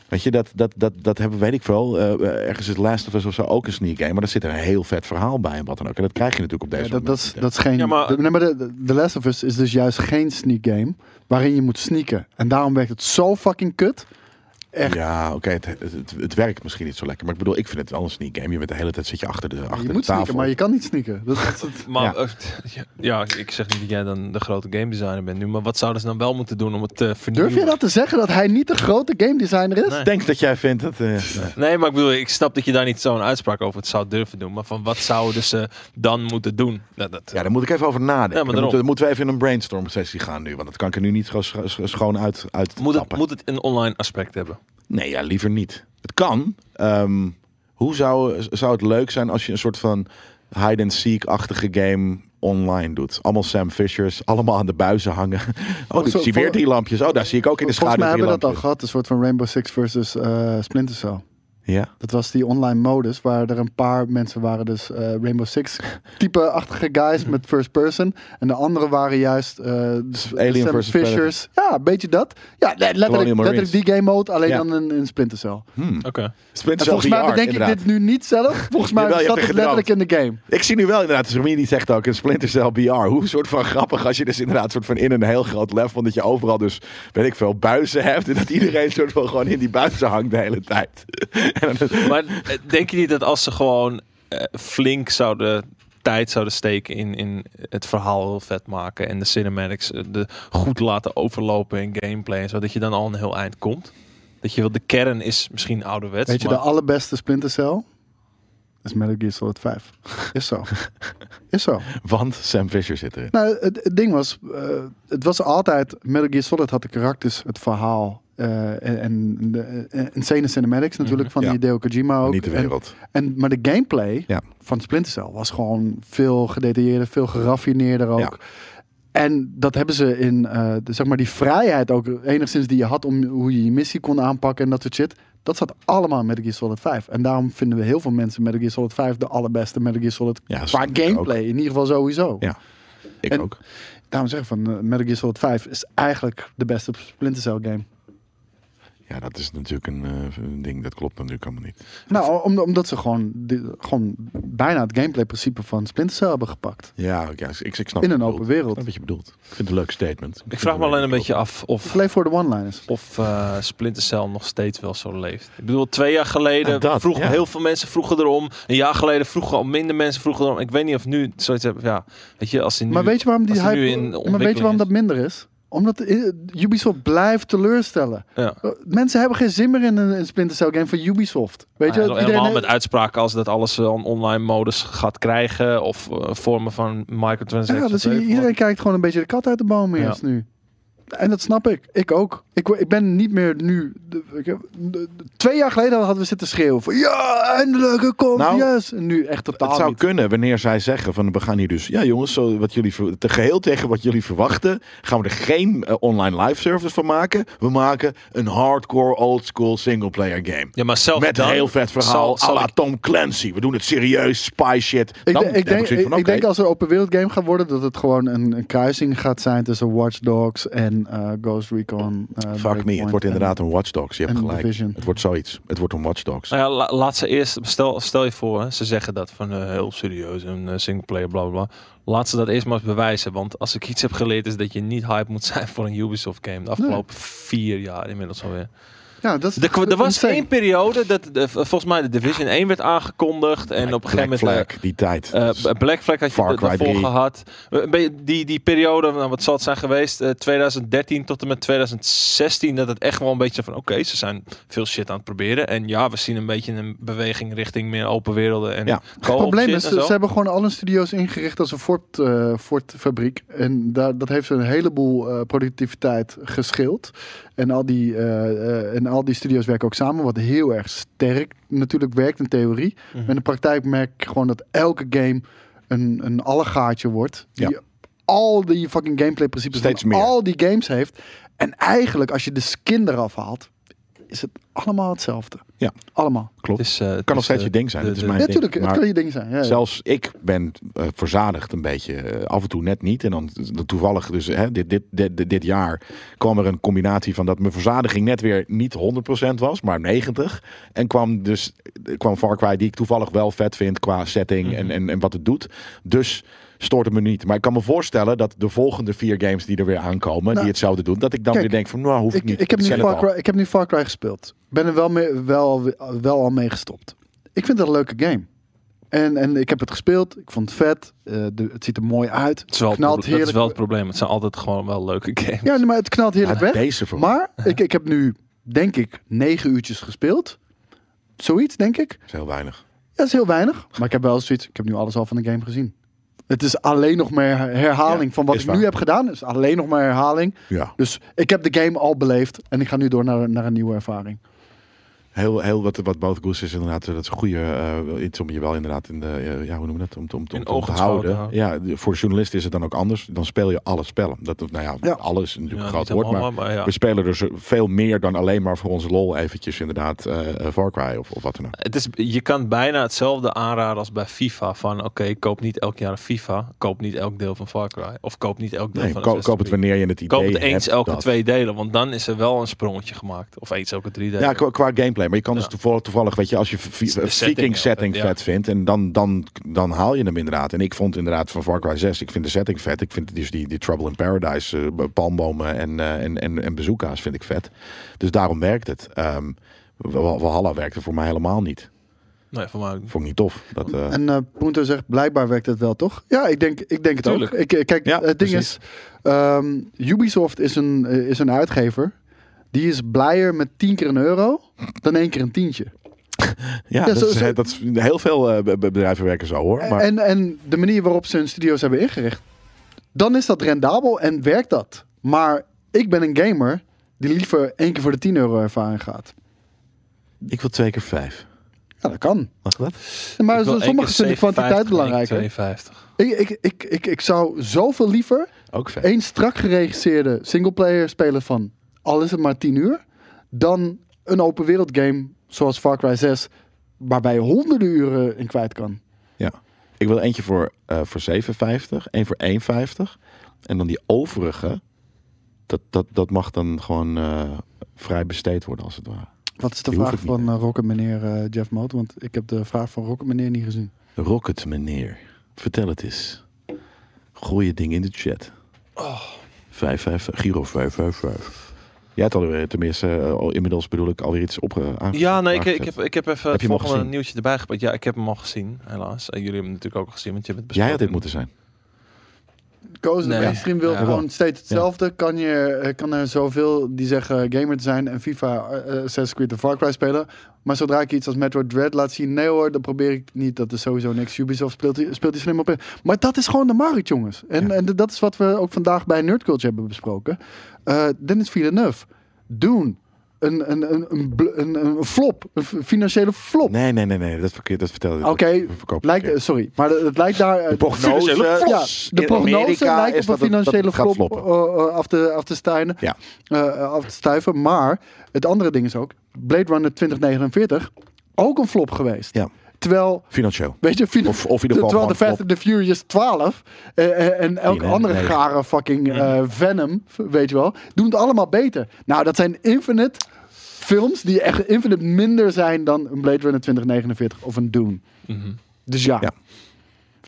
S3: Weet je, dat, dat, dat, dat hebben, weet ik wel. ergens is Last of Us of zo ook een sneak game. Maar daar zit een heel vet verhaal bij en wat dan ook. En dat krijg je natuurlijk op
S2: Ja,
S3: deze
S2: dat, dat, is, dat is geen.
S1: Ja, maar-
S2: de, nee, maar de- de, de Last of Us is dus juist geen sneak game waarin je moet sneaken. En daarom werkt het zo fucking kut. echt-
S3: Ja, oké, het, het, het, het werkt misschien niet zo lekker. Maar ik bedoel, ik vind het wel een sneak game. Je bent de hele tijd zit je achter de, achter
S2: je
S3: de
S2: moet
S3: tafel.
S2: sneaken, maar je kan niet sneaken. Dat, dat, dat-
S1: Maar
S3: Ja.
S1: eh, ja. ik zeg niet dat jij dan de grote game designer bent nu. Maar wat zouden ze dan wel moeten doen om het te vernieuwen?
S2: durf je dat te zeggen dat hij niet de grote game designer is?
S1: Nee.
S3: Denk dat jij vindt dat... eh, nee.
S1: Nee, maar ik bedoel, ik snap dat je daar niet zo'n uitspraak over het zou durven doen. Maar van wat zouden ze dan moeten doen? Dat, dat,
S3: Ja, daar moet ik even over nadenken.
S1: Ja, maar
S3: Dan
S1: daarom.
S3: moeten, dan moeten we even in een brainstorm sessie gaan nu. Want dat kan ik er nu niet zo scho- scho- schoon uit, uit
S1: moet, het,
S3: tappen.
S1: moet het een online aspect hebben?
S3: Nee, ja, liever niet. Het kan. Ehm, hoe zou, zou het leuk zijn als je een soort van hide-and-seek-achtige game online doet? Allemaal Sam Fishers, allemaal aan de buizen hangen. Oh, ik
S2: Zo,
S3: zie weer
S2: vol-
S3: drie lampjes. Oh, daar zie ik ook in de
S2: Volgens
S3: schaduw
S2: mij
S3: drie
S2: hebben we dat al
S3: lampjes.
S2: gehad, een soort van Rainbow Six versus eh, Splinter Cell.
S3: Ja.
S2: Dat was die online modus waar er een paar mensen waren, dus eh, Rainbow Six type-achtige guys met first person. En de anderen waren juist eh
S3: Alien
S2: Sam
S3: versus
S2: Fishers. Ja, een beetje dat. Ja, le- letterlijk,
S3: Marines.
S2: letterlijk die game mode, alleen
S3: Ja.
S2: dan in, in Splinter Cell. En
S1: Oké.
S3: Hmm. Splinter Cell
S2: volgens mij
S3: VR,
S2: bedenk ik
S3: inderdaad.
S2: dit nu niet zelf. Volgens mij
S3: Jawel, je
S2: zat
S3: hebt
S2: het
S3: er
S2: letterlijk in de game.
S3: Ik zie nu wel inderdaad, dus Remy die zegt ook, een Splinter Cell BR. Hoe soort van grappig als je dus inderdaad soort van in een heel groot level, dat je overal dus, weet ik veel, buizen hebt. En dat iedereen soort van gewoon in die buizen hangt de hele tijd. En dan-
S1: Maar eh, denk je niet dat als ze gewoon eh, flink zouden tijd zouden steken in, in het verhaal heel vet maken en de cinematics eh, de goed laten overlopen in gameplay en zo, dat je dan al een heel eind komt? Dat je wel, de kern is misschien ouderwets.
S2: Weet je, de
S1: maar-
S2: allerbeste Splinter Cell is Metal Gear Solid 5. Is zo. Is zo.
S3: Want Sam Fisher zit erin.
S2: Nou, het, het ding was, eh, het was altijd, Metal Gear Solid had de karakters, het verhaal eh, en, en de eh, insane cinematics natuurlijk van
S3: Mhm, Ja.
S2: die Hideo Kojima ook.
S3: Niet de wereld.
S2: En, en, maar de gameplay
S3: Ja.
S2: van Splinter Cell was gewoon veel gedetailleerder, veel geraffineerder ook.
S3: Ja.
S2: En dat hebben ze in, eh, de- zeg maar, die vrijheid ook enigszins die je had om hoe je je missie kon aanpakken en dat soort shit. Dat zat allemaal in Metal Gear Solid 5. En daarom vinden we heel veel mensen Metal Gear Solid 5 de allerbeste Metal Gear Solid
S3: Ja,
S2: qua
S3: snap ik
S2: gameplay. In ieder geval sowieso.
S3: Ja. Ik
S2: En-
S3: ook.
S2: Daarom zeg ik van eh, Metal Gear Solid 5 is eigenlijk de beste Splinter Cell game.
S3: Ja, dat is natuurlijk een, eh, een ding. Dat klopt natuurlijk allemaal niet.
S2: Nou, om- omdat ze gewoon, die- gewoon bijna het gameplay-principe van Splinter Cell hebben gepakt.
S3: Ja, oké, ja, ik, ik
S1: Oh,
S3: snap
S2: In
S3: wat
S2: een
S3: je
S2: open
S3: bedoelt.
S2: wereld.
S3: Ik snap wat je bedoelt. Ik vind het een leuk statement.
S1: Ik vraag me alleen een beetje af of,
S2: Play for the one-liners.
S1: of eh, Splinter Cell nog steeds wel zo leeft. Ik bedoel, twee jaar geleden
S3: Ja,
S2: Ah,
S3: dat,
S1: vroegen
S3: ja.
S1: heel veel mensen vroegen erom. Een jaar geleden vroegen al minder mensen vroegen erom. Ik weet niet of nu zoiets hebben. Ja, weet je, als ze nu...
S2: Maar weet je waarom die
S1: als die nu
S2: hype.
S1: in
S2: maar weet
S1: ontwikkeling
S2: je waarom
S1: is.
S2: dat minder is? Omdat eh, Ubisoft blijft teleurstellen.
S1: ja.
S2: Eh, Mensen hebben geen zin meer in een een Splinter Cell game van Ubisoft. Weet je,
S1: Nou,
S2: iedereen
S1: helemaal
S2: heeft-
S1: met uitspraken als dat alles een online modus gaat krijgen. Of eh, vormen van microtransactions.
S2: Ja, dan zie je,
S1: weet ik
S2: iedereen kijkt gewoon een beetje de kat uit de boom
S1: Ja.
S2: eerst nu. En dat snap ik. Ik ook. Ik, ik ben niet meer nu... de- ik heb- de- de- twee jaar geleden hadden we zitten schreeuwen van... Ja, eindelijk, het komt,
S3: Nou,
S2: yes. En nu echt totaal
S3: Het zou
S2: niet.
S3: kunnen wanneer zij zeggen van we gaan hier dus, ja jongens, zo wat jullie ver- te geheel tegen wat jullie verwachten, gaan we er geen eh, online live service van maken. We maken een hardcore old school single player game.
S1: Ja, maar zelfs
S3: Met een
S1: dan
S3: heel vet verhaal,
S1: zal- zal
S3: à la
S1: ik-
S3: Tom Clancy. We doen het serieus, spy shit.
S2: Ik,
S3: Dan
S2: denk- ik,
S3: heb
S2: denk,
S3: zoiets
S2: ik,
S3: van,
S2: ik denk
S3: oké.
S2: als er open wereld game gaat worden... dat het gewoon een, een kruising gaat zijn tussen Watch Dogs en eh, Ghost Recon. eh,
S3: Fuck me,
S2: Breakpoint
S3: het wordt
S2: en-
S3: inderdaad een Watch Dogs. Je hebt
S2: en
S3: gelijk.
S2: Division.
S3: Het wordt zoiets. Het wordt een Watch Dogs.
S1: Nou ja, la- laat ze eerst, stel, stel je voor, hè, ze zeggen dat van eh, heel serieus, een single singleplayer, bla bla bla. Laat ze dat eerst maar eens bewijzen, want als ik iets heb geleerd is dat je niet hype moet zijn voor een Ubisoft game. De afgelopen vier jaar inmiddels alweer.
S2: Ja, dat is
S1: De, er was
S2: insane.
S1: één periode, dat de- eh, volgens mij de Division 1 werd aangekondigd en op een gegeven
S3: Black
S1: moment... eh,
S3: Flag, die tijd.
S1: eh, B- Black Flag had je
S3: Far
S1: da-
S3: Cry
S1: daarvoor
S3: 3.
S1: gehad. Eh, een beetje Die, die periode, nou, wat zal het zijn geweest? eh, 2013 tot en met 2016. Dat het echt wel een beetje van... Oké, ze zijn veel shit aan het proberen. En ja, we zien een beetje een beweging richting meer open werelden. En
S3: Ja.
S1: co-op
S2: Het probleem
S1: shit
S2: is,
S1: en
S2: ze
S1: zo.
S2: ze hebben gewoon alle studio's ingericht als een Ford, eh, Ford-fabriek. en daar, dat heeft een heleboel eh, productiviteit geschild. En al, die, eh, eh, en al die studio's werken ook samen, wat heel erg sterk natuurlijk werkt in theorie.
S1: Mhm.
S2: Maar in de praktijk merk ik gewoon dat elke game een, een allegaatje wordt. Die
S3: Ja.
S2: al die fucking gameplay-principes
S3: Steeds
S2: van
S3: meer.
S2: al die games heeft. En eigenlijk, als je de skin eraf haalt, is het allemaal hetzelfde.
S3: Ja.
S2: Allemaal.
S1: Het is, eh, het
S3: kan nog
S1: is,
S3: steeds
S1: eh,
S3: je ding zijn.
S1: de-
S3: Dat is
S1: de-
S3: mijn
S2: Ja,
S3: ding.
S2: natuurlijk. Het
S3: Maar-
S2: kan je ding zijn. Ja, ja.
S3: Zelfs ik ben eh, verzadigd een beetje. eh, af en toe net niet. En dan dan toevallig, dus hè, dit, dit, dit, dit, dit jaar kwam er een combinatie van dat mijn verzadiging net weer niet 100% was, maar 90. En kwam dus eh, kwam Far Cry, die ik toevallig wel vet vind qua setting
S2: Mhm.
S3: en, en, en wat het doet. Dus stoort het me niet. Maar ik kan me voorstellen dat de volgende vier games die er weer aankomen,
S2: Nou,
S3: die hetzelfde doen, dat ik dan
S2: kijk,
S3: weer denk van, nou hoef ik,
S2: Ik,
S3: niet.
S2: ik, heb nu
S3: ken het
S2: Far
S3: al.
S2: Cry, ik heb nu Far Cry gespeeld. Ik ben er wel, mee, wel, wel al mee gestopt. Ik vind het een leuke game. En, en ik heb het gespeeld. Ik vond het vet. eh, de, het ziet er mooi uit.
S1: het is wel het
S2: knalt
S1: probleem- dat is
S2: heerlijk-
S1: wel het probleem. Het zijn altijd gewoon wel leuke games.
S2: Ja, nee, maar het knalt
S3: Ja,
S2: heerlijk weg.
S3: deze voor mij
S2: Maar ik, ik heb nu, denk ik, negen uurtjes gespeeld. Zoiets, denk ik.
S3: is heel weinig.
S2: Dat is heel weinig. Maar ik heb wel zoiets. Ik heb nu alles al van de game gezien. Het is alleen nog maar herhaling
S3: Ja,
S2: van wat
S3: is
S2: ik
S3: waar.
S2: nu heb gedaan. Het is alleen nog maar herhaling.
S3: Ja,
S2: Dus ik heb de game al beleefd. En ik ga nu door naar, naar een nieuwe ervaring.
S3: Heel, heel wat, wat both Goose is inderdaad, eh, dat is een goede eh, iets om je wel inderdaad in de, eh, ja, hoe noem je dat, om, om, om,
S1: In
S3: om te
S1: ogenschouw te
S3: houden.
S1: houden.
S3: Ja, de- voor journalisten is het dan ook anders. Dan speel je alle spellen. Dat, nou ja,
S2: Ja.
S3: alles is natuurlijk
S1: Ja,
S3: een
S1: niet
S3: groot woord, maar
S1: allemaal, maar ja.
S3: we spelen er zo- veel meer dan alleen maar voor onze lol eventjes inderdaad eh eh, Far Cry of, of wat dan ook.
S1: Het is, je kan bijna hetzelfde aanraden als bij FIFA. Van oké, ik koop niet elk jaar een FIFA. Koop niet elk deel van Far Cry. Of koop niet elk deel
S3: Nee,
S1: van
S3: ko-
S1: Assassin's
S3: koop het
S1: Creed.
S3: wanneer je het idee
S1: Koop het eens
S3: hebt
S1: elke
S3: dat-
S1: twee delen, want dan is er wel een sprongetje gemaakt. Of eens elke drie delen.
S3: Ja, qua, qua gameplay. Maar je kan dus
S1: Ja.
S3: toevallig, toevallig, weet je, als je vi- eh,
S1: De setting,
S3: Viking
S1: ja,
S3: setting
S1: ja.
S3: vet vindt, en dan, dan, dan haal je hem inderdaad. En ik vond inderdaad van Far Cry 6, ik vind de setting vet. Ik vind dus die, die Trouble in Paradise, eh, palmbomen en, eh, en, en, en bezoekers vind ik vet. Dus daarom werkt het. Ehm Wal- Valhalla werkte voor mij helemaal niet.
S1: Nee, voor mij ook niet.
S3: Vond ik niet tof. Dat, eh,
S2: En eh Punto zegt, blijkbaar werkt het wel, toch? Ja, ik denk, ik denk het
S1: Tuurlijk.
S2: ook. Ik, eh, kijk,
S3: Ja,
S2: het ding
S3: precies.
S2: is, ehm, Ubisoft is een, eh, is een uitgever. Die is blijer met tien keer een euro dan één keer een tientje.
S3: ja, dat,
S2: zo-
S3: is,
S2: zo-
S3: dat is- heel veel eh, be- be- bedrijven werken zo hoor. Maar
S2: En, en de manier waarop ze hun studio's hebben ingericht, dan is dat rendabel en werkt dat. Maar ik ben een gamer die liever één keer voor de 10 euro ervaring gaat.
S3: ik wil twee keer vijf.
S2: Ja, dat kan.
S3: Mag dat?
S1: Ik
S2: Maar
S1: wil één keer
S2: sommigen vinden de
S1: 57 en één
S2: kwantiteit
S1: keer
S2: belangrijker.
S1: 52.
S2: Ik, ik, ik, ik, ik zou zoveel liever
S3: Ook vet.
S2: één strak geregisseerde singleplayer spelen van al is het maar 10 uur, dan een open wereld game zoals Far Cry 6, waarbij je honderden uren in kwijt kan.
S3: Ja. Ik wil eentje voor, eh voor 57, één voor 1,50. En dan die overige, dat, dat, dat mag dan gewoon eh, vrij besteed worden als het ware.
S2: Wat is de
S3: Die hoef
S2: vraag
S3: ik niet,
S2: van
S3: hè?
S2: eh, Rocket Meneer eh, Jeff Moot? Want ik heb de vraag van Rocket Meneer niet gezien.
S3: Rocket meneer, vertel het eens. Gooi je ding in de chat.
S1: Oh.
S3: 55, Giro 555. Jij had alweer, tenminste, eh, al, inmiddels bedoel ik alweer iets op
S1: Ja, nee, ik, ik, heb, ik heb even
S3: Heb je hem al
S1: het volgende
S3: gezien?
S1: nieuwtje erbij gepakt. Ja, ik heb hem al gezien, helaas. En jullie hebben hem natuurlijk ook al gezien, want je hebt het
S3: Jij had
S1: besproken.
S3: dit moeten zijn.
S2: Koos,
S1: Nee.
S2: de mainstream wil
S1: Ja.
S2: gewoon steeds hetzelfde. Kan, je, eh, kan er zoveel die zeggen gamer te zijn en FIFA, eh, eh, Assassin's Creed en Far Cry spelen. Maar zodra ik iets als Metroid Dread laat zien, nee hoor, dan probeer ik niet. Dat is sowieso niks. Ubisoft speelt, die- speelt die slim op. in. Maar dat is gewoon de markt, jongens. En, en d- dat is wat we ook vandaag bij Nerdculture hebben besproken. Eh Dennis Villeneuve, Doen. Een, een, een, een, bl- een, een flop, een f- financiële flop.
S3: Nee, nee, nee, nee, dat, verkeerd, dat vertelde ik.
S2: Oh. Oké,
S3: dat verkoop ik
S2: lijkt, eh,
S3: verkeerd.
S2: sorry, maar het lijkt daar... eh,
S3: De prognose,
S1: financiële flop.
S2: ja, de
S3: in
S2: prognose
S3: Amerika
S2: lijkt
S3: is
S2: op een
S3: dat het- dat het
S2: financiële
S3: gaat
S2: flop
S3: floppen.
S2: eh, eh, af, te, af te stijnen,
S3: Ja.
S2: eh, eh, af te stuiven. Maar het andere ding is ook, Blade Runner 2049, ook een flop geweest.
S3: Ja.
S2: Terwijl,
S3: Financieel.
S2: weet je, fin-
S3: Of, of in ieder geval
S2: terwijl de
S3: gewoon
S2: Fast and the Furious 12 eh, eh, en elke
S3: Tien, hè?
S2: andere
S3: Negen.
S2: gare fucking eh, Venom, weet je wel, doen het allemaal beter. Nou, dat zijn infinite films die echt infinite minder zijn dan een Blade Runner 2049 of een Dune.
S1: Mhm.
S2: Dus ja,
S3: Ja. flop.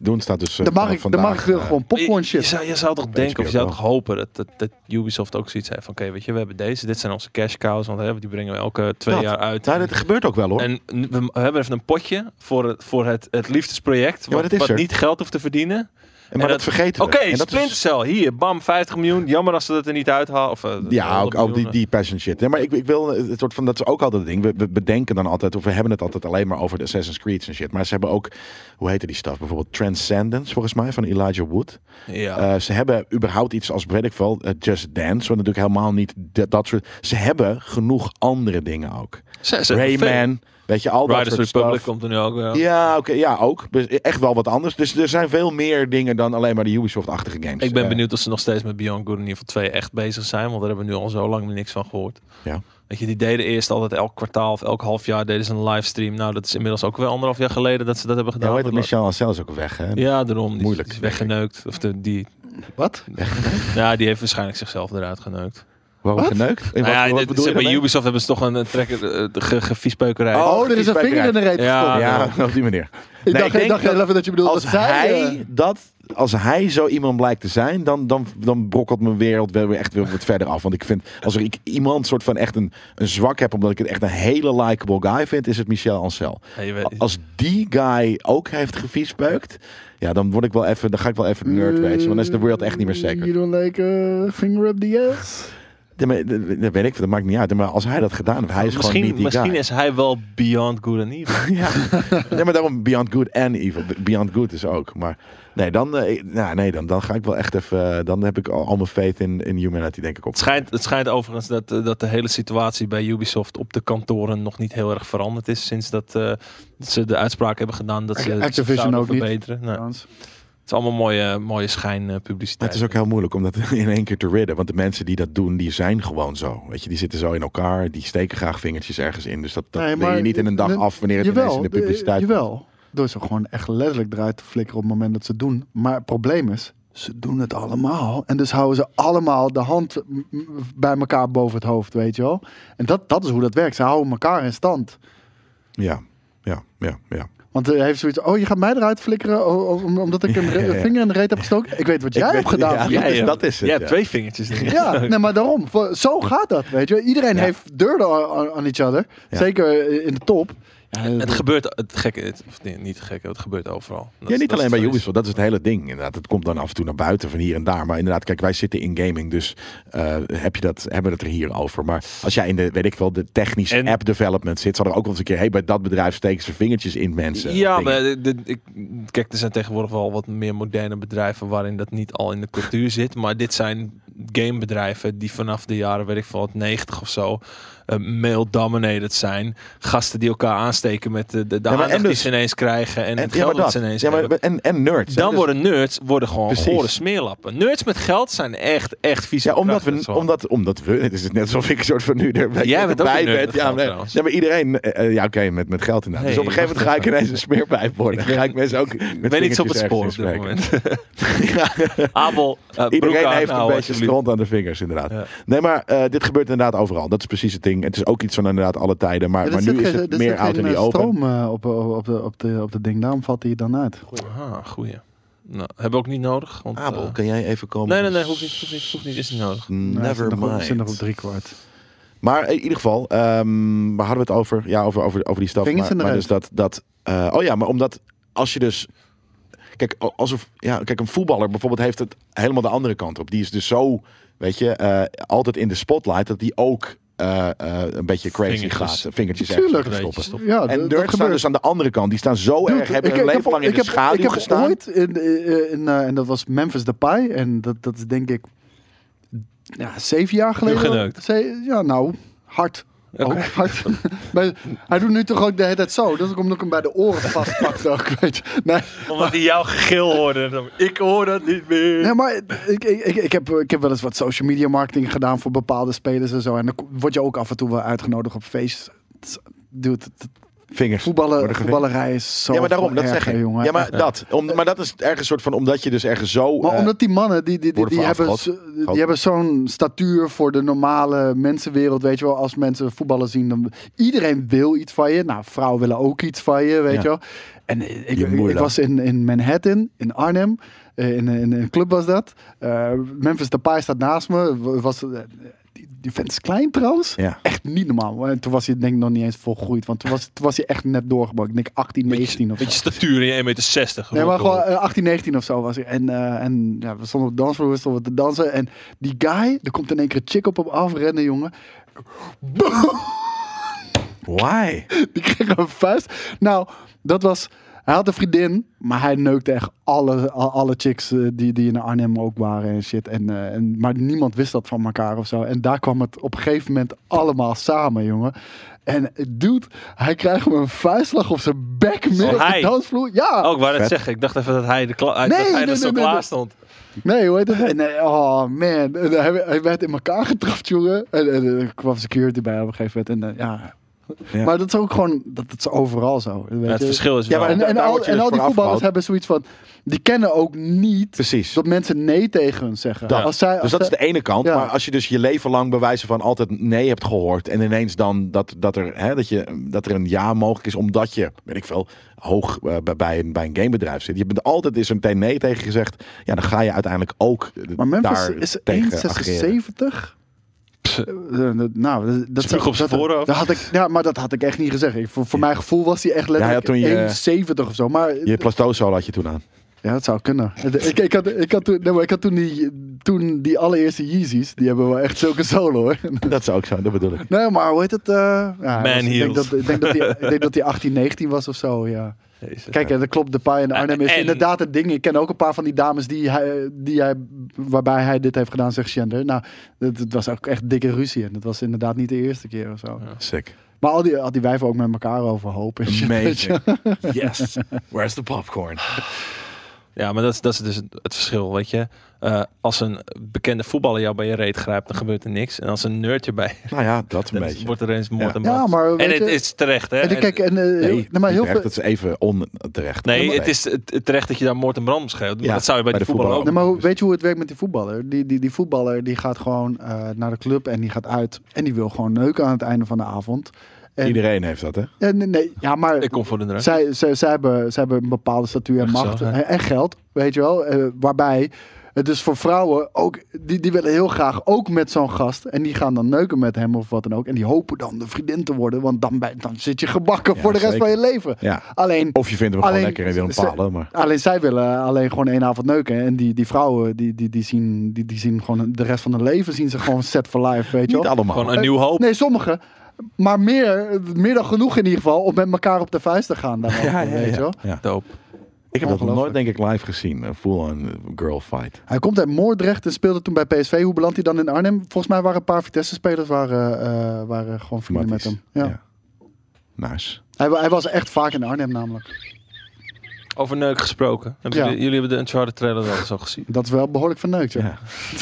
S3: Doen staat dus eh,
S2: de markt, de
S3: vandaag,
S2: markt wil
S3: eh,
S2: gewoon
S1: Maar
S2: popcorn
S1: je- Je
S2: shit.
S1: zou, je zou toch denken, of je
S3: HBO
S1: zou toch hopen dat, dat, dat Ubisoft ook zoiets heeft van... Oké, weet je, we hebben deze, dit zijn onze cash cows, want hè, die brengen we elke twee
S3: Dat.
S1: jaar uit.
S3: Nou, dat gebeurt ook wel hoor.
S1: En n- we we hebben even een potje voor het, voor het, het liefdesproject,
S3: maar
S1: wat,
S3: dat is
S1: wat
S3: er.
S1: niet geld hoeft te verdienen.
S3: En maar
S1: en
S3: dat, vergeten we.
S1: Oké,
S3: En dat is-
S1: Splinter Cell, hier, bam, 50 miljoen. Jammer als ze dat er niet uithalen. Of, eh,
S3: Ja,
S1: 100
S3: ook, ook die,
S1: miljoen.
S3: die passion shit. Nee, maar ik, ik wil het soort van, dat is ook altijd het ding. We, we bedenken dan altijd, of we hebben het altijd alleen maar over de Assassin's Creed en shit. Maar ze hebben ook, hoe heette die staf? Bijvoorbeeld Transcendence, volgens mij, van Elijah Wood.
S1: Ja.
S3: Eh, ze hebben überhaupt iets als, weet ik wel, eh, Just Dance. Wat natuurlijk helemaal niet dat, dat soort. Ze hebben genoeg andere dingen ook.
S1: Ze- ze-
S3: Rayman, weet je, al dat
S1: Riders
S3: soort
S1: Republic
S3: stuff.
S1: komt er nu ook. ja.
S3: Ja, oké, ja, ook. Dus echt wel wat anders. Dus er zijn veel meer dingen dan alleen maar de Ubisoft-achtige games.
S1: Ik ben
S3: Eh,
S1: benieuwd of ze nog steeds met Beyond Good and Evil 2 echt bezig zijn. Want daar hebben we nu al zo lang niks van gehoord.
S3: Ja.
S1: Weet je, die deden eerst altijd elk kwartaal of elk half jaar deden ze een livestream. Nou, dat is inmiddels ook weer anderhalf jaar geleden dat ze dat hebben
S3: Ja,
S1: gedaan.
S3: hoe heet dat? Michel Ancel is ook weg, hè?
S1: ja, daarom. Die is-
S3: Moeilijk,
S1: die is
S3: denk ik.
S1: weggeneukt. Of de, die,
S2: Wat?
S1: ja, die heeft waarschijnlijk zichzelf eruit geneukt.
S3: Waarom
S2: Wat?
S3: geneukt? Eh,
S1: Nou
S3: wat-
S1: ja,
S3: wat
S1: dit-
S3: bedoel je
S1: zeg maar,
S3: daarmee?
S1: Ubisoft hebben ze toch een, een trekker, eh, ge- geviespeukerij.
S3: Oh,
S2: Oh, er is een vinger in de reet
S1: Ja.
S2: gestopt.
S1: Ah,
S3: Ja, op die manier. Nee,
S2: Ik dacht,
S3: ik
S2: ik
S3: denk
S2: dacht heel even dat je bedoelde
S3: Als
S2: dat zij... eh,
S3: hij, dat, als hij zo iemand blijkt te zijn, dan, dan, dan brokkelt mijn wereld wel weer echt weer wat verder af. Want ik vind, als er ik iemand soort van echt een, een zwak heb, omdat ik het echt een hele likable guy vind, is het Michel Ancel.
S1: Ja, je weet-
S3: Als die guy ook heeft geviespeukt, ja, dan word ik wel even, dan ga ik wel even nerd, weet je. Want dan is de wereld echt niet meer zeker.
S2: You don't like eh, finger up the ass?
S3: Ja, maar Dat dat weet ik, dat maakt niet uit. Maar als hij dat gedaan heeft, hij is
S1: misschien
S3: gewoon niet die
S1: misschien
S3: guy.
S1: is hij wel Beyond Good and Evil.
S3: Ja. nee, maar daarom Beyond Good en Evil. Beyond Good is ook. Maar nee, dan, eh, ik- nou, nee, dan, dan ga ik wel echt even. eh, Dan heb ik al, al mijn faith in, in humanity, denk ik op.
S1: Het schijnt, het schijnt overigens dat, eh, dat de hele situatie bij Ubisoft op de kantoren nog niet heel erg veranderd is. Sinds dat, eh, dat ze de uitspraak hebben gedaan dat ze het
S2: Activision
S1: zouden
S2: ook niet.
S1: verbeteren. Nee, het
S2: Trouwens.
S1: is allemaal mooie, mooie eh,
S3: Maar
S1: schijnpubliciteit.
S3: het is ook heel moeilijk om dat in één keer te ridden. Want de mensen die dat doen, die zijn gewoon zo. Weet je, die zitten zo in elkaar. Die steken graag vingertjes ergens in. Dus dat, dat
S2: Nee,
S3: leer
S2: maar-
S3: je niet in een dag
S2: nee,
S3: af wanneer het ineens in de
S2: de-
S3: publiciteit komt.
S2: eh, jawel. Door ze gewoon echt letterlijk eruit te flikkeren op het moment dat ze het doen. Maar het probleem is, ze doen het allemaal. En dus houden ze allemaal de hand m- m- bij elkaar boven het hoofd, weet je wel. En dat, dat is hoe dat werkt. Ze houden elkaar in stand.
S3: Ja, ja, ja, ja.
S2: Want hij heeft zoiets oh, je gaat mij eruit flikkeren o- o- om- omdat ik een re-
S3: Ja, ja.
S2: vinger in de reet heb gestoken. Ik weet wat jij
S3: Ik
S2: hebt
S3: weet-
S2: gedaan.
S3: ja,
S2: vriend.
S3: dat is- dat is het,
S1: Jij hebt
S3: ja.
S1: twee vingertjes. in.
S2: Ja, nee, maar daarom. Voor- Zo gaat dat, weet je. Iedereen
S3: Ja.
S2: heeft deuren aan- aan each other.
S3: Ja.
S2: Zeker eh, in de top. Ja,
S1: Het
S2: dat-
S1: gebeurt, het gekke, het, of nee, niet gekke, het gebeurt overal. Dat
S3: ja,
S1: is-
S3: niet
S1: dat is
S3: alleen bij
S1: het vrees.
S3: Ubisoft, dat is het hele ding. Inderdaad, het komt dan af en toe naar buiten van hier en daar. Maar inderdaad, kijk, wij zitten in gaming, dus eh, heb je dat, hebben we het er hier over. Maar als jij in de, weet ik wel, de technische
S1: En-
S3: app development zit, zal er ook wel eens een keer, hey, bij dat bedrijf steken ze vingertjes in mensen.
S1: Ja,
S3: Dingen.
S1: maar dit- ik, kijk, er zijn tegenwoordig wel wat meer moderne bedrijven waarin dat niet al in de cultuur zit. Maar dit zijn gamebedrijven die vanaf de jaren, weet ik veel, wat, 90 of zo, eh, male-dominated zijn. Gasten die elkaar aansteken met eh, de, de, de
S3: Ja, maar
S1: aandacht
S3: en
S1: die
S3: dus-
S1: ze ineens krijgen en,
S3: en,
S1: het
S3: ja, maar
S1: geld dat
S3: dat.
S1: ze ineens
S3: Ja, maar,
S1: hebben.
S3: en, en nerds. hè.
S1: Dan
S3: Dus-
S1: worden nerds worden gewoon
S3: Precies.
S1: gore smeerlappen. Nerds met geld zijn echt, echt vieze
S3: ja, omdat we,
S1: krachten, zo.
S3: omdat, omdat we, het is net alsof ik een soort van nu er
S1: Jij bent ook
S3: bij
S1: een nerd
S3: ben.
S1: met
S3: Ja,
S1: geld
S3: nee.
S1: trouwens.
S3: ja, maar iedereen, eh, eh, ja, oké, met, met geld inderdaad.
S1: Nee,
S3: dus op een gegeven
S1: wacht
S3: moment ga ik
S1: even.
S3: ineens een smeerpijp worden.
S1: Ik
S3: Dan ga
S1: ben-
S3: ik mensen ook met
S1: ik ben niet zo op
S3: vingertjes
S1: het spoor op
S3: ergens in
S1: dit moment.
S3: spreken. Ja.
S1: Abel, eh, broek
S3: Iedereen
S1: aan,
S3: heeft
S1: nou,
S3: een beetje
S1: alsjeblieft.
S3: hond aan de vingers, inderdaad.
S1: Ja.
S3: Nee, maar eh, dit gebeurt inderdaad overal. Dat is precies het ding. Het is ook iets van inderdaad alle tijden. Maar, maar nu is het meer out in the open.
S2: stroom eh, op, op, op, de, op, de, op de ding. Daarom valt hij dan uit.
S1: Aha, goeie. Nou, hebben we ook niet nodig. Want,
S2: Ah,
S1: eh,
S3: Abel, kan jij even komen?
S1: nee, nee, nee, hoeft niet, hoeft niet, hoeft niet, is niet nodig.
S2: Nou, hij zit
S3: Never
S2: nog op- zit nog op
S3: mind.
S2: drie kwart.
S3: Maar in ieder geval, ehm, waar hadden we het over? Ja, over, over, over die staf.
S2: Vingers
S3: maar,
S2: in de
S3: maar
S2: reet.
S3: dus dat, dat eh, oh ja, maar omdat als je dus... Kijk, a- alsof, ja, kijk, een voetballer bijvoorbeeld heeft het helemaal de andere kant op. Die is dus zo, weet je, eh, altijd in de spotlight dat die ook eh, eh, een beetje crazy
S1: Vingertjes.
S3: gaat. eh, Vingertjes
S2: Tuurlijk.
S3: ergens stoppen.
S2: Ja,
S3: En
S2: d- dat
S3: nerds staan
S2: gebeurt.
S3: dus aan de andere kant. Die staan zo
S2: Dude,
S3: erg, hebben
S2: ik-
S3: hun
S2: ik
S3: leven lang in
S2: ik
S3: de schaduw
S2: ik heb
S3: gestaan.
S2: ooit, in, eh, in, eh, en dat was Memphis Depay, en dat, dat is denk ik ja, zeven jaar geleden.
S1: geneukt.
S2: Ze- ja, nou, hard.
S1: Oké.
S2: Ook hard. Maar hij doet nu toch ook de hele tijd zo. Dat is ook omdat ik hem bij de oren vastpakte ook, weet je. Nee,
S1: Omdat hij jouw gegil hoorde. Ik hoor dat niet meer.
S2: nee maar ik, ik, ik, ik heb, ik heb wel eens wat social media marketing gedaan voor bepaalde spelers en zo. En dan word je ook af en toe wel uitgenodigd op feest. Dude, het-
S3: Vingers.
S2: voetballen,
S3: Worden gevinkt.
S2: voetballerij is zo
S3: ja, maar daarom, dat
S2: erg,
S3: zeg
S2: hè,
S3: ik.
S2: jongen.
S3: Ja, maar dat. Om, maar dat is ergens soort van, omdat je dus ergens zo...
S2: Maar
S3: eh,
S2: omdat die mannen, die, die, die,
S3: worden
S2: die
S3: van
S2: hebben,
S3: afgehakt.
S2: zo- die hebben zo'n statuur voor de normale mensenwereld. Weet je wel, als mensen voetballen zien, dan iedereen wil iets van je. Nou, vrouwen willen ook iets van je, weet
S3: Ja.
S2: je wel. En eh, ik, ik,
S3: moeder.
S2: ik was in, in Manhattan, in Arnhem. eh, In, in een club was dat. Eh, Memphis Depay staat naast me. W- Was, eh, die, die vent is klein trouwens.
S3: Ja.
S2: Echt niet normaal. En toen was hij denk ik nog niet eens volgroeid. Want toen was, toen was hij echt net doorgebroken. Ik denk 18, 19 of zo.
S1: Beetje statuur in 1,60 meter. 60,
S2: Nee, maar gewoon eh, 18, 19 of zo was hij. En, eh, en ja, we stonden op de dansvloer, we stonden te dansen. En die guy, er komt in één keer een chick op hem afrennen, jongen.
S3: Why?
S2: Die kreeg een vuist. Nou, dat was... Hij had een vriendin, maar hij neukte echt alle, al- alle chicks eh, die, die in Arnhem ook waren en shit. En, eh, en, maar niemand wist dat van elkaar of zo. En daar kwam het op een gegeven moment allemaal samen, jongen. En eh, dude, hij krijgt hem een vuistslag op zijn bek midden op de
S1: hij?
S2: dansvloer. Ja!
S1: Oh, ik wou net
S3: Vet.
S1: zeggen. Ik dacht even dat hij, de kla- dat
S2: eh, Nee,
S1: hij
S2: nee,
S1: er zo
S2: nee, nee,
S1: klaar
S2: nee.
S1: stond.
S2: Nee, hoe heet het? En, eh, oh man, En hij, hij werd in elkaar getrapt, jongen. En, en er kwam security bij op een gegeven moment. En, eh, ja.
S3: Ja.
S2: Maar dat is ook gewoon, dat, dat is overal zo. Weet
S1: het
S2: je.
S1: verschil is
S3: Ja,
S1: wel...
S3: maar-
S2: En,
S3: Daar-
S2: en,
S3: daar
S2: al,
S3: word je
S2: en
S3: dus
S2: al die
S3: voor
S2: voetballers
S3: afgehaald.
S2: hebben zoiets van, die kennen ook niet
S3: Precies.
S2: dat mensen nee tegen hun zeggen.
S3: Dat.
S2: Als zij, als
S3: Dus dat is
S2: zij-
S3: de ene kant.
S2: Ja.
S3: Maar als je dus je leven lang bewijzen van altijd nee hebt gehoord. En ineens dan dat, dat, er, hè, dat, je, dat er een ja mogelijk is. Omdat je, weet ik veel, hoog eh, bij- bij, een, bij een gamebedrijf zit. Je bent altijd is er meteen nee tegen gezegd. Ja, dan ga je uiteindelijk ook eh,
S2: maar Memphis
S3: daar
S2: is
S3: tegen ageren.
S2: 1,76. Eh, eh, Nou, dat- dat,
S1: Spuug op zijn
S2: dat-
S1: voorhoofd.
S2: dat had ik, ja, maar dat had ik echt niet gezegd. Ik- voor voor mijn gevoel was hij echt letterlijk
S3: toen je-
S2: 1,70 of zo. Maar
S3: Je plastoosol had je toen aan.
S2: Ja, dat zou kunnen. Ik, ik, had, ik, had, toen, nee, maar ik had toen die, toen die allereerste Yeezys, die hebben wel echt zulke solo hoor.
S3: Dat zou ook zo, dat bedoel ik.
S2: Nee, maar hoe heet het? eh, ja,
S1: Man
S2: ik, denk
S1: heels.
S2: dat, ik, denk dat die, ik denk dat die 18, 19 was of zo, ja.
S1: Jezus.
S2: Kijk, en dat klopt, de paai en Arnhem is
S1: En-
S2: inderdaad het ding. Ik ken ook een paar van die dames die hij, die hij, waarbij hij dit heeft gedaan, zegt Gender. Nou, het, het was ook echt dikke ruzie en dat was inderdaad niet de eerste keer of zo.
S3: Sick.
S2: Maar al die, al die wijven ook met elkaar overhoop
S1: Mm,
S2: en shit, weet je.
S3: Amazing. Yes. Where's the popcorn?
S1: Ja, maar dat is, dat is dus het verschil, weet je. Eh, als een bekende voetballer jou bij je reet grijpt, dan gebeurt er niks. En als een nerdje bij je
S3: Nou ja, dat een
S1: dan
S3: beetje.
S1: wordt er eens moord
S3: Ja.
S1: en
S2: Ja,
S1: brand.
S2: maar eh,
S1: En
S2: weet
S1: het
S2: je-
S1: is terecht, hè.
S2: En dan
S1: En-
S2: kijk, en, eh, heel-
S3: Nee,
S2: nou, maar heel
S3: terecht,
S2: veel,
S3: dat is even onterecht.
S1: Nee, het is eh, terecht dat je daar moord en brand beschreeuwt. maar
S3: Ja,
S1: dat zou je bij,
S3: bij
S1: de
S3: de
S1: voetballer ook.
S2: Nee, maar hoe- weet je hoe het werkt met die voetballer? Die, die, die voetballer die gaat gewoon eh, naar de club en die gaat uit. En die wil gewoon neuken aan het einde van de avond. En,
S3: Iedereen heeft dat, hè?
S2: en- nee, nee, ja, maar
S1: Ik kom voor de drank.
S2: zij, zij, zij, hebben, zij hebben een bepaalde statuur en
S1: Echt zo,
S2: macht
S1: hè?
S2: en, en geld, weet je wel. eh, waarbij het dus voor vrouwen ook, die, die willen heel graag ook met zo'n gast. En die gaan dan neuken met hem of wat dan ook. En die hopen dan de vriendin te worden, want dan, bij- dan zit je gebakken
S3: Ja,
S2: voor de rest
S3: zeker.
S2: van je leven.
S3: Ja.
S2: Alleen
S3: Of je vindt hem gewoon
S2: Alleen-
S3: lekker en wil
S2: ze-
S3: hem palen, maar...
S2: Alleen zij willen alleen gewoon één avond neuken. En die, die vrouwen, die, die, die, zien, die, die zien gewoon de rest van hun leven zien ze gewoon set for life, weet je
S3: Niet
S2: wel.
S3: allemaal.
S1: Gewoon een nieuw hoop.
S2: Nee, sommigen. Maar meer, meer dan genoeg in ieder geval om met elkaar op de vuist te gaan. Daarover, weet je wel.
S3: Ja.
S1: Doop.
S3: Ik heb dat nog nooit,
S2: Ongelooflijk.
S3: denk ik, live gezien. Een full-on eh, girl fight.
S2: Hij komt uit Moordrecht en speelde toen bij PSV. Hoe belandt hij dan in Arnhem? Volgens mij waren een paar Vitesse-spelers waren, eh, waren gewoon vrienden
S3: Matties.
S2: met hem. Ja.
S3: Nice.
S2: Hij, wa- hij was echt vaak in Arnhem namelijk.
S1: Over neuk gesproken. Hebben
S2: Ja.
S1: jullie, jullie hebben de Uncharted trailer wel eens al gezien.
S2: Dat is wel behoorlijk verneukt, ja.
S3: Ja.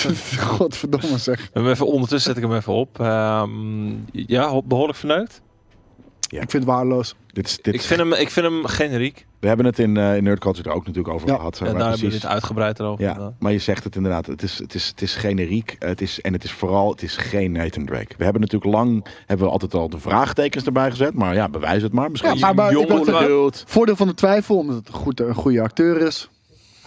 S2: Godverdomme zeg.
S1: We hebben Hem even, ondertussen zet ik hem even op. Ehm, ja, ho- behoorlijk verneukt.
S3: Ja.
S2: Ik vind het waardeloos.
S3: Dit is, dit
S1: Ik
S3: is-
S1: vind hem, ik vind hem generiek.
S3: We hebben het in, eh in Nerd Culture er ook natuurlijk over
S2: Ja.
S3: gehad.
S1: Ja,
S3: waar
S1: daar hebben we
S3: precies-
S1: dit uitgebreid over.
S3: Ja, maar je zegt het inderdaad. Het is, het is, het is generiek. Het is, en het is vooral, het is geen Nathan Drake. We hebben natuurlijk lang, hebben we altijd al de vraagtekens erbij gezet. Maar ja, bewijs het maar. Misschien
S2: Ja,
S3: is
S2: maar-
S3: hij
S2: maar ik
S3: jong,
S2: dacht-
S3: geduld.
S2: Voordeel van de twijfel, omdat het goed, een goede acteur is.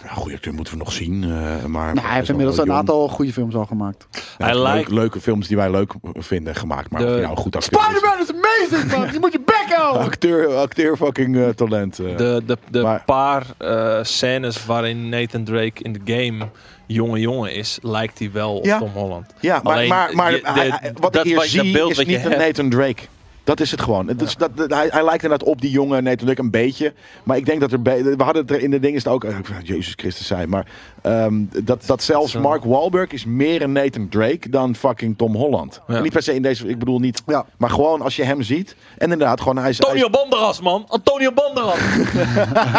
S3: Ja, goeie acteur moeten we nog zien. eh, maar
S2: Nou, hij heeft inmiddels een aantal goede films al gemaakt.
S1: Hij
S3: Hij
S1: lijkt-
S3: leuke films die wij leuk vinden gemaakt. Maar
S1: De-
S3: of hij nou een goed acteur is-
S2: is amazing, man! Je moet je bek houden!
S3: Acteur, acteur fucking eh, talent. eh.
S1: De, de, de
S3: Maar-
S1: paar eh, scènes waarin Nathan Drake in de game jonge jongen is, lijkt hij wel op
S3: Ja.
S1: Tom Holland.
S3: Ja, maar,
S1: Alleen,
S3: maar, maar
S1: je-
S3: hij-
S1: de-
S3: hij- wat ik
S1: dat
S3: hier
S1: wat- dat
S3: zie
S1: beeld
S3: is
S1: wat je
S3: niet een
S1: hebt.
S3: Nathan Drake. Dat is het gewoon. Het is, dat, dat- hij, hij lijkt inderdaad op die jonge Nathan Drake een beetje. Maar ik denk dat er... be- We hadden het er in de ding is het ook... eh, Jezus Christus zei, maar... ehm, dat, dat zelfs
S1: Zo.
S3: Mark Wahlberg is meer een Nathan Drake dan fucking Tom Holland.
S1: Ja.
S3: Niet per se in deze... Ik bedoel niet...
S2: Ja.
S3: Maar gewoon als je hem ziet. En inderdaad gewoon... Hij is, hij is-
S1: Antonio Banderas, man! Antonio Banderas!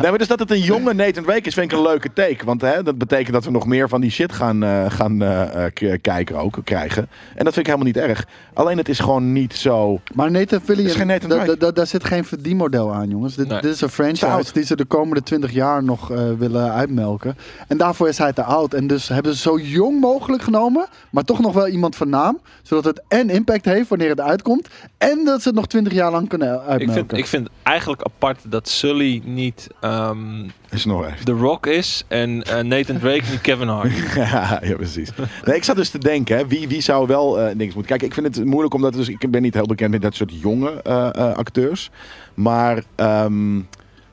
S3: Nee, maar dus dat het een jonge Nathan Drake is, vind ik een leuke take. Want hè, dat betekent dat we nog meer van die shit gaan, eh, gaan eh, eh, k- kijken ook, krijgen. En dat vind ik helemaal niet erg. Alleen het is gewoon niet zo...
S2: Maar Nathan Fillion,
S3: Is geen Nathan
S2: da-
S3: Drake.
S2: da- daar zit geen verdienmodel aan, jongens. Dit,
S1: Nee.
S2: dit is een
S3: Te oud.
S2: franchise die ze de komende 20 jaar nog eh, willen uitmelken. En daarvoor is hij te oud. En dus hebben ze zo jong mogelijk genomen, maar toch nog wel iemand van naam. Zodat het en impact heeft wanneer het uitkomt. En dat ze het nog 20 jaar lang kunnen
S1: ik,
S2: uitmelken.
S1: vind, ik vind eigenlijk apart dat Sully niet ehm,
S3: Is nog even.
S1: The Rock is en eh, Nathan Drake niet Kevin Hart.
S3: ja, precies. Nee, ik zat dus te denken, hè, wie, wie zou wel eh niks moeten kijken. Ik vind het moeilijk, omdat dus, ik ben niet heel bekend met dat soort jonge eh, eh, acteurs. Maar ehm,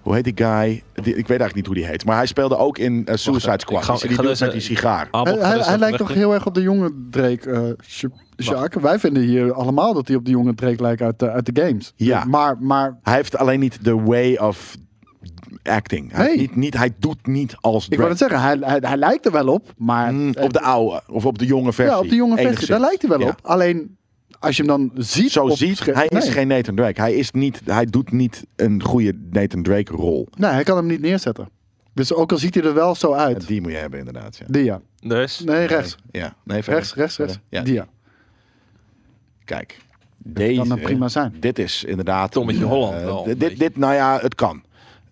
S3: hoe heet die guy? Die- ik weet eigenlijk niet hoe die heet. Maar hij speelde ook in eh, Suicide
S1: Wacht,
S3: Squad.
S1: ik ga-
S3: Dus
S1: ik
S3: die
S1: ga eh,
S3: dude
S1: deze-
S3: met die sigaar.
S1: Abel,
S2: hij
S1: ga
S2: hij,
S1: dus
S2: hij
S1: even
S2: lijkt toch
S1: weg.
S2: heel erg op de jonge Drake, eh, Sj- Jacques. Wij vinden hier allemaal dat hij op de jonge Drake lijkt uit, de- uit de games.
S3: Ja.
S2: Maar, maar
S3: Hij heeft alleen niet de way of acting. Hij,
S2: Nee.
S3: heeft niet, niet, hij doet niet als
S2: ik wou het
S3: Drake.
S2: zeggen, hij, hij, hij lijkt er wel op, maar... eh,
S3: Mm, op de oude of op de jonge versie.
S2: Ja, op de jonge versie.
S3: enigszins.
S2: Daar lijkt hij wel
S3: Ja.
S2: op. Alleen als je hem dan ziet.
S3: Zo
S2: op
S3: ziet,
S2: scherm-
S3: hij is
S2: nee.
S3: geen Nathan Drake. Hij, is niet, hij doet niet een goede Nathan Drake rol.
S2: Nee, hij kan hem niet neerzetten. Dus ook al ziet hij er wel zo
S3: En
S2: uit.
S3: die moet je hebben inderdaad. Ja,
S2: Die ja.
S1: Dus,
S2: Nee, rechts.
S3: ja. nee verder.
S2: Rechts, rechts, rechts.
S3: Ja.
S2: Die ja.
S3: Kijk, deze,
S2: kan dan prima zijn.
S3: dit is inderdaad...
S1: Tommetje
S3: eh,
S1: Holland wel, een
S3: dit,
S1: beetje.
S3: dit, dit, nou ja, het kan.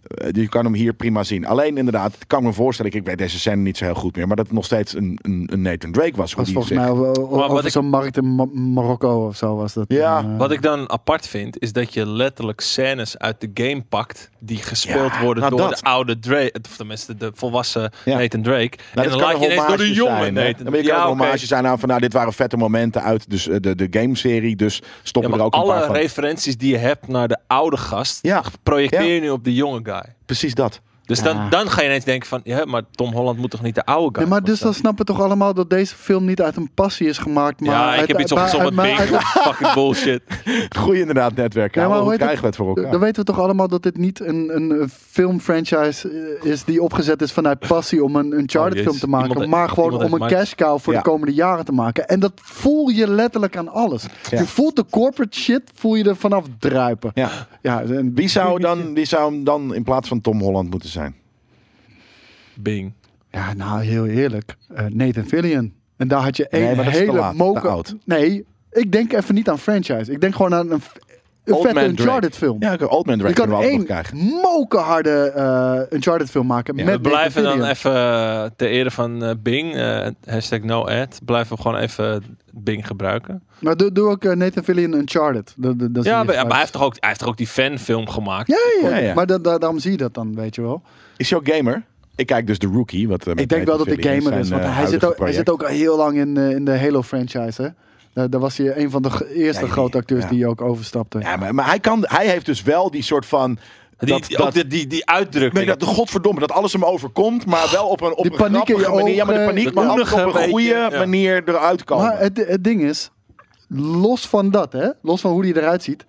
S3: Eh, je kan hem hier prima zien. Alleen inderdaad, ik kan me voorstellen... Ik weet deze scène niet zo heel goed meer... maar dat het nog steeds een, een, een Nathan Drake was. hoe
S2: Was
S3: die
S2: volgens
S3: zich-
S2: mij over, over
S1: Maar wat ik-
S2: zo'n markt in Ma- Marokko of zo was dat.
S3: Ja.
S2: eh,
S1: wat ik dan apart vind, is dat je letterlijk scènes uit de game pakt die gespeeld
S3: Ja,
S1: worden
S3: nou
S1: door
S3: dat.
S1: de oude Drake, of tenminste de volwassen
S3: Ja.
S1: Nathan Drake. en
S3: Nou,
S1: dan
S3: dat kan
S1: laat
S3: een
S1: je ineens door de
S3: hommage
S1: jongen
S3: zijn, hè?
S1: Nathan
S3: Maar je
S1: Ja,
S3: kan een
S1: oké.
S3: hommage zijn aan van, nou, dit waren vette momenten uit dus, eh, de, de game-serie, dus
S1: Ja,
S3: stoppen
S1: maar
S3: er ook een paar
S1: alle
S3: van.
S1: referenties die je hebt naar de oude gast,
S3: Ja,
S1: projecteer
S3: Ja.
S1: je nu op de jonge guy.
S3: precies dat.
S1: Dus
S2: Ja.
S1: dan, dan ga je ineens denken van, ja, maar Tom Holland moet toch niet de oude guy
S2: Nee, maar
S1: worden
S2: dus dan snappen we toch allemaal dat deze film niet uit een passie is gemaakt. Maar
S1: ja, ik
S2: uit-
S1: heb iets
S2: uit-
S1: opgezocht
S2: uit-
S1: met
S2: uit-
S1: Bing.
S2: uit-
S1: fucking bullshit.
S3: Goeie inderdaad netwerk.
S2: Ja,
S3: Ja,
S2: maar
S3: maar hoe
S2: hoe heet
S3: krijgen we het voor elkaar?
S2: Dan weten we toch allemaal dat dit niet een, een eh, filmfranchise eh, is die opgezet is vanuit passie om een
S1: Oh,
S2: Uncharted
S1: jezus.
S2: film te maken.
S1: Iemand-
S2: maar gewoon
S1: iemand
S2: om een
S1: heeft Mike-
S2: cash cow voor
S3: Ja.
S2: de komende jaren te maken. En dat voel je letterlijk aan alles.
S3: Ja.
S2: Je voelt de corporate shit, voel je er vanaf druipen. Ja.
S3: Ja.
S2: en
S3: Wie zou, dan, wie zou hem dan in plaats van Tom Holland moeten zijn?
S1: Bing.
S2: Ja, nou heel eerlijk. Eh, Nathan Fillion. En daar had je één
S3: Nee, maar dat is te
S2: hele
S3: laat, te
S2: moker.
S3: oud.
S2: Nee, ik denk even niet aan franchise. Ik denk gewoon aan een, f- een
S3: Old
S2: vette
S3: Man Drake.
S2: Uncharted film.
S3: Ja, oké, Old Man
S2: Je
S3: Drake kunnen
S2: kan
S3: we altijd
S2: één
S3: nog krijgen.
S2: mokerharde eh Uncharted film maken met
S1: we blijven
S2: Nathan
S1: dan
S2: Fillion.
S1: even, eh, ter ere van eh, Bing, eh, hashtag no ad, blijven we gewoon even Bing gebruiken.
S2: Maar doe, doe ook eh, Nathan Fillion Uncharted. Dat, dat, dat zie
S1: Ja,
S2: je
S1: maar,
S2: gelijk.
S1: maar hij, heeft toch ook, hij heeft toch ook die fanfilm gemaakt?
S2: Ja, ja,
S3: Ja, ja.
S2: maar da- da- daarom zie je dat dan, weet je wel.
S3: Is jouw gamer? Ik kijk dus de rookie. Wat, eh, met
S2: ik denk wel
S3: Nathan
S2: dat hij
S3: Fillion
S2: gamer is,
S3: zijn,
S2: want
S3: eh,
S2: hij, zit
S3: huidige
S2: ook, hij
S3: project.
S2: zit ook al heel lang in, eh, in de Halo-franchise, hè. Daar, daar was hij een van de ge- eerste
S3: Ja, die-
S2: grote acteurs
S3: ja.
S2: die ook overstapte.
S3: Ja, maar, maar hij, kan, hij heeft dus wel die soort van...
S1: Die,
S3: dat-
S1: die,
S3: dat-
S1: ook die, die, die uitdrukking.
S3: Nee, dat, godverdomme, dat alles hem overkomt, maar wel op een, op
S2: Die
S3: een
S2: paniek in je
S3: grappige manier. Ja, maar de
S2: ogen,
S3: paniek,
S1: eh, dat
S3: maar altijd
S1: doenige
S3: op een
S1: beetje,
S3: goede
S1: ja.
S3: manier eruit komen.
S2: Maar het, het ding is, los van dat, hè, los van hoe hij eruit ziet,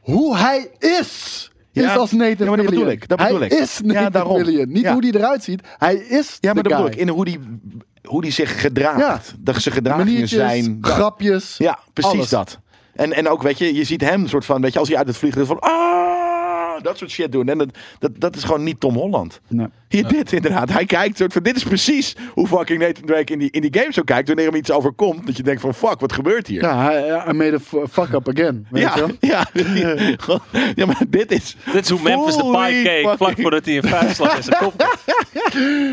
S2: hoe hij is,
S3: Ja.
S2: is als Nathan
S3: Ja, maar dat
S2: Fillion.
S3: bedoel ik, dat bedoel
S2: hij
S3: ik.
S2: is
S3: Ja,
S2: Nathan
S3: daarom.
S2: Fillion. Niet
S3: Ja.
S2: hoe hij eruit ziet, hij is
S3: ja, maar
S2: de
S3: dat bedoel
S2: guy.
S3: ik, in hoe die, hoe die zich gedraagt.
S2: Ja.
S3: Dat zijn gedragingen
S2: Maniertjes,
S3: zijn. dat-
S2: grapjes.
S3: ja, precies
S2: alles.
S3: dat. En, en ook, weet je, je ziet hem soort van, weet je, als hij uit het vliegtuig van, ah, dat soort shit doen. En dat, dat, dat is gewoon niet Tom Holland.
S2: Nee.
S3: Hier dit inderdaad. Hij kijkt soort van, dit is precies hoe fucking Nathan Drake in die, in die game zo kijkt wanneer hem iets overkomt. Dat je denkt van fuck, wat gebeurt hier?
S2: Ja, hij- I made a fu- fuck up again. Weet je
S3: ja,
S2: wel?
S3: ja. Ja, maar dit is...
S1: Dit is hoe Memphis de
S3: Holy
S1: pie keek vlak
S3: fucking-
S1: voordat hij een vuist slag in zijn kop kreeg.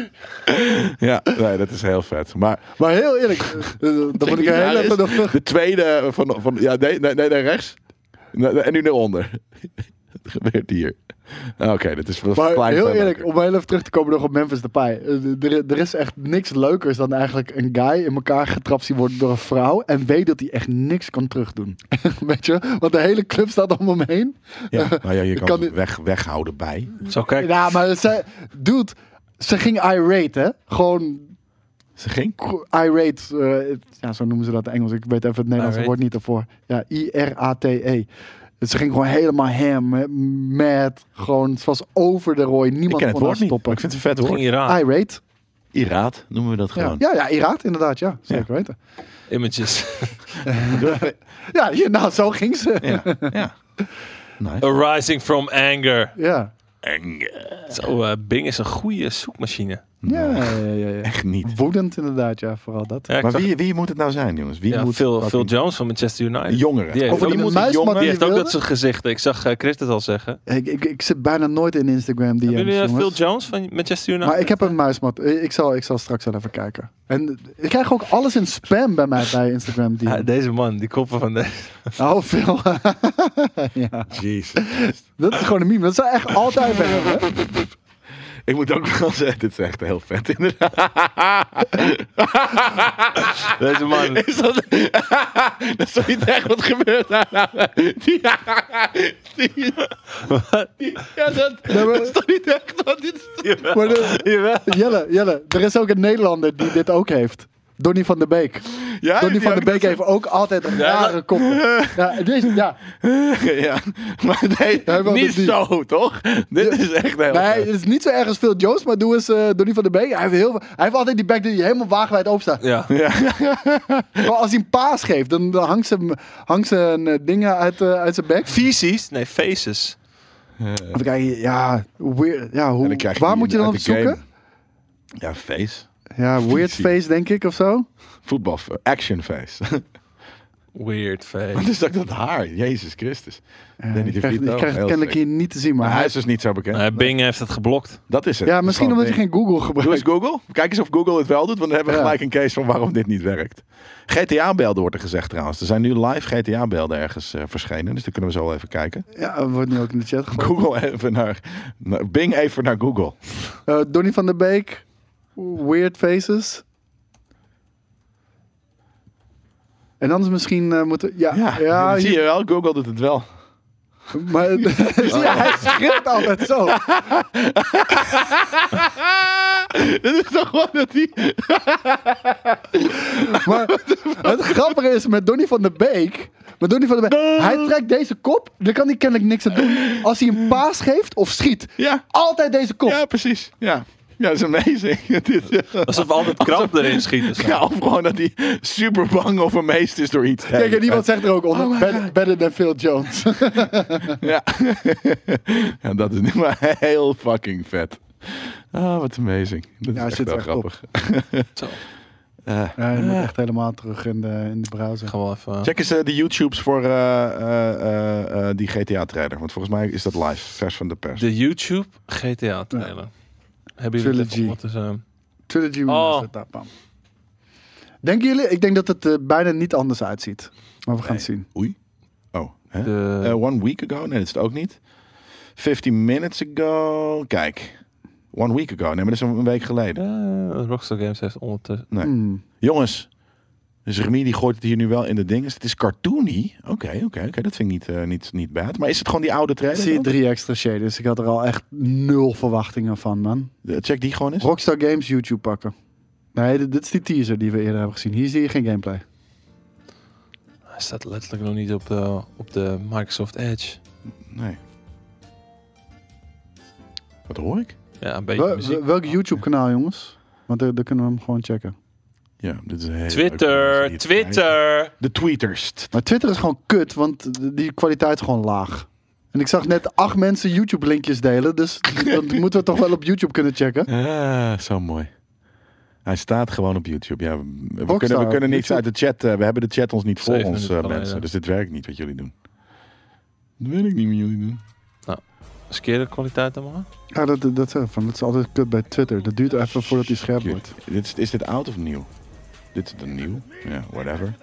S3: Ja, nee, dat is heel vet. Maar
S2: Maar heel eerlijk, eh, eh, dan moet ik er
S3: Daar
S2: heel
S3: is
S2: even nog terug.
S3: De tweede van... van ja, nee, nee, nee, nee, rechts. Nee, nee, En nu naar onder. Wat gebeurt hier? Oké, dat is wel een
S2: Maar
S3: klein
S2: heel
S3: veel
S2: eerlijk,
S3: leuker.
S2: om heel even terug te komen nog op Memphis Depay. Eh, d- Er, er is echt niks leukers dan eigenlijk een guy in elkaar getrapt zien worden door een vrouw. En weet dat hij echt niks kan terugdoen. weet je? Want de hele club staat om hem heen.
S3: Ja, nou ja, je kan,
S2: kan
S3: het
S2: dit-
S3: weg, weghouden bij.
S1: Zo kijk.
S2: Ja, maar ze, dude, ze ging irate, hè? Gewoon
S3: Ze ging.
S2: k- irate. eh, ja, zo noemen ze dat in Engels. Ik weet even het Nederlandse
S1: Irate.
S2: woord niet ervoor. Ja, I-R-A-T-E. Dus ze ging gewoon helemaal ham, hè, mad. Gewoon, ze was over de rooi.
S3: Ik
S2: Niemand
S3: ken het
S2: kon haar
S3: woord niet,
S2: stoppen.
S3: maar ik vind het een vet
S1: Ging
S3: woord.
S1: hier aan.
S2: Irate.
S3: Iraat noemen we dat
S2: Ja,
S3: gewoon.
S2: ja, ja Iraat inderdaad, ja. Zeker
S3: Ja.
S2: weten.
S1: Images.
S2: Ja, hier- nou, zo ging ze.
S3: Ja. ja. Nice.
S1: Arising from anger.
S2: Ja.
S1: Zo, eh, Bing is een goede zoekmachine.
S2: Ja,
S3: Nee,
S2: ja, ja, ja, ja.
S3: echt niet.
S2: Woedend inderdaad, ja, vooral dat.
S1: Ja, ik
S3: Maar
S1: zag-
S3: wie, wie moet het nou zijn, jongens? Wie
S1: ja,
S3: moet
S1: Phil,
S3: fucking-
S1: Phil Jones van Manchester United.
S3: Jongeren.
S1: Die heeft
S3: Over
S1: ook-
S3: die
S2: Die
S3: moet een
S2: muisman
S1: Die
S3: jongen.
S1: heeft ook
S2: wilde?
S1: dat soort gezichten. Ik zag eh, Chris het al zeggen.
S2: Ik, ik, ik zit bijna nooit in Instagram DM's,
S1: Hebben jullie eh, Phil
S2: jongens.
S1: Jones van Manchester United?
S2: Maar ik heb een muismat. Eh, Ik zal, ik zal straks wel even kijken. En ik krijg ook alles in spam bij mij bij Instagram DM.
S1: Ah, deze man, die koppen van de.
S2: Oh, veel. ja.
S3: Oh, Jezus.
S2: Dat is gewoon een meme. Dat zijn echt altijd bij hem, hè?
S3: Ik moet ook wel zeggen, dit is echt heel vet inderdaad.
S1: Deze man.
S3: Is dat, dat is toch niet echt wat gebeurt daar nou? Die, die, die- ja, dat,
S2: Nee, maar-
S3: dat is toch niet echt wat dit is?
S2: Maar de-
S1: Jawel.
S2: Jelle, Jelle, er is ook een Nederlander die dit ook heeft. Donny van der Beek.
S3: Ja,
S2: Donny
S3: die
S2: van der
S3: ook
S2: Beek heeft ook altijd rare koppen. Ja, deze, ja.
S3: dat- Ja, maar nee,
S2: Hij wilde
S3: niet
S2: die.
S3: zo, toch? Dit is echt heel
S2: Nee,
S3: vet.
S2: het is niet zo erg als Phil Jones, maar doe eens eh, Donny van der Beek. Hij heeft, heel, veel- hij heeft altijd die back die helemaal wagenwijd open staat.
S1: Ja.
S3: Ja,
S2: Maar als hij een paas geeft, dan, dan hangt ze, hangt ze een, eh, dingen uit, eh, uit zijn bek.
S1: Feces? Nee, faces.
S2: Even kijken, ja, weird, ja
S3: En
S2: hoe,
S3: dan krijg
S2: waar
S3: die
S2: moet je dan op
S3: uit de
S2: zoeken?
S3: game. Ja, face.
S2: Ja, weird
S3: Fysie.
S2: face denk ik of zo.
S3: Voetbal, eh, action face.
S1: Weird face.
S3: Wat is dat, dat haar? Jezus Christus.
S2: Ja,
S3: Danny
S2: ik
S3: de
S2: krijg, ik
S3: Vito,
S2: krijg het
S3: heel
S2: kennelijk
S3: sick.
S2: hier niet te zien, maar
S3: Maar hij
S2: hij,
S3: is dus niet zo bekend.
S1: Nee, Bing heeft het geblokt.
S3: Dat is het.
S2: ja, misschien omdat hij geen Google
S3: Doe eens
S2: gebruikt.
S3: Google. Kijk eens of Google het wel doet, want dan hebben we
S2: Ja.
S3: gelijk een case van waarom dit niet werkt. GTA-belden wordt er gezegd trouwens. Er zijn nu live GTA-belden ergens eh, verschenen, dus daar kunnen we zo wel even kijken.
S2: Ja, er wordt nu ook in de chat gegooid.
S3: Google even naar, naar- Bing even naar Google.
S2: Eh Donny van der Beek, weird faces. En anders misschien eh, moeten... Ja, ja,
S3: Ja, dat zie
S2: hier-
S3: je wel. Google doet het wel.
S2: Maar, ja, hij schreeuwt altijd zo.
S3: Dit is toch gewoon dat die...
S2: Maar het grappige is met Donny van der Beek. Met Donny van der Beek. Hij trekt deze kop. Daar kan hij kennelijk niks aan doen. Als hij een paas geeft of schiet.
S3: Ja,
S2: Altijd deze kop.
S3: ja precies. Ja. ja, dat is amazing. Dit is-
S1: Alsof we altijd kramp erin schieten. zo.
S3: ja, of gewoon dat hij super bang of amazed is door iets.
S2: Kijk, en iemand zegt er ook onder. better, better than Phil Jones.
S3: Ja. ja, dat is nu maar heel fucking vet. Ah, wat amazing. Dat
S2: Ja,
S3: is echt
S2: zit
S3: wel
S2: echt op.
S3: grappig.
S1: Zo.
S3: Eh,
S2: ja, je moet echt helemaal terug in de, in de browser.
S1: Gaan we even.
S3: check eens eh, de YouTubes voor eh, eh, eh, eh, die GTA-trailer. Want volgens mij is dat live, vers van de pers.
S1: De YouTube GTA trailer. Hebben jullie
S2: Trilogy.
S1: het even om wat te
S2: Trilogy
S1: Oh.
S2: Remastered. Oh. Denken jullie? Ik denk dat het eh, bijna niet anders uitziet. Maar we gaan het zien.
S3: Oei. Oh,
S1: zijn?
S3: hè?
S1: De-
S3: Eh, one week ago? Nee, dat is het ook niet. 15 minutes ago. Kijk. One week ago. Nee, maar dat is een week geleden.
S1: Eh, Rockstar Games heeft ondertussen.
S3: Nee.
S2: Hmm.
S3: Jongens, dus Remy die gooit het hier nu wel in de dinges. Het is cartoony. Oké, oké, oké. Dat vind ik niet, eh, niet, niet bad. Maar is het gewoon die oude
S2: Ik
S3: trailer?
S2: zie
S3: dan?
S2: drie extra shaders. Ik had er al echt nul verwachtingen van, man.
S3: Eh, Check die gewoon eens.
S2: Rockstar Games YouTube pakken. Nee, dit, dit is die teaser die we eerder hebben gezien. Hier zie je geen gameplay.
S1: Hij staat letterlijk nog niet op de, op de Microsoft Edge.
S3: Nee. Wat hoor ik?
S1: Ja, een beetje
S2: Wel-
S1: muziek.
S2: welk YouTube kanaal, jongens? Want daar daar kunnen we hem gewoon checken.
S3: Ja, dit is een hele leuke mensen die
S1: Twitter,
S3: het
S1: Twitter.
S3: kijken. De tweeters.
S2: Maar Twitter is gewoon kut, want die kwaliteit is gewoon laag. En ik zag net acht mensen YouTube-linkjes delen. Dus dat moeten we toch wel op YouTube kunnen checken.
S3: Ah, zo mooi. Hij staat gewoon op YouTube. Ja, we- we,
S2: Rockstar,
S3: kunnen, we kunnen niks
S2: YouTube.
S3: uit de chat. eh, we hebben de chat ons niet voor
S1: Zeven
S3: ons, eh,
S1: minuten alleen,
S3: mensen.
S1: ja.
S3: Dus dit werkt niet wat jullie doen. Dat weet ik niet wat jullie doen.
S1: Skeerde kwaliteit allemaal.
S2: Ja, dat, dat, dat, zeg ik van, dat is altijd kut bij Twitter. Dat duurt
S3: Oh,
S2: even voordat hij scherp
S3: Kut.
S2: wordt.
S3: Dit is, is dit oud of nieuw? Dit is dan nieuw. Ja, whatever.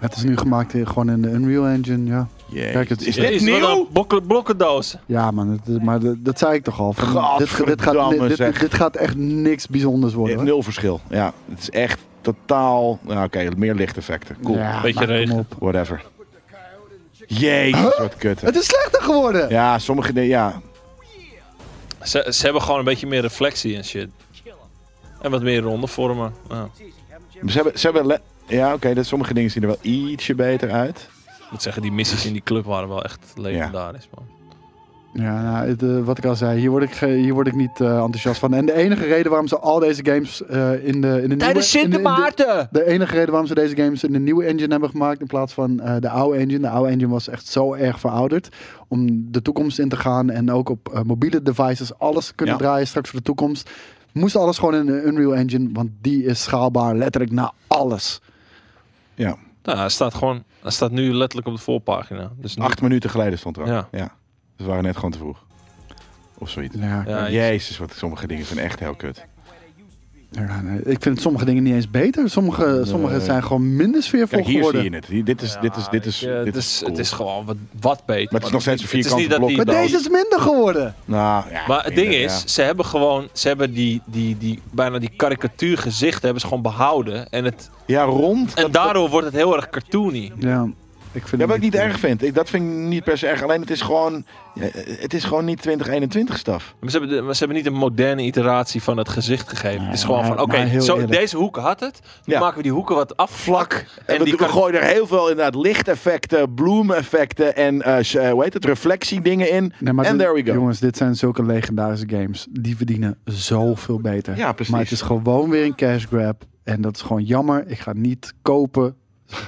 S2: Het is nu gemaakt in, gewoon in de Unreal Engine, ja.
S3: Jezus.
S2: Kijk, het-
S3: is
S1: Dit
S3: dit
S1: is wel
S3: nieuw?
S1: een bokke- blokkendoos.
S2: Ja, man, het is- maar dat, dat zei ik toch al. Van, dit, dit, gaat,
S3: Gadverdamme,
S2: dit,
S3: zeg.
S2: dit, dit gaat echt niks bijzonders worden. hoor.
S3: Eh, Nul verschil. Ja, het is echt totaal... Nou, Oké, meer lichteffecten. Cool.
S2: Ja,
S1: Beetje
S2: maar kom
S1: regen.
S2: op.
S3: Whatever. Jezus, wat kut. hè.
S2: Het is slechter geworden!
S3: Ja, sommige dingen... Ja,
S1: Ze, ze hebben gewoon een beetje meer reflectie en shit. En wat meer ronde vormen. Ja,
S3: ze hebben... Ze hebben le- ja, oké, dat- sommige dingen zien er wel ietsje beter uit.
S1: ik moet zeggen, die missies in die club waren wel echt legendarisch, man.
S2: Ja, nou, het, eh, wat ik al zei, hier word ik, ge- hier word ik niet eh, enthousiast van. En de enige reden waarom ze al deze games eh, in de, in de nieuwe... in de- in de- De enige reden waarom ze deze games in de nieuwe engine hebben gemaakt in plaats van eh, de oude engine. De oude engine was echt zo erg verouderd. Om de toekomst in te gaan en ook op eh, mobiele devices alles te kunnen
S3: Ja.
S2: draaien straks voor de toekomst. Moest alles gewoon in de Unreal Engine, want die is schaalbaar letterlijk naar alles.
S3: Ja,
S1: Nou, hij staat gewoon, hij staat nu letterlijk op de voorpagina. Dus nu-
S3: acht minuten geleden stond er al.
S1: Ja.
S3: Ja. Dus we waren net gewoon te vroeg. Of zoiets.
S2: Ja,
S1: Ja, iets-
S3: Jezus, wat sommige dingen zijn echt heel kut.
S2: ja, nee, ik vind sommige dingen niet eens beter. Sommige, sommige
S3: Nee.
S2: zijn gewoon minder sfeervol
S3: Kijk, hier
S2: geworden.
S3: zie je het. Hier- Dit is, dit is,
S1: Ja,
S3: dit is, dit
S1: ik, eh,
S3: is,
S1: het is,
S3: cool.
S1: het is gewoon wat, wat beter.
S3: Maar het is nog steeds een
S1: niet-
S3: vierkante
S1: het is niet dat
S3: blok.
S2: maar
S1: die-
S2: deze is minder geworden.
S3: Nou, ja,
S1: Maar het ding
S3: minder,
S1: is,
S3: ja.
S1: ze hebben gewoon, ze hebben die, die, die bijna die karikatuurgezichten hebben ze gewoon behouden. En, het,
S3: Ja, rond.
S1: en daardoor wordt het heel erg cartoony.
S2: Ja, ik vind
S3: Ja,
S2: het
S3: wat ik niet erg vind. Ik, dat vind ik niet per se erg. Alleen het is gewoon, ja, het is gewoon niet 2021 staf.
S1: Maar ze, hebben, de- maar ze hebben niet een moderne iteratie van het gezicht gegeven. het is gewoon
S2: maar-
S1: van, oké,
S2: maar heel
S1: zo-
S2: eerlijk.
S1: deze hoeken had het. Nu
S3: Ja.
S1: maken we die hoeken wat afvlak.
S3: En we,
S1: die
S3: we
S1: kar-
S3: gooien er heel veel inderdaad lichteffecten, bloemeffecten en eh s- eh, hoe heet het, reflectiedingen in.
S2: Nee, maar
S3: And
S2: dit-
S3: there we go.
S2: Jongens, dit zijn zulke legendarische games. Die verdienen zoveel beter.
S3: Ja, precies.
S2: Maar het is gewoon weer een cash grab. En dat is gewoon jammer. Ik ga niet kopen.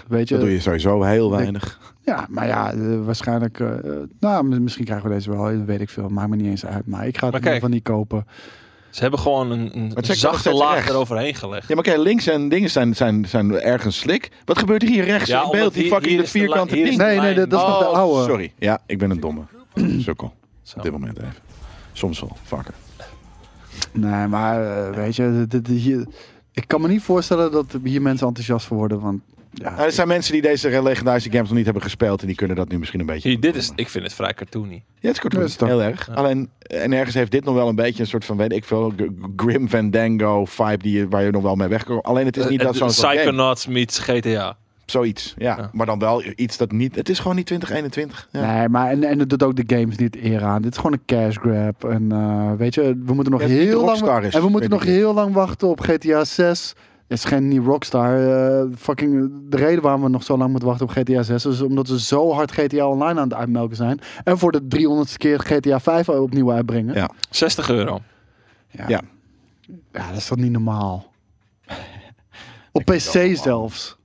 S2: Weet je?
S3: Dat doe je sowieso heel weinig.
S2: Ja, maar ja, eh, waarschijnlijk. eh, eh, nou, mi- misschien krijgen we deze wel. Dat weet ik veel. Maakt me niet eens uit. Maar ik ga het
S1: Maar
S2: in ieder
S1: kijk.
S2: geval niet kopen.
S1: Ze hebben gewoon een, een
S3: check dat
S1: zachte
S3: het
S1: laag
S3: rechts.
S1: eroverheen gelegd.
S3: Ja, maar kijk, links en dingen zijn, zijn, zijn ergens slik. Wat gebeurt er hier rechts
S1: Ja,
S3: in
S1: omdat
S3: beeld? Die
S1: hier-
S3: fucking
S1: hier
S3: dat
S1: is de la-
S3: vierkante
S1: hier is
S3: ding.
S1: de
S2: Nee, nee, dat, dat is
S1: lijn. Oh,
S2: nog de oude.
S3: Sorry. Ja, ik ben een domme. Sukkel.
S1: Zo.
S3: Op dit moment even. Soms wel, vaker.
S2: Nee, maar eh, weet je, dit, dit- hier, ik kan me niet voorstellen dat hier mensen enthousiast voor worden. Want ja,
S3: Nou, er zijn mensen die deze legendarische games nog niet hebben gespeeld. En die kunnen dat nu misschien een beetje...
S1: Zie je, dit is, ik vind het vrij cartoony.
S3: Ja, het is
S2: Ja,
S3: cartoon.
S2: is dat.
S3: Heel erg.
S1: Ja.
S3: Alleen, eh, en ergens heeft dit nog wel een beetje een soort van, weet ik veel, g- Grim Fandango vibe die, je- waar je nog wel mee weg kan. Alleen het is niet
S1: Eh,
S3: dat
S1: eh,
S3: zo'n soort game.
S1: Psychonauts meets GTA.
S3: Zoiets, ja.
S1: Ja.
S3: Maar dan wel iets dat niet... Het is gewoon niet 2021. Ja.
S2: Nee, maar en, en het doet ook de games niet eer aan. Dit is gewoon een cash grab. En eh, weet je, we moeten nog
S3: Ja, het is niet
S2: heel lang.
S3: Rockstar is,
S2: en we moeten
S3: vind
S2: nog
S3: ik.
S2: heel lang wachten op GTA 6. Het is geen nieuw Rockstar. eh, fucking de reden waarom we nog zo lang moeten wachten op GTA 6 is omdat ze zo hard GTA Online aan het uitmelken zijn. En voor de 300ste keer GTA 5 opnieuw uitbrengen.
S3: Ja.
S1: 60 euro.
S2: Ja.
S3: Ja.
S2: Ja, dat is toch niet normaal? op
S3: Ik vind
S2: PC
S3: het wel normaal.
S2: zelfs.
S1: Ja.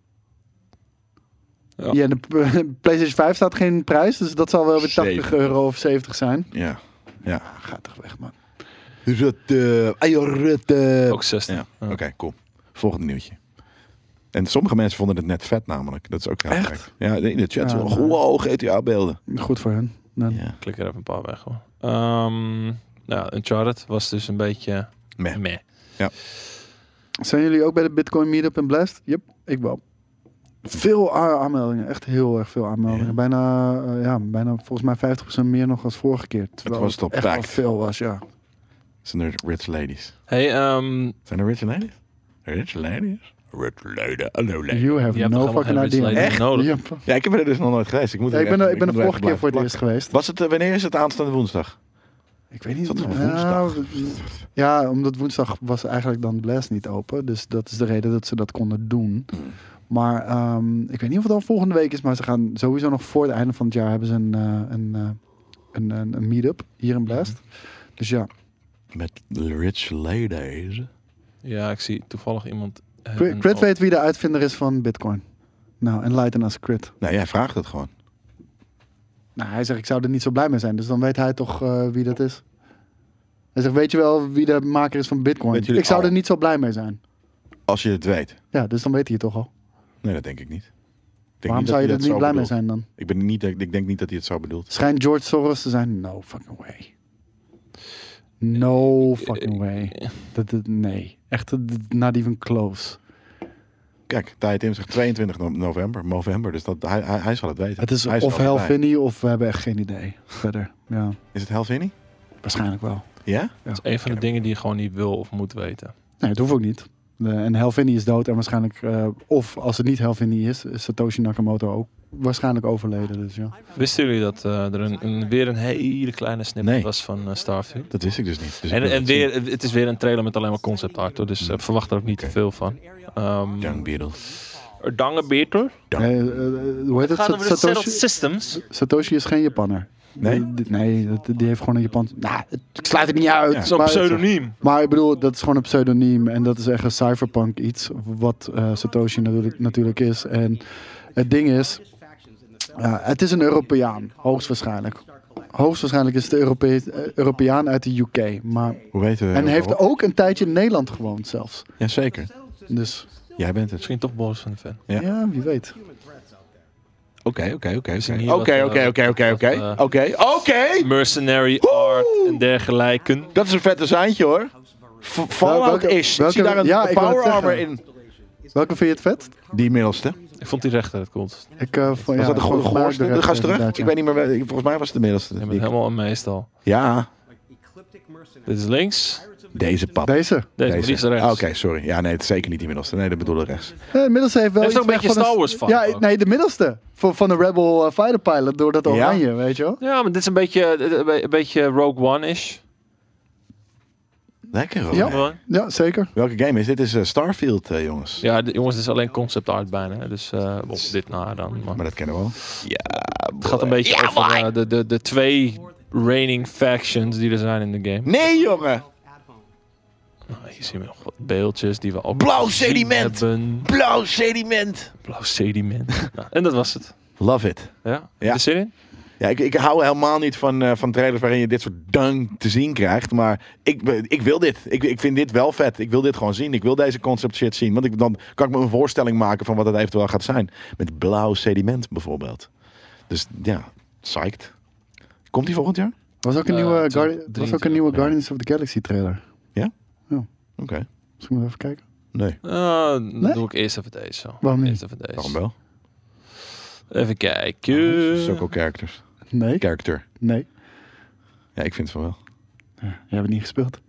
S2: Ja, en de p- PlayStation 5 staat geen prijs, dus dat zal wel weer 80
S3: Zeven.
S2: euro of 70 zijn.
S3: ja.
S2: Ah, Ga toch weg, man.
S3: Dus dat... eh, ah, joh, dat, eh.
S1: Ook 60.
S3: Ja,
S1: Ja.
S3: oké, cool. Volgende nieuwtje. En sommige mensen vonden het net vet namelijk. Dat is ook heel
S2: Echt?
S3: gek. Ja, in de chat.
S2: Ja,
S3: zo,
S2: maar-
S3: wow, GTA-beelden.
S2: Goed voor hun. Dan.
S3: Ja.
S1: Klik er even een paar weg hoor. Ehm nou, Uncharted was dus een beetje
S3: Meh.
S1: meh.
S2: Zijn jullie ook bij de Bitcoin Meetup in Blast? Yep, ik wel. Veel a- aanmeldingen, echt heel erg veel aanmeldingen.
S3: Ja.
S2: Bijna, eh, ja, bijna volgens mij 50% meer nog als vorige keer. Terwijl
S3: was
S2: het
S3: toch
S2: echt wel
S3: packed.
S2: veel was, ja.
S3: Zijn er rich ladies?
S1: Hey, ehm
S3: Zijn er rich ladies? Rich ladies? Rich ladies. Hallo ladies.
S2: You have
S1: je hebt
S2: no
S1: nog helemaal
S2: fucking
S1: geen rich
S2: idea.
S1: lady nodig.
S2: Yep.
S3: Ja, ik heb er dus nog nooit geweest. Ik, moet
S2: Ja,
S3: er
S2: ik ben
S3: even-
S2: er, ik ben er
S3: moet
S2: vorige
S3: even
S2: keer voor het
S3: blijven
S2: eerst geweest.
S3: plakken. Was het, eh, wanneer is het aanstaande woensdag?
S2: Ik weet niet. Nou,
S3: Is dat een
S2: ja,
S3: woensdag?
S2: ja, omdat woensdag was eigenlijk dan Blast niet open. Dus dat is de reden dat ze dat konden doen. Maar ehm, ik weet niet of het al volgende week is. Maar ze gaan sowieso nog voor het einde van het jaar hebben ze een, eh, een, eh, een, een, een meet-up hier in Blast. Dus ja,
S3: Met rich ladies.
S1: ja, ik zie toevallig iemand. eh,
S2: Crit,
S1: een-
S2: Crit weet wie de uitvinder is van Bitcoin. Nou, enlighten us, Crit.
S3: Nou, jij vraagt het gewoon.
S2: Nou, hij zegt, ik zou er niet zo blij mee zijn. Dus dan weet hij toch eh, wie dat is. Hij zegt, weet je wel wie de maker is van
S3: Weet
S2: Bitcoin?
S3: jullie
S2: Ik zou
S3: al?
S2: er niet zo blij mee zijn.
S3: Als je het weet.
S2: Ja, dus dan weet hij het toch al.
S3: Nee, dat denk ik niet. Ik denk
S2: Waarom
S3: niet dat hij
S2: zou je er
S3: dat
S2: niet
S3: zo
S2: blij mee
S3: bedoelt.
S2: zijn dan?
S3: Ik, ben niet, ik denk niet dat hij het zo bedoelt.
S2: Schijnt George Soros te zijn? No fucking way. No fucking way. Dat, dat- nee. Echt, dat- dat- not even close.
S3: Kijk, Tijd Tim zegt 22 no- november, november, dus dat, hij, hij, hij zal het weten.
S2: Het is
S3: Hij
S2: of
S3: er bij.
S2: Helvini of we hebben echt geen idee. Verder, ja.
S3: Is het Helvini?
S2: Waarschijnlijk wel.
S3: Ja?
S1: Dat is een van de dingen die je gewoon niet wil of moet weten.
S2: Nee, het hoeft ook niet. De- en Helvini is dood en waarschijnlijk... eh, of als het niet Helvini is, is Satoshi Nakamoto ook waarschijnlijk overleden. Dus ja.
S1: Wisten jullie dat eh, er een, een- weer een hele kleine snippet
S3: Nee.
S1: was van eh, Starfield?
S3: Dat wist ik dus niet. Dus ik
S1: En,
S3: wil
S1: en
S3: het zien.
S1: weer, het is weer een trailer met alleen maar concept art, hoor, dus eh, verwacht er ook niet
S3: Hmm. Oké.
S1: te veel van. Ehm
S3: Young Beetle.
S1: Beter.
S3: Ja.
S2: Eh, eh, hoe heet het?
S1: Gaat over de Settled
S2: Satoshi,
S1: Systems.
S2: Satoshi is geen Japanner.
S3: Nee?
S2: Die, die- nee, dat- die heeft gewoon een Japan... Nou, het- ik sluit het niet uit.
S3: Ja.
S1: Zo'n
S2: maar-
S1: pseudoniem.
S2: Maar ik bedoel, dat is gewoon een pseudoniem. En dat is echt een cyberpunk iets. Wat eh, Satoshi natuurlijk, natuurlijk is. En het ding is, ja, het is een Europeaan. Hoogstwaarschijnlijk. Hoogstwaarschijnlijk is het een Europe eh, Europeaan uit de UK. Maar,
S3: Hoe weten we?
S2: en heeft
S3: Rob?
S2: ook een tijdje in Nederland gewoond zelfs.
S3: Jazeker.
S2: Dus
S3: Jij bent het.
S1: Misschien toch Boris van de Ven.
S3: Ja.
S2: ja, wie weet.
S3: Oké, oké, oké.
S1: zien
S3: oké.
S1: hier
S3: Oké,
S1: wat,
S3: oké,
S1: eh,
S3: oké, oké,
S1: wat,
S3: oké.
S1: eh,
S3: Oké, oké.
S1: Mercenary art en dergelijke.
S3: Dat is een vette seintje hoor. V- Fallout
S2: welke-
S3: is. Ik
S2: welke-
S3: zie daar een
S2: ja, ik wou
S3: power
S2: het
S3: armor in.
S2: zeggen. Welke vind je het vet?
S3: Die middelste.
S1: Ik vond die rechter het coolst.
S2: Ik, eh vond-
S3: Was
S2: ja,
S3: dat de gewoon
S2: volgens mij ook
S3: goorste?
S2: rest
S3: Ga eens terug.
S2: inderdaad,
S3: Ik
S2: ja.
S3: weet niet meer. wel- ik- Volgens mij was het de middelste.
S1: Je
S3: die
S1: bent
S3: ik-
S1: helemaal een meestal.
S3: Ja,
S1: Dit is links.
S3: deze pap.
S2: Deze.
S1: Deze, maar die is rechts.
S3: Ah, Oké, sorry. Ja, nee, het is zeker niet die middelste. Nee, dat bedoelde rechts.
S2: Eh, De middelste heeft wel
S1: Er is
S2: iets
S1: ook een
S2: weg
S1: beetje
S2: van
S1: Star Wars van.
S2: Ja,
S1: ook.
S2: nee, de middelste. Van, van de Rebel eh, Fighter Pilot door dat
S3: Ja.
S2: oranje, weet je wel.
S1: Ja, maar dit is een beetje, eh, een beetje Rogue One-ish.
S3: Lekker hoor.
S2: Ja. Ja, zeker.
S3: Welke game is dit? Dit is eh, Starfield, eh, jongens.
S1: Ja, dit- jongens, dit is alleen concept art bijna. hè. Dus eh, op dit na dan. Maar
S3: Maar dat kennen we al.
S1: het gaat een beetje over eh, de, de, de twee reigning factions die er zijn in de game.
S3: Nee, jongen.
S1: Nou, hier zien we nog wat beeldjes die we al
S3: Hm. Blauw
S1: gezien
S3: sediment.
S1: hebben.
S3: Blauw sediment.
S1: Blauw sediment. Nou, en dat was het.
S3: Love it.
S1: Ja?
S3: Ja.
S1: ja. De zin in?
S3: Ja, ik, ik hou helemaal niet van, eh, van trailers waarin je dit soort dang te zien krijgt. Maar ik, be- ik wil dit. Ik, ik vind dit wel vet. Ik wil dit gewoon zien. Ik wil deze concept shit zien. Want ik, dan kan ik me een voorstelling maken van wat het eventueel gaat zijn. Met blauw sediment bijvoorbeeld. Dus ja, psyched. Komt die volgend jaar?
S2: Was ook een
S1: Eh,
S2: nieuwe,
S1: tot
S2: Guardi- was ook
S1: 23,
S2: een nieuwe
S1: ja.
S2: Guardians of the Galaxy trailer.
S3: Oké.
S2: Misschien moeten we even kijken.
S3: Nee.
S1: Eh, dan doe ik eerst even deze. zo.
S2: Waarom niet?
S1: Eerst even deze.
S3: Waarom wel?
S1: Even kijken.
S3: Sukkel characters.
S2: Nee,
S3: Character.
S2: nee.
S3: Ja, ik vind het van wel.
S2: Jij hebt het niet gespeeld.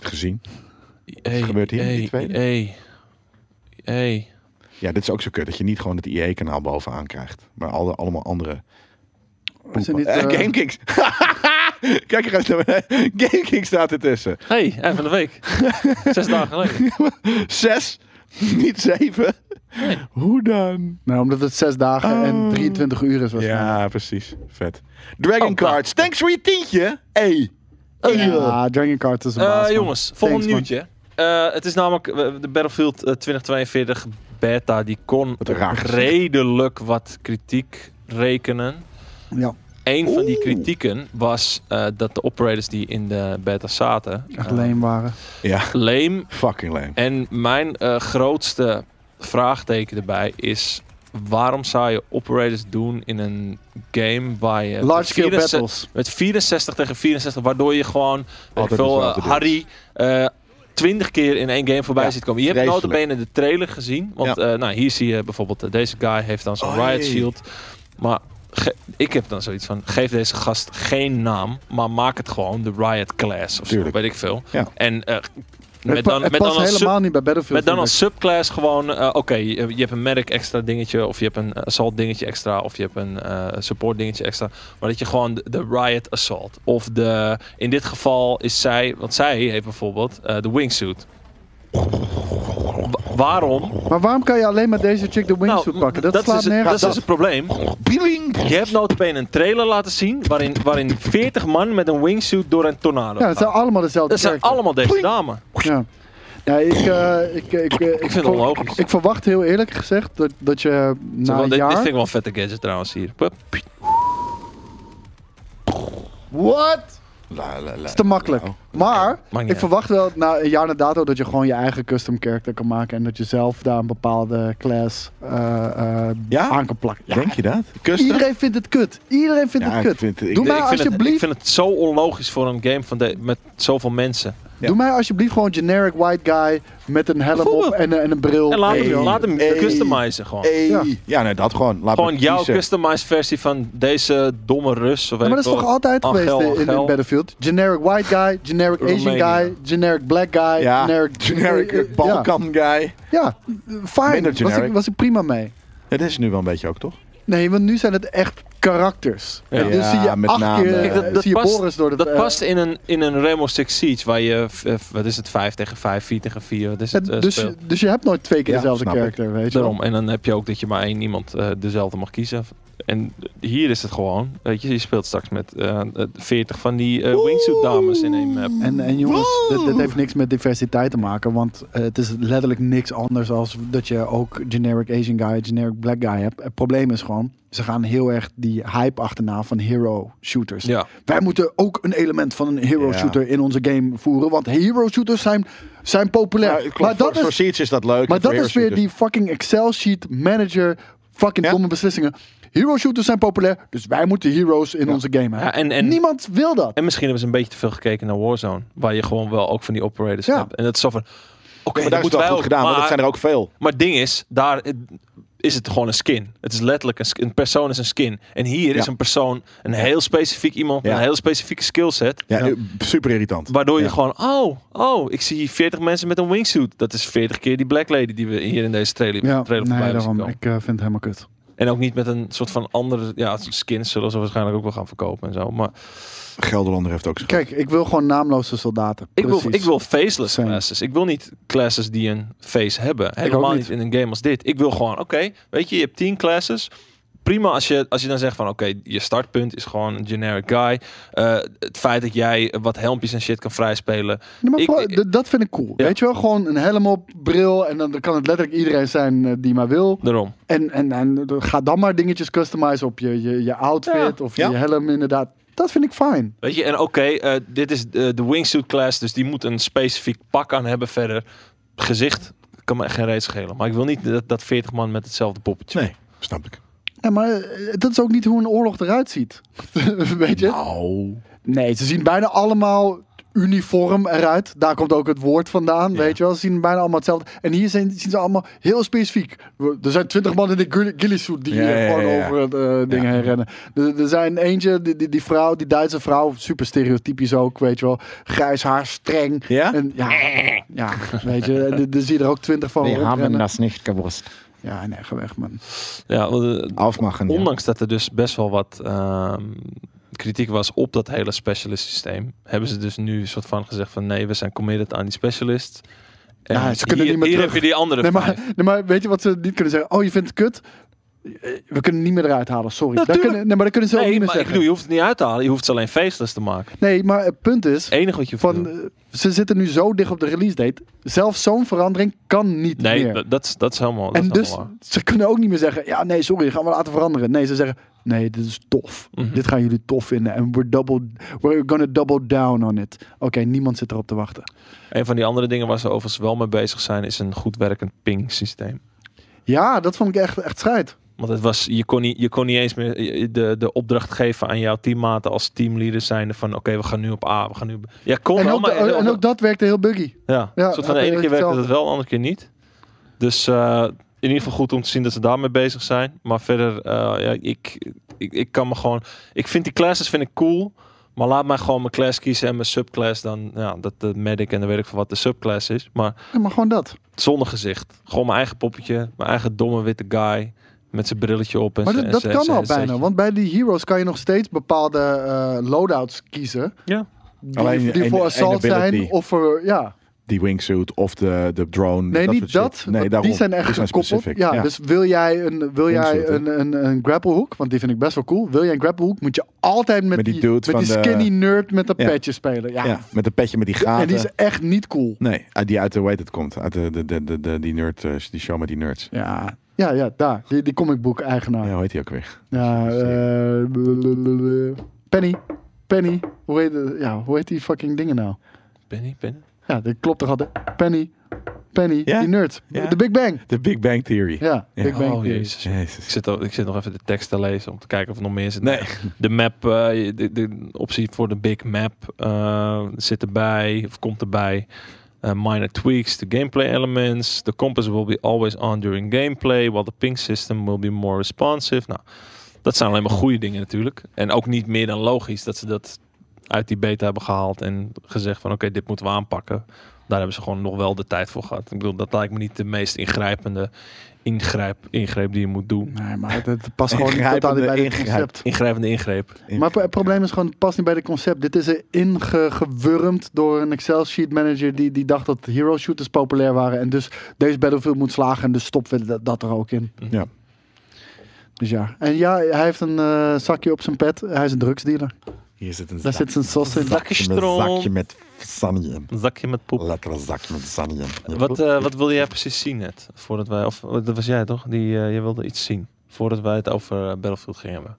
S3: Gezien.
S1: Hey,
S3: gebeurt hier, die tweede?
S1: Hey, hey.
S3: Ja, dit is ook zo kut dat je niet gewoon het IE-kanaal bovenaan krijgt. Maar alle, allemaal andere.
S2: Is er niet,
S3: Eh,
S2: eh,
S3: Gamekicks. Kijk, er gaat naar beneden. Gamekicks staat ertussen.
S1: Hey, eind van de week. Zes dagen geleden.
S3: Zes, niet zeven. Hoe dan?
S2: nou, omdat het zes dagen en
S3: Oh.
S2: 23 uur is waarschijnlijk.
S3: Ja, precies. Vet. Dragon
S1: Oh,
S3: Cards. Thanks voor je tientje. Hey. Oh,
S2: Oh, Ja, Dragon Card is een baas,
S1: Eh,
S2: man.
S1: jongens, volgend
S2: Thanks, man.
S1: nieuwtje. Eh, het is namelijk eh, de Battlefield eh, 2042 beta. Die kon
S3: Wat een raar gezicht.
S1: redelijk wat kritiek rekenen.
S2: Ja,
S1: Een van die
S3: Oeh.
S1: kritieken was eh, dat de operators die in de beta zaten...
S2: echt
S1: eh,
S2: leem waren.
S3: Ja,
S1: leem
S3: fucking lame.
S1: En mijn eh, grootste vraagteken erbij is... waarom zou je operators doen in een game waar je...
S2: Large scale
S1: 64
S2: battles.
S1: Met 64 tegen 64, waardoor je gewoon... Weet ik
S3: Altijd
S1: veel,
S3: dezelfde
S1: eh, Harry... eh 20 keer in één game voorbij
S3: Ja,
S1: ziet komen. Je hebt
S3: vreselijk.
S1: notabene de trailer gezien. Want eh, nou, hier zie je bijvoorbeeld... eh, deze guy heeft dan zo'n
S3: Oh,
S1: riot
S3: jee.
S1: shield. Maar ge- ik heb dan zoiets van... geef deze gast geen naam... maar maak het gewoon de riot class of zo.
S3: Tuurlijk.
S1: Weet ik veel.
S3: Ja.
S1: En eh,
S2: het
S1: met
S2: pa-
S1: dan,
S2: het
S1: met
S2: past
S1: dan een sub-
S2: helemaal niet bij Battlefield.
S1: met dan
S2: vind
S1: als subclass gewoon, eh, oké, je, je hebt een medic extra dingetje, of je hebt een eh, assault dingetje extra, of je hebt een eh, support dingetje extra. Maar dat je gewoon de, de riot assault, of de, in dit geval is zij, want zij heeft bijvoorbeeld eh, de wingsuit. Wa- waarom?
S2: ik. Maar waarom kan je alleen maar deze chick de wingsuit
S1: Nou,
S2: pakken? Dat, slaat
S1: is het,
S2: nergens
S1: dat is
S2: op.
S1: het probleem. Je hebt notabene een trailer laten zien, waarin, waarin 40 man met een wingsuit door een tornado
S2: Ja, het zijn
S1: gaan.
S2: allemaal dezelfde
S1: Dat zijn
S2: characters.
S1: allemaal deze dames.
S2: Ja. Ja, ik, eh, ik, ik, eh, ik,
S1: Ik vind het
S2: ver-
S1: onlogisch.
S2: ik verwacht heel eerlijk gezegd dat, dat je
S1: Zo,
S2: na
S1: want dit,
S2: een
S1: dit vind
S2: jaar...
S1: ik wel een vette gadget trouwens hier. Pup.
S2: What?
S3: La, la, la,
S2: is te makkelijk.
S3: la.
S2: Maar
S1: Maakt niet
S2: ik
S1: uit.
S2: verwacht wel na een jaar na dato dat je gewoon je eigen custom character kan maken. En dat je zelf daar een bepaalde class eh, eh,
S3: Ja?
S2: aan kan plakken. Ja,
S3: Denk je dat? Custom?
S2: Iedereen vindt het kut. Iedereen vindt
S3: Ja,
S2: het
S3: ik
S2: kut.
S3: vind het- ik-
S2: Doe
S3: ik
S2: mij
S3: vind
S1: ik, vind het,
S2: alsjeblieft
S1: ik vind het zo onlogisch voor een game van de, met zoveel mensen.
S3: Ja.
S2: Doe mij alsjeblieft gewoon generic white guy met een helm op
S1: Bijvoorbeeld.
S2: en, een- en een bril.
S1: En laat
S2: Oh, Hey.
S1: hem, laat hem
S3: hey.
S1: customizen gewoon.
S3: Hey.
S2: Ja.
S3: Ja. nee, dat gewoon. Laat
S1: Gewoon
S3: me
S1: jouw
S3: kiezen.
S1: customized versie van deze domme Rus. Of
S2: Ja,
S1: weet
S2: maar dat is
S1: ik
S2: toch
S1: wat.
S2: altijd
S1: Angel,
S2: geweest in- in, in
S1: Angel.
S2: Battlefield? Generic white guy, generic Asian
S1: Roemenië.
S2: guy, generic black guy,
S3: Ja,
S2: generic...
S3: generic,
S2: eh, eh,
S3: Balkan guy.
S2: Ja, ja fine.
S3: Minder
S2: Was ik,
S3: generic.
S2: was ik prima mee.
S3: Dat is nu wel een beetje ook, toch?
S2: Nee, want nu zijn het echt karakters.
S1: Ja.
S2: dus zie je
S3: Ja, met
S2: acht
S3: name.
S2: keer
S3: Kijk, dat-
S2: eh,
S1: dat
S2: zie je
S1: past-
S2: Boris door de...
S1: Dat
S2: eh,
S1: past in een, in een Rainbow Six Siege waar je, eh, f- wat is het, 5 tegen 5, 4 tegen 4, wat is
S2: het-
S1: het, eh,
S2: dus,
S1: speelt.
S2: dus je hebt nooit twee keer
S3: Ja,
S2: dezelfde
S3: snap ik.
S2: karakter, weet je wel.
S1: Daarom. En dan heb je ook dat je maar één iemand eh, dezelfde mag kiezen. En hier is het gewoon, weet je, je speelt straks met eh, eh, 40 van die eh, wingsuit dames in één map.
S2: En, en jongens, dit,
S3: Wow.
S2: dit heeft niks met diversiteit te maken, want eh, het is letterlijk niks anders dan dat je ook generic Asian guy, generic black guy hebt. Het probleem is gewoon, ze gaan heel erg die hype achterna van hero shooters.
S1: Ja.
S2: Wij moeten ook een element van een hero
S3: Ja.
S2: shooter in onze game voeren, want hero shooters zijn, zijn populair.
S3: Maar,
S2: maar
S3: klopt,
S2: dat
S3: voor,
S2: is
S3: voor Siege is dus- dat leuk.
S2: maar
S3: en voor
S2: dat is weer
S3: Heroes
S2: die fucking Excel sheet manager fucking
S3: Ja.
S2: domme beslissingen. Hero shooters zijn populair, dus wij moeten heroes in onze game hebben.
S1: Ja, en- en-
S2: Niemand wil dat.
S1: En misschien hebben ze een beetje te veel gekeken naar Warzone, waar je gewoon wel ook van die operators
S2: Ja.
S1: hebt. En dat is zo van, oké,
S3: shooters. Maar
S1: dat
S3: daar is
S1: moeten wij
S3: het wel goed
S1: ook.
S3: gedaan, want dat zijn er ook veel.
S1: Maar het ding is, daar eh, is het gewoon een skin. Het is letterlijk een, skin. een persoon is een skin. En hier is
S3: Ja.
S1: een persoon, een heel specifiek iemand met
S3: Ja.
S1: een heel specifieke skillset.
S3: Ja, eh, super irritant.
S1: Waardoor je
S3: Ja.
S1: gewoon, oh, oh, ik zie hier 40 mensen met een wingsuit. Dat is 40 keer die Black Lady die we hier in deze trailer,
S2: Ja,
S1: trailer voorbij
S2: nee,
S1: hebben zien komen.
S2: daarom. Ik eh, vind het helemaal kut.
S1: En ook niet met een soort van andere, ja, skins zullen ze waarschijnlijk ook wel gaan verkopen en zo. Maar
S3: Gelderlander heeft ook zijn
S2: Kijk, ik wil gewoon naamloze soldaten.
S1: ik wil,
S2: Precies.
S1: ik wil faceless
S2: Same.
S1: classes. Ik wil niet classes die een face hebben. Helemaal
S2: niet.
S1: niet. in een game als dit. Ik wil gewoon, oké, weet je, je hebt 10 classes. Prima als je, als je dan zegt van oké, je startpunt is gewoon een generic guy. Eh, het feit dat jij wat helmpjes en shit kan vrijspelen.
S2: Nee, maar
S1: ik-
S2: vooral,
S1: ik-
S2: d- dat vind ik cool.
S1: Ja.
S2: Weet je wel, gewoon een helm op, bril. En dan kan het letterlijk iedereen zijn eh, die maar wil.
S1: Daarom.
S2: En, en, en ga dan maar dingetjes customizen op je, je, je outfit of
S3: Ja.
S2: je helm inderdaad. Dat vind ik fijn.
S1: Weet je, en oké, eh, dit is de, de wingsuit class, dus die moet een specifiek pak aan hebben verder. Gezicht kan me geen reet schelen. Maar ik wil niet dat, dat 40 man met hetzelfde poppetje.
S3: Nee, snap ik.
S2: Ja, maar eh, dat is ook niet hoe een oorlog eruit ziet. Weet je?
S3: Nou.
S2: Nee, ze zien bijna allemaal uniform eruit. Daar komt ook het woord vandaan, weet je wel. Ze zien bijna allemaal hetzelfde. En hier zijn, zien ze allemaal heel specifiek. We- Er zijn twintig man in de ghillie- ghillie suit die
S3: Ja,
S2: hier
S3: ja, ja,
S2: gewoon
S3: ja.
S2: over het eh, ding heen rennen. Er, er zijn eentje, die, die, die vrouw, die Duitse vrouw, super stereotypisch ook, weet je wel. Grijs haar, streng.
S3: Ja?
S2: En, ja, ja, weet je. En er- Er zie je er ook twintig van rondrennen.
S3: niet gewusst.
S2: Ja, nee, ga weg, man.
S1: Ja, want, eh,
S3: Afmachen. ja.
S1: Ondanks dat er dus best wel wat ehm, kritiek was op dat hele specialist systeem, hebben ze dus nu een soort van gezegd van nee, we zijn committed aan die specialist. En
S2: Ja, Nou, ze kunnen
S1: hier,
S2: niet meer
S1: hier
S2: terug.
S1: heb je die andere
S2: Nee maar,
S1: vijf.
S2: nee, maar weet je wat ze niet kunnen zeggen? Oh, je vindt het kut? Eh, We kunnen het niet meer eruit halen, sorry. Dat
S1: Natuurlijk.
S2: kunnen, nee, maar dat kunnen ze ook
S1: Nee,
S2: niet meer
S1: maar ik
S2: zeggen.
S1: bedoel, je hoeft het niet uit te halen. Je hoeft ze alleen faceless te maken.
S2: Nee, maar het punt is,
S1: Het enige wat je hoeft te
S2: van,
S1: doen.
S2: eh, ze zitten nu zo dicht op de release date. Zelfs zo'n verandering kan niet
S1: Nee,
S2: meer.
S1: dat, dat, is, dat is helemaal, dat
S2: eh, en
S1: is
S2: dus
S1: helemaal waar.
S2: ze kunnen ook niet meer zeggen, ja nee, sorry, gaan we laten veranderen. Nee, ze zeggen, nee, dit is tof.
S1: Mhm.
S2: Dit gaan jullie tof vinden. En we're, double, we're gonna double down on it. Oké, niemand zit erop te wachten.
S1: Een van die andere dingen waar ze overigens wel mee bezig zijn, is een goed werkend ping systeem.
S2: Ja, dat vond ik echt, echt strijd.
S1: Want het was, je, kon niet, je kon niet eens meer je- de, de opdracht geven aan jouw teammaten als teamleader zijnde van oké, we gaan nu op A, we gaan nu op B. Ja, kon
S2: En
S1: wel,
S2: ook,
S1: maar-
S2: da- en ook dat werkte heel buggy.
S1: Ja,
S2: Ja,
S1: een soort van de
S2: ja,
S1: ene keer werkte
S2: hetzelfde.
S1: het wel, de andere keer niet. Dus eh, in ieder geval goed om te zien dat ze daarmee bezig zijn. Maar verder, eh, ja, ik, ik, ik kan me gewoon... Ik vind die classes vind ik cool. Maar laat mij gewoon mijn class kiezen en mijn subclass dan... Ja, dat de medic en dan weet ik van wat de subclass is. Maar
S2: Ja, maar gewoon dat.
S1: zonder gezicht. Gewoon mijn eigen poppetje. Mijn eigen domme witte guy. Met zijn brilletje op. En
S2: Maar
S1: zijn-
S2: dat, dat
S1: zijn-
S2: kan
S1: zijn
S2: al
S1: headsetje.
S2: bijna. Want bij die heroes kan je nog steeds bepaalde eh, loadouts kiezen.
S1: Ja.
S2: Die,
S3: Alleen
S2: die
S3: een-
S2: voor
S3: een
S2: assault zijn
S3: ability.
S2: of voor... Ja.
S3: Die wingsuit of de, de drone.
S2: Nee, niet
S3: soort
S2: dat.
S3: shit.
S2: want
S3: daarom.
S2: die zijn echt gekoppeld.
S3: specific.
S2: Ja, Dus wil jij, een, wil jij
S3: Wingsuit,
S2: een, een, een grapplehoek, want die vind ik best wel cool. Wil jij een grapplehoek, moet je altijd met,
S3: Met die
S2: die,
S3: dude
S2: met die
S3: van de-
S2: skinny nerd met een
S3: Ja.
S2: petje spelen. Ja.
S3: Ja, met een petje met die gaten.
S2: En die is echt niet cool.
S3: Nee, uit die uit de, hoe heet het komt? Uit de, de, de, de, de- die, nerd, eh, die show met die nerds.
S2: Ja, ja, ja daar. Die, die comicboek-eigenaar.
S3: Ja,
S2: Ja.
S3: hoe heet die ook weer?
S2: eh, Penny. Penny, hoe heet, het- ja, hoe heet die fucking dingen nou?
S1: Penny, Penny.
S2: Ja, dat klopt toch altijd. Penny, Penny,
S3: Ja?
S2: die nerds.
S3: Ja.
S2: De Big Bang.
S3: De Big Bang Theory.
S2: Ja,
S3: Ja.
S2: Big Bang
S1: Oh,
S2: Theory.
S1: jezus.
S3: Jezus.
S1: Ik zit, al, ik zit nog even de tekst te lezen om te kijken of er nog meer zit.
S3: Nee.
S1: De map, eh, de, de optie voor de big map eh, zit erbij, of komt erbij. Eh, minor tweaks to gameplay elements. The compass will be always on during gameplay, while the ping system will be more responsive. Nou, dat zijn alleen maar goede dingen natuurlijk. En ook niet meer dan logisch dat ze dat uit die beta hebben gehaald en gezegd van oké, dit moeten we aanpakken. Daar hebben ze gewoon nog wel de tijd voor gehad. Ik bedoel, dat lijkt me niet de meest ingrijpende ingrijp, ingreep die je moet doen.
S2: Nee, maar het, het past gewoon niet totaal niet
S3: Ingrijpende
S2: bij het
S3: ingrijp.
S2: concept.
S1: Ingrijpende ingreep.
S2: Maar het pro- het probleem is gewoon, het past niet bij het concept. Dit is er ingewurmd door een Excel-sheet manager die, die dacht dat hero shooters populair waren. En dus deze Battlefield moet slagen en dus stoppen we dat, dat er ook in.
S3: Ja.
S2: Dus ja. En ja, hij heeft een eh, zakje op zijn pet. Hij is een drugsdealer.
S3: Hier zit een
S2: Daar
S3: zak-
S2: zit zijn sos in.
S1: Zakje
S3: zakje met,
S1: stroom.
S3: zakje met Sunny in.
S1: Een zakje met poep.
S3: Lekker een zakje met Sunny in.
S1: Wat, eh, wat wilde jij precies zien net? Voordat wij, of eh, dat was jij toch? Die, eh, je wilde iets zien. Voordat wij het over eh, Battlefield gingen hebben.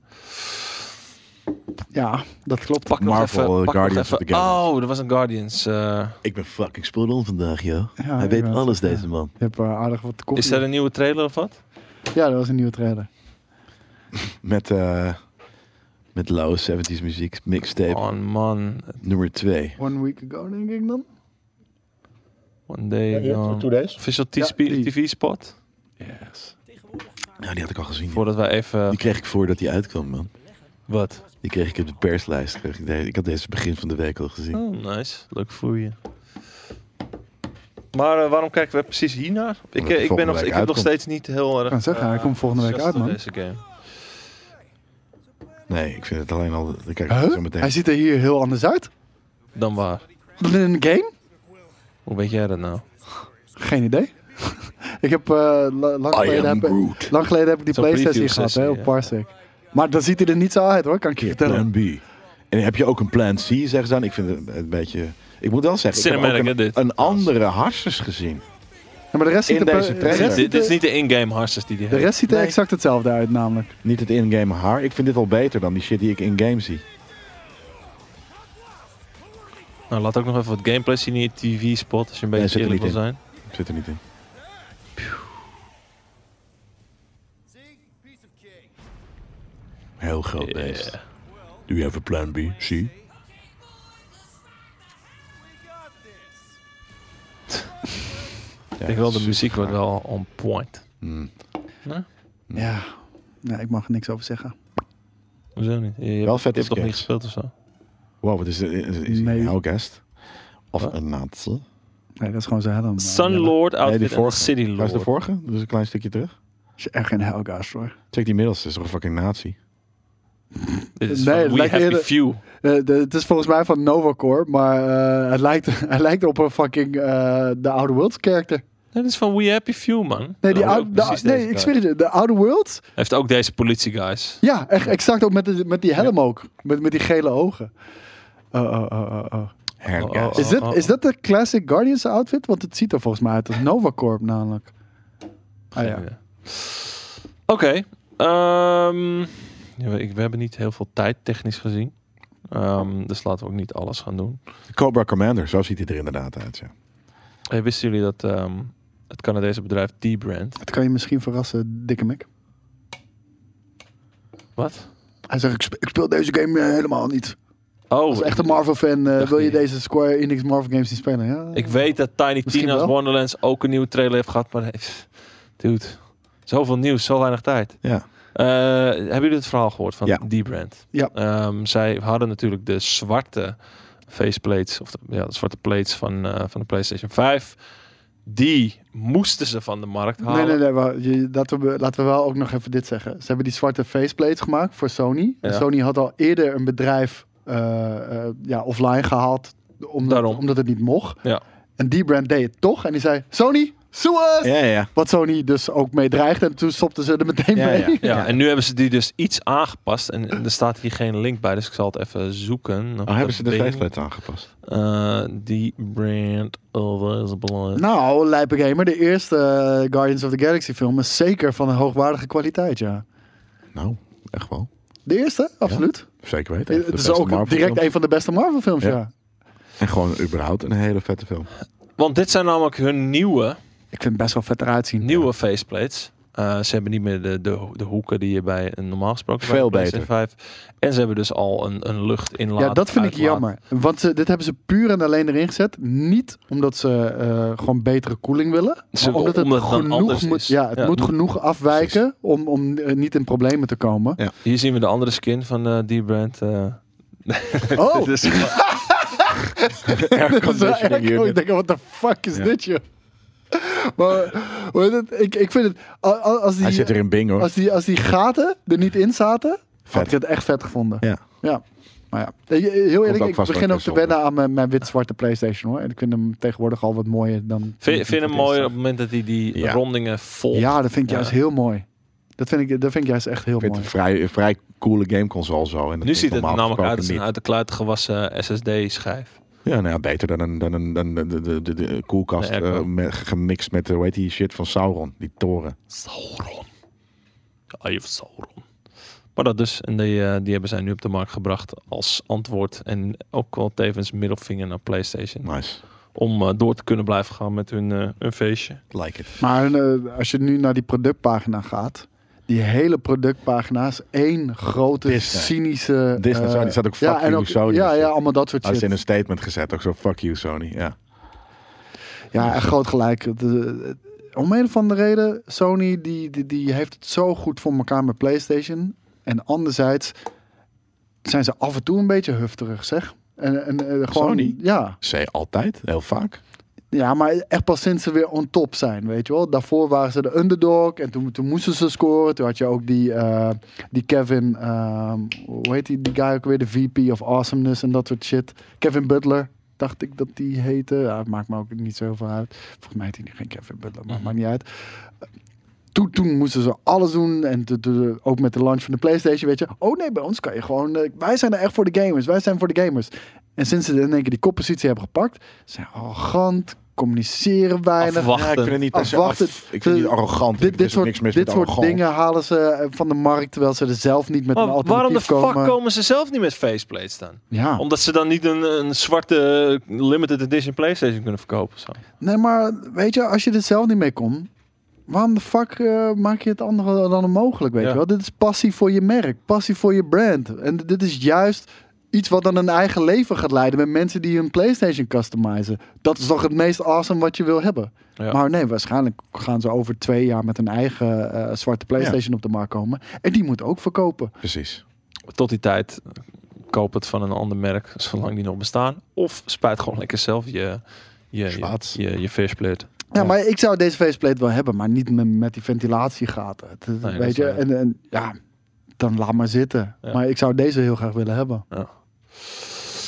S2: Ja, dat klopt.
S1: Pak nog
S3: Marvel,
S1: even,
S3: eh,
S1: pak
S3: Guardians
S1: nog
S3: of
S1: even.
S3: the Galaxy.
S1: Oh, er was een Guardians. eh.
S3: Ik ben fucking spoedel vandaag, joh.
S2: Ja,
S3: Hij weet
S2: inderdaad.
S3: alles,
S2: Ja.
S3: deze man.
S2: Je hebt eh, aardig wat koffie.
S1: is er een nieuwe trailer of wat?
S2: Ja, dat was een nieuwe trailer.
S3: Met, eh met low 70s muziek, mixtape,
S1: Oh man,
S3: nummer 2.
S2: One week ago, denk ik dan.
S1: one day gone.
S3: days.
S1: Official
S2: Ja, die.
S1: TV spot.
S2: Yes.
S3: Nou, die had ik al gezien.
S1: Voordat wij
S3: Die
S1: even...
S3: kreeg ik voordat die uitkwam, man.
S1: Wat?
S3: Die kreeg ik op de perslijst. Kreeg ik, de- ik had deze begin van de week al gezien.
S1: Oh, nice. Leuk voor je. Maar eh, waarom kijken we precies hiernaar? Ik, eh,
S3: het
S1: ik, ben
S3: volgende
S1: nog,
S3: week
S1: ik heb nog
S3: uitkomt.
S1: steeds niet heel erg...
S2: Ik kan zeggen, hij
S1: eh,
S2: komt volgende week uit, man.
S1: enthousiast door Deze game.
S3: Nee, ik vind het alleen al... Ik kijk
S2: Huh?
S3: zo meteen.
S2: Hij ziet er hier heel anders uit
S1: Dan waar?
S2: dan in een game.
S1: Hoe weet jij dat nou?
S2: Geen idee. ik heb, eh, la- lang, geleden heb
S3: Groot.
S2: lang geleden heb ik die
S1: Zo'n
S2: PlayStation
S1: preview
S2: gehad, hè,
S1: sessie,
S2: op
S1: ja.
S2: Parsec. Maar dan ziet hij er niet zo uit, hoor, kan ik je vertellen.
S3: Plan B. En heb je ook een plan C, zeggen ze dan? Ik vind het een beetje... Ik moet wel zeggen, ik heb ook
S1: Cinematic, hè,
S3: een,
S1: dit.
S3: een andere harsers gezien.
S2: Ja, maar de rest
S3: In
S2: ziet er,
S3: deze
S2: de
S3: trailer.
S2: rest
S1: Dit,
S2: ziet
S1: dit is
S2: er,
S1: niet de in-game harses die die
S2: de
S1: heeft.
S2: rest ziet er
S3: Nee.
S2: exact hetzelfde uit, namelijk.
S3: Niet het in-game haar. Ik vind dit al beter dan die shit die ik in-game zie.
S1: Nou, laat ook nog even wat gameplay zien in je TV-spot, als je een
S3: Nee,
S1: beetje
S3: zit er
S1: eerlijk wil
S3: niet
S1: zijn.
S3: Ik zit er niet in. Heel groot beest.
S1: Yeah.
S3: Do you have a plan B, C?
S1: Ik denk wel, de muziek wordt wel on point.
S3: Hmm.
S2: Ja, nee, ik mag er niks over zeggen.
S1: Hoezo niet? Je, je
S3: Wel
S1: hebt,
S3: vet
S1: je hebt
S3: is
S1: toch niet
S3: games.
S1: gespeeld of zo?
S3: Wow, wat is dit? Is, is hij
S2: Nee.
S3: een houwgast? Of
S1: Wat?
S3: een nazi?
S2: Nee, eh, dat is gewoon zijn helm.
S1: Sunlord
S3: die
S1: Outfit en
S3: vorige.
S1: City
S3: Waar is de
S1: Lord.
S3: vorige? Dus een klein stukje terug.
S2: Is echt geen Helgast, hoor.
S3: Check die middelste, is toch een fucking nazi?
S1: Dit is
S2: Nee,
S1: van
S2: het
S1: We
S2: lijkt
S1: Happy
S2: eerder-
S1: Few.
S2: Eh, de- het is volgens mij van Novacore, maar eh, het, lijkt, het lijkt op een fucking eh The Outer Worlds character.
S1: Nee, dit is van We Happy Few, man.
S2: Nee, die
S1: Dat is
S2: oude,
S1: ook
S2: de-
S1: precies
S2: nee
S1: deze
S2: ik
S1: guy.
S2: zweer het je, de Outer Worlds,
S1: Heeft ook deze politie, guys.
S2: ja, echt exact ook met, de- met die helm ook, met, met die gele ogen. Oh, oh, oh, oh, oh.
S3: Hergast.
S2: Is, dit,
S1: oh,
S2: is
S1: oh.
S2: dat de classic Guardians outfit? Want het ziet er volgens mij uit als Novacorp namelijk. Ah ja.
S1: Oké. ehm, ja, we, ik- we hebben niet heel veel tijd technisch gezien. Ehm, dus laten we ook niet alles gaan doen.
S3: Cobra Commander, zo ziet hij er inderdaad uit, ja.
S1: Hey, wisten jullie dat ehm, het Canadese bedrijf D-Brand...
S2: Het kan je misschien verrassen, dikke Mick.
S1: Wat?
S2: Hij zegt, ik speel, ik speel deze game eh, helemaal niet.
S1: Oh,
S2: Als
S1: ik-
S2: echte Marvel-fan eh,
S1: dacht
S2: wil je
S1: niet.
S2: deze Square Enix Marvel games niet spelen. Ja,
S1: Ik weet dat Tiny
S2: Misschien
S1: Tina's
S2: wel.
S1: Wonderlands ook een nieuwe trailer heeft gehad, maar heeft, dude, zoveel nieuws, zo weinig tijd.
S3: Ja.
S1: Eh, hebben jullie het verhaal gehoord van
S3: Ja.
S1: die brand?
S2: Ja.
S1: Ehm, zij hadden natuurlijk de zwarte faceplates, of de, ja, de zwarte plates van, eh, van de PlayStation 5. Die moesten ze van de markt halen.
S2: Nee, nee, nee. wa- je- laten, we, laten we wel ook nog even dit zeggen. Ze hebben die zwarte faceplates gemaakt voor Sony. En
S1: Ja.
S2: Sony had al eerder een bedrijf eh, eh, ja, offline gehaald. Omdat,
S1: Daarom.
S2: omdat het niet mocht.
S1: Ja.
S2: En die brand deed het toch. En die zei, Sony, sue us!
S3: Ja, ja, ja.
S2: Wat Sony dus ook mee dreigde. En toen stopten ze er meteen
S3: Ja,
S2: mee.
S3: ja.
S1: Ja, en nu hebben ze die dus iets aangepast. En er staat hier geen link bij, dus ik zal het even zoeken.
S3: Oh, hebben ze de
S1: faceplate?
S3: faceplate aangepast?
S1: Eh, die brand always belongs.
S2: Nou, Lijpe Gamer, de eerste eh, Guardians of the Galaxy film is zeker van een hoogwaardige kwaliteit, ja.
S3: Nou, echt wel.
S2: De eerste, absoluut.
S3: Zeker weten.
S2: Eh, Het
S3: De
S2: is
S3: beste
S2: ook
S3: Marvel
S2: direct
S3: film.
S2: een van de beste Marvel films,
S3: Ja.
S2: ja.
S3: En gewoon überhaupt een hele vette film.
S1: Want dit zijn namelijk hun nieuwe,
S2: Ik vind het best wel vet eruit zien.
S1: nieuwe faceplates. Eh, ze hebben niet meer de, de, de hoeken die je bij een normaal gesproken bij
S3: Veel
S1: een PlayStation 5. En ze hebben dus al een, een lucht inlaat.
S2: Ja, dat vind ik
S1: uitlaat.
S2: jammer. Want ze, dit hebben ze puur en alleen erin gezet. Niet omdat ze eh, gewoon betere koeling willen.
S1: Ze-
S2: Maar omdat het
S1: omdat het dan
S2: genoeg
S1: anders
S2: moet,
S1: is.
S2: ja, het
S1: Ja.
S2: moet genoeg afwijken om, om eh, niet in problemen te komen.
S3: Ja.
S1: Hier zien we de andere skin van eh, die brand. eh.
S2: Oh,
S1: Dit is-
S2: dat is wel erg.
S3: unit.
S2: Oh, Ik denk, wat de fuck is
S3: Ja.
S2: dit, joh? Maar hoe heet het? ik, ik vind het... a- a- Als
S3: Hij
S2: die,
S3: zit er in Bing hoor.
S2: als, die, als die gaten er niet in zaten, had
S3: Vet.
S2: ik het echt vet gevonden.
S3: Ja.
S2: Ja. Maar ja, Eh, heel
S3: ook
S2: eerlijk,
S3: vast
S2: ik
S3: wel
S2: begin ook
S3: een
S2: te
S3: keer
S2: wennen aan mijn, mijn wit-zwarte Playstation hoor. En ik vind hem tegenwoordig al wat mooier dan... toen ik
S1: vind, vind hem
S2: voor het
S1: mooi op
S2: eerst
S1: het moment dat hij die
S3: Ja.
S1: rondingen vol.
S2: zag. Ja, dat vind ik
S1: Ja.
S2: juist heel mooi. Dat vind ik, dat vind ik juist echt heel
S3: Ik vind
S2: mooi.
S3: het een vrij, een vrij coole gameconsole zo. En dat
S1: nu
S3: is
S1: ziet het er
S3: normaal
S1: namelijk uit als
S3: gesproken
S1: een uit de kluiten gewassen SSD-schijf.
S3: niet. Ja, nou ja, beter dan een, dan een, dan de, de, de, de koelkast
S1: De airco.
S3: eh, met- gemixt met, eh, hoe heet die shit van Sauron, die toren.
S1: Sauron. Eye of Sauron. Maar dat dus. En die, eh, die hebben zij nu op de markt gebracht als antwoord. En ook wel tevens middelvinger naar PlayStation.
S3: Nice.
S1: Om eh, door te kunnen blijven gaan met hun, eh, hun feestje.
S3: Like it.
S2: Maar eh, als je nu naar die productpagina gaat, die hele productpagina is één grote
S3: Disney.
S2: cynische...
S3: Disney,
S2: eh,
S3: zo, die staat ook fuck you, Sony
S2: Ja,
S3: en
S2: ja,
S3: shit.
S2: allemaal dat soort
S3: Hij is
S2: shit.
S3: in een statement gezet, ook zo fuck you Sony. Ja.
S2: Ja, echt groot gelijk. Het, eh, het- om een of andere reden, Sony die, die, die heeft het zo goed voor elkaar met PlayStation. En anderzijds zijn ze af en toe een beetje hufterig, zeg. En, en, eh, gewoon,
S3: Sony?
S2: Ja.
S3: Zij altijd, heel vaak.
S2: ja, maar echt pas sinds ze weer on top zijn, weet je wel. Daarvoor waren ze de underdog en toen, toen moesten ze scoren. Toen had je ook die, eh, die Kevin, ehm, hoe heet die, die guy ook weer, de VP of Awesomeness en dat soort shit. Kevin Butler, dacht ik dat die heette. Ja, het maakt me ook niet zoveel uit. Volgens mij heet hij niet geen Kevin Butler, maar
S1: Mhm.
S2: maakt niet uit. Toen, toen moesten ze alles doen. En toen- toen- ook met de launch van de PlayStation, weet je. Oh nee, bij ons kan je gewoon... eh, wij zijn er echt voor de gamers. Wij zijn voor de gamers. En sinds ze in één keer die koppositie hebben gepakt... zijn ze arrogant, communiceren weinig.
S1: Afwachten.
S3: Ja, ik vind het niet,
S2: Afwacht
S3: af-
S2: het.
S3: ik vind het niet arrogant.
S2: Dit,
S3: Er
S2: dit
S3: is ook
S2: soort,
S3: niks mis
S2: dit
S3: met
S2: soort
S3: arrogant.
S2: dingen halen ze eh, van de markt... terwijl ze er zelf niet met een
S1: Maar
S2: alternatief
S1: waarom de fuck
S2: komen. Nou.
S1: komen. ze zelf niet met faceplates dan?
S2: Ja.
S1: Omdat ze dan niet een, een zwarte eh, limited edition PlayStation kunnen verkopen. of Zo.
S2: Nee, maar weet je, als je er zelf niet mee komt, waarom de fuck eh, maak je het andere dan onmogelijk, weet
S1: Ja.
S2: je wel? Dit is passie voor je merk, passie voor je brand. En d- dit is juist iets wat dan een eigen leven gaat leiden met mensen die hun PlayStation customizen. Dat is toch het meest awesome wat je wil hebben.
S1: Ja.
S2: Maar nee, waarschijnlijk gaan ze over twee jaar met een eigen eh, zwarte PlayStation op de markt komen. En die moet ook verkopen.
S3: Precies.
S1: Tot die tijd eh, koop het van een ander merk, zolang die nog bestaan. Of spuit gewoon lekker zelf je, je, je,
S3: Slaat.
S1: je, je faceplate.
S2: Ja,
S3: Ja.
S2: maar ik zou deze faceplate wel hebben, maar niet met, met die ventilatiegaten. Het- het-
S1: Nee, dat
S2: weet
S1: is
S2: je,
S1: waar.
S2: en, en ja, dan laat maar zitten.
S1: Ja.
S2: Maar ik zou deze heel graag willen hebben.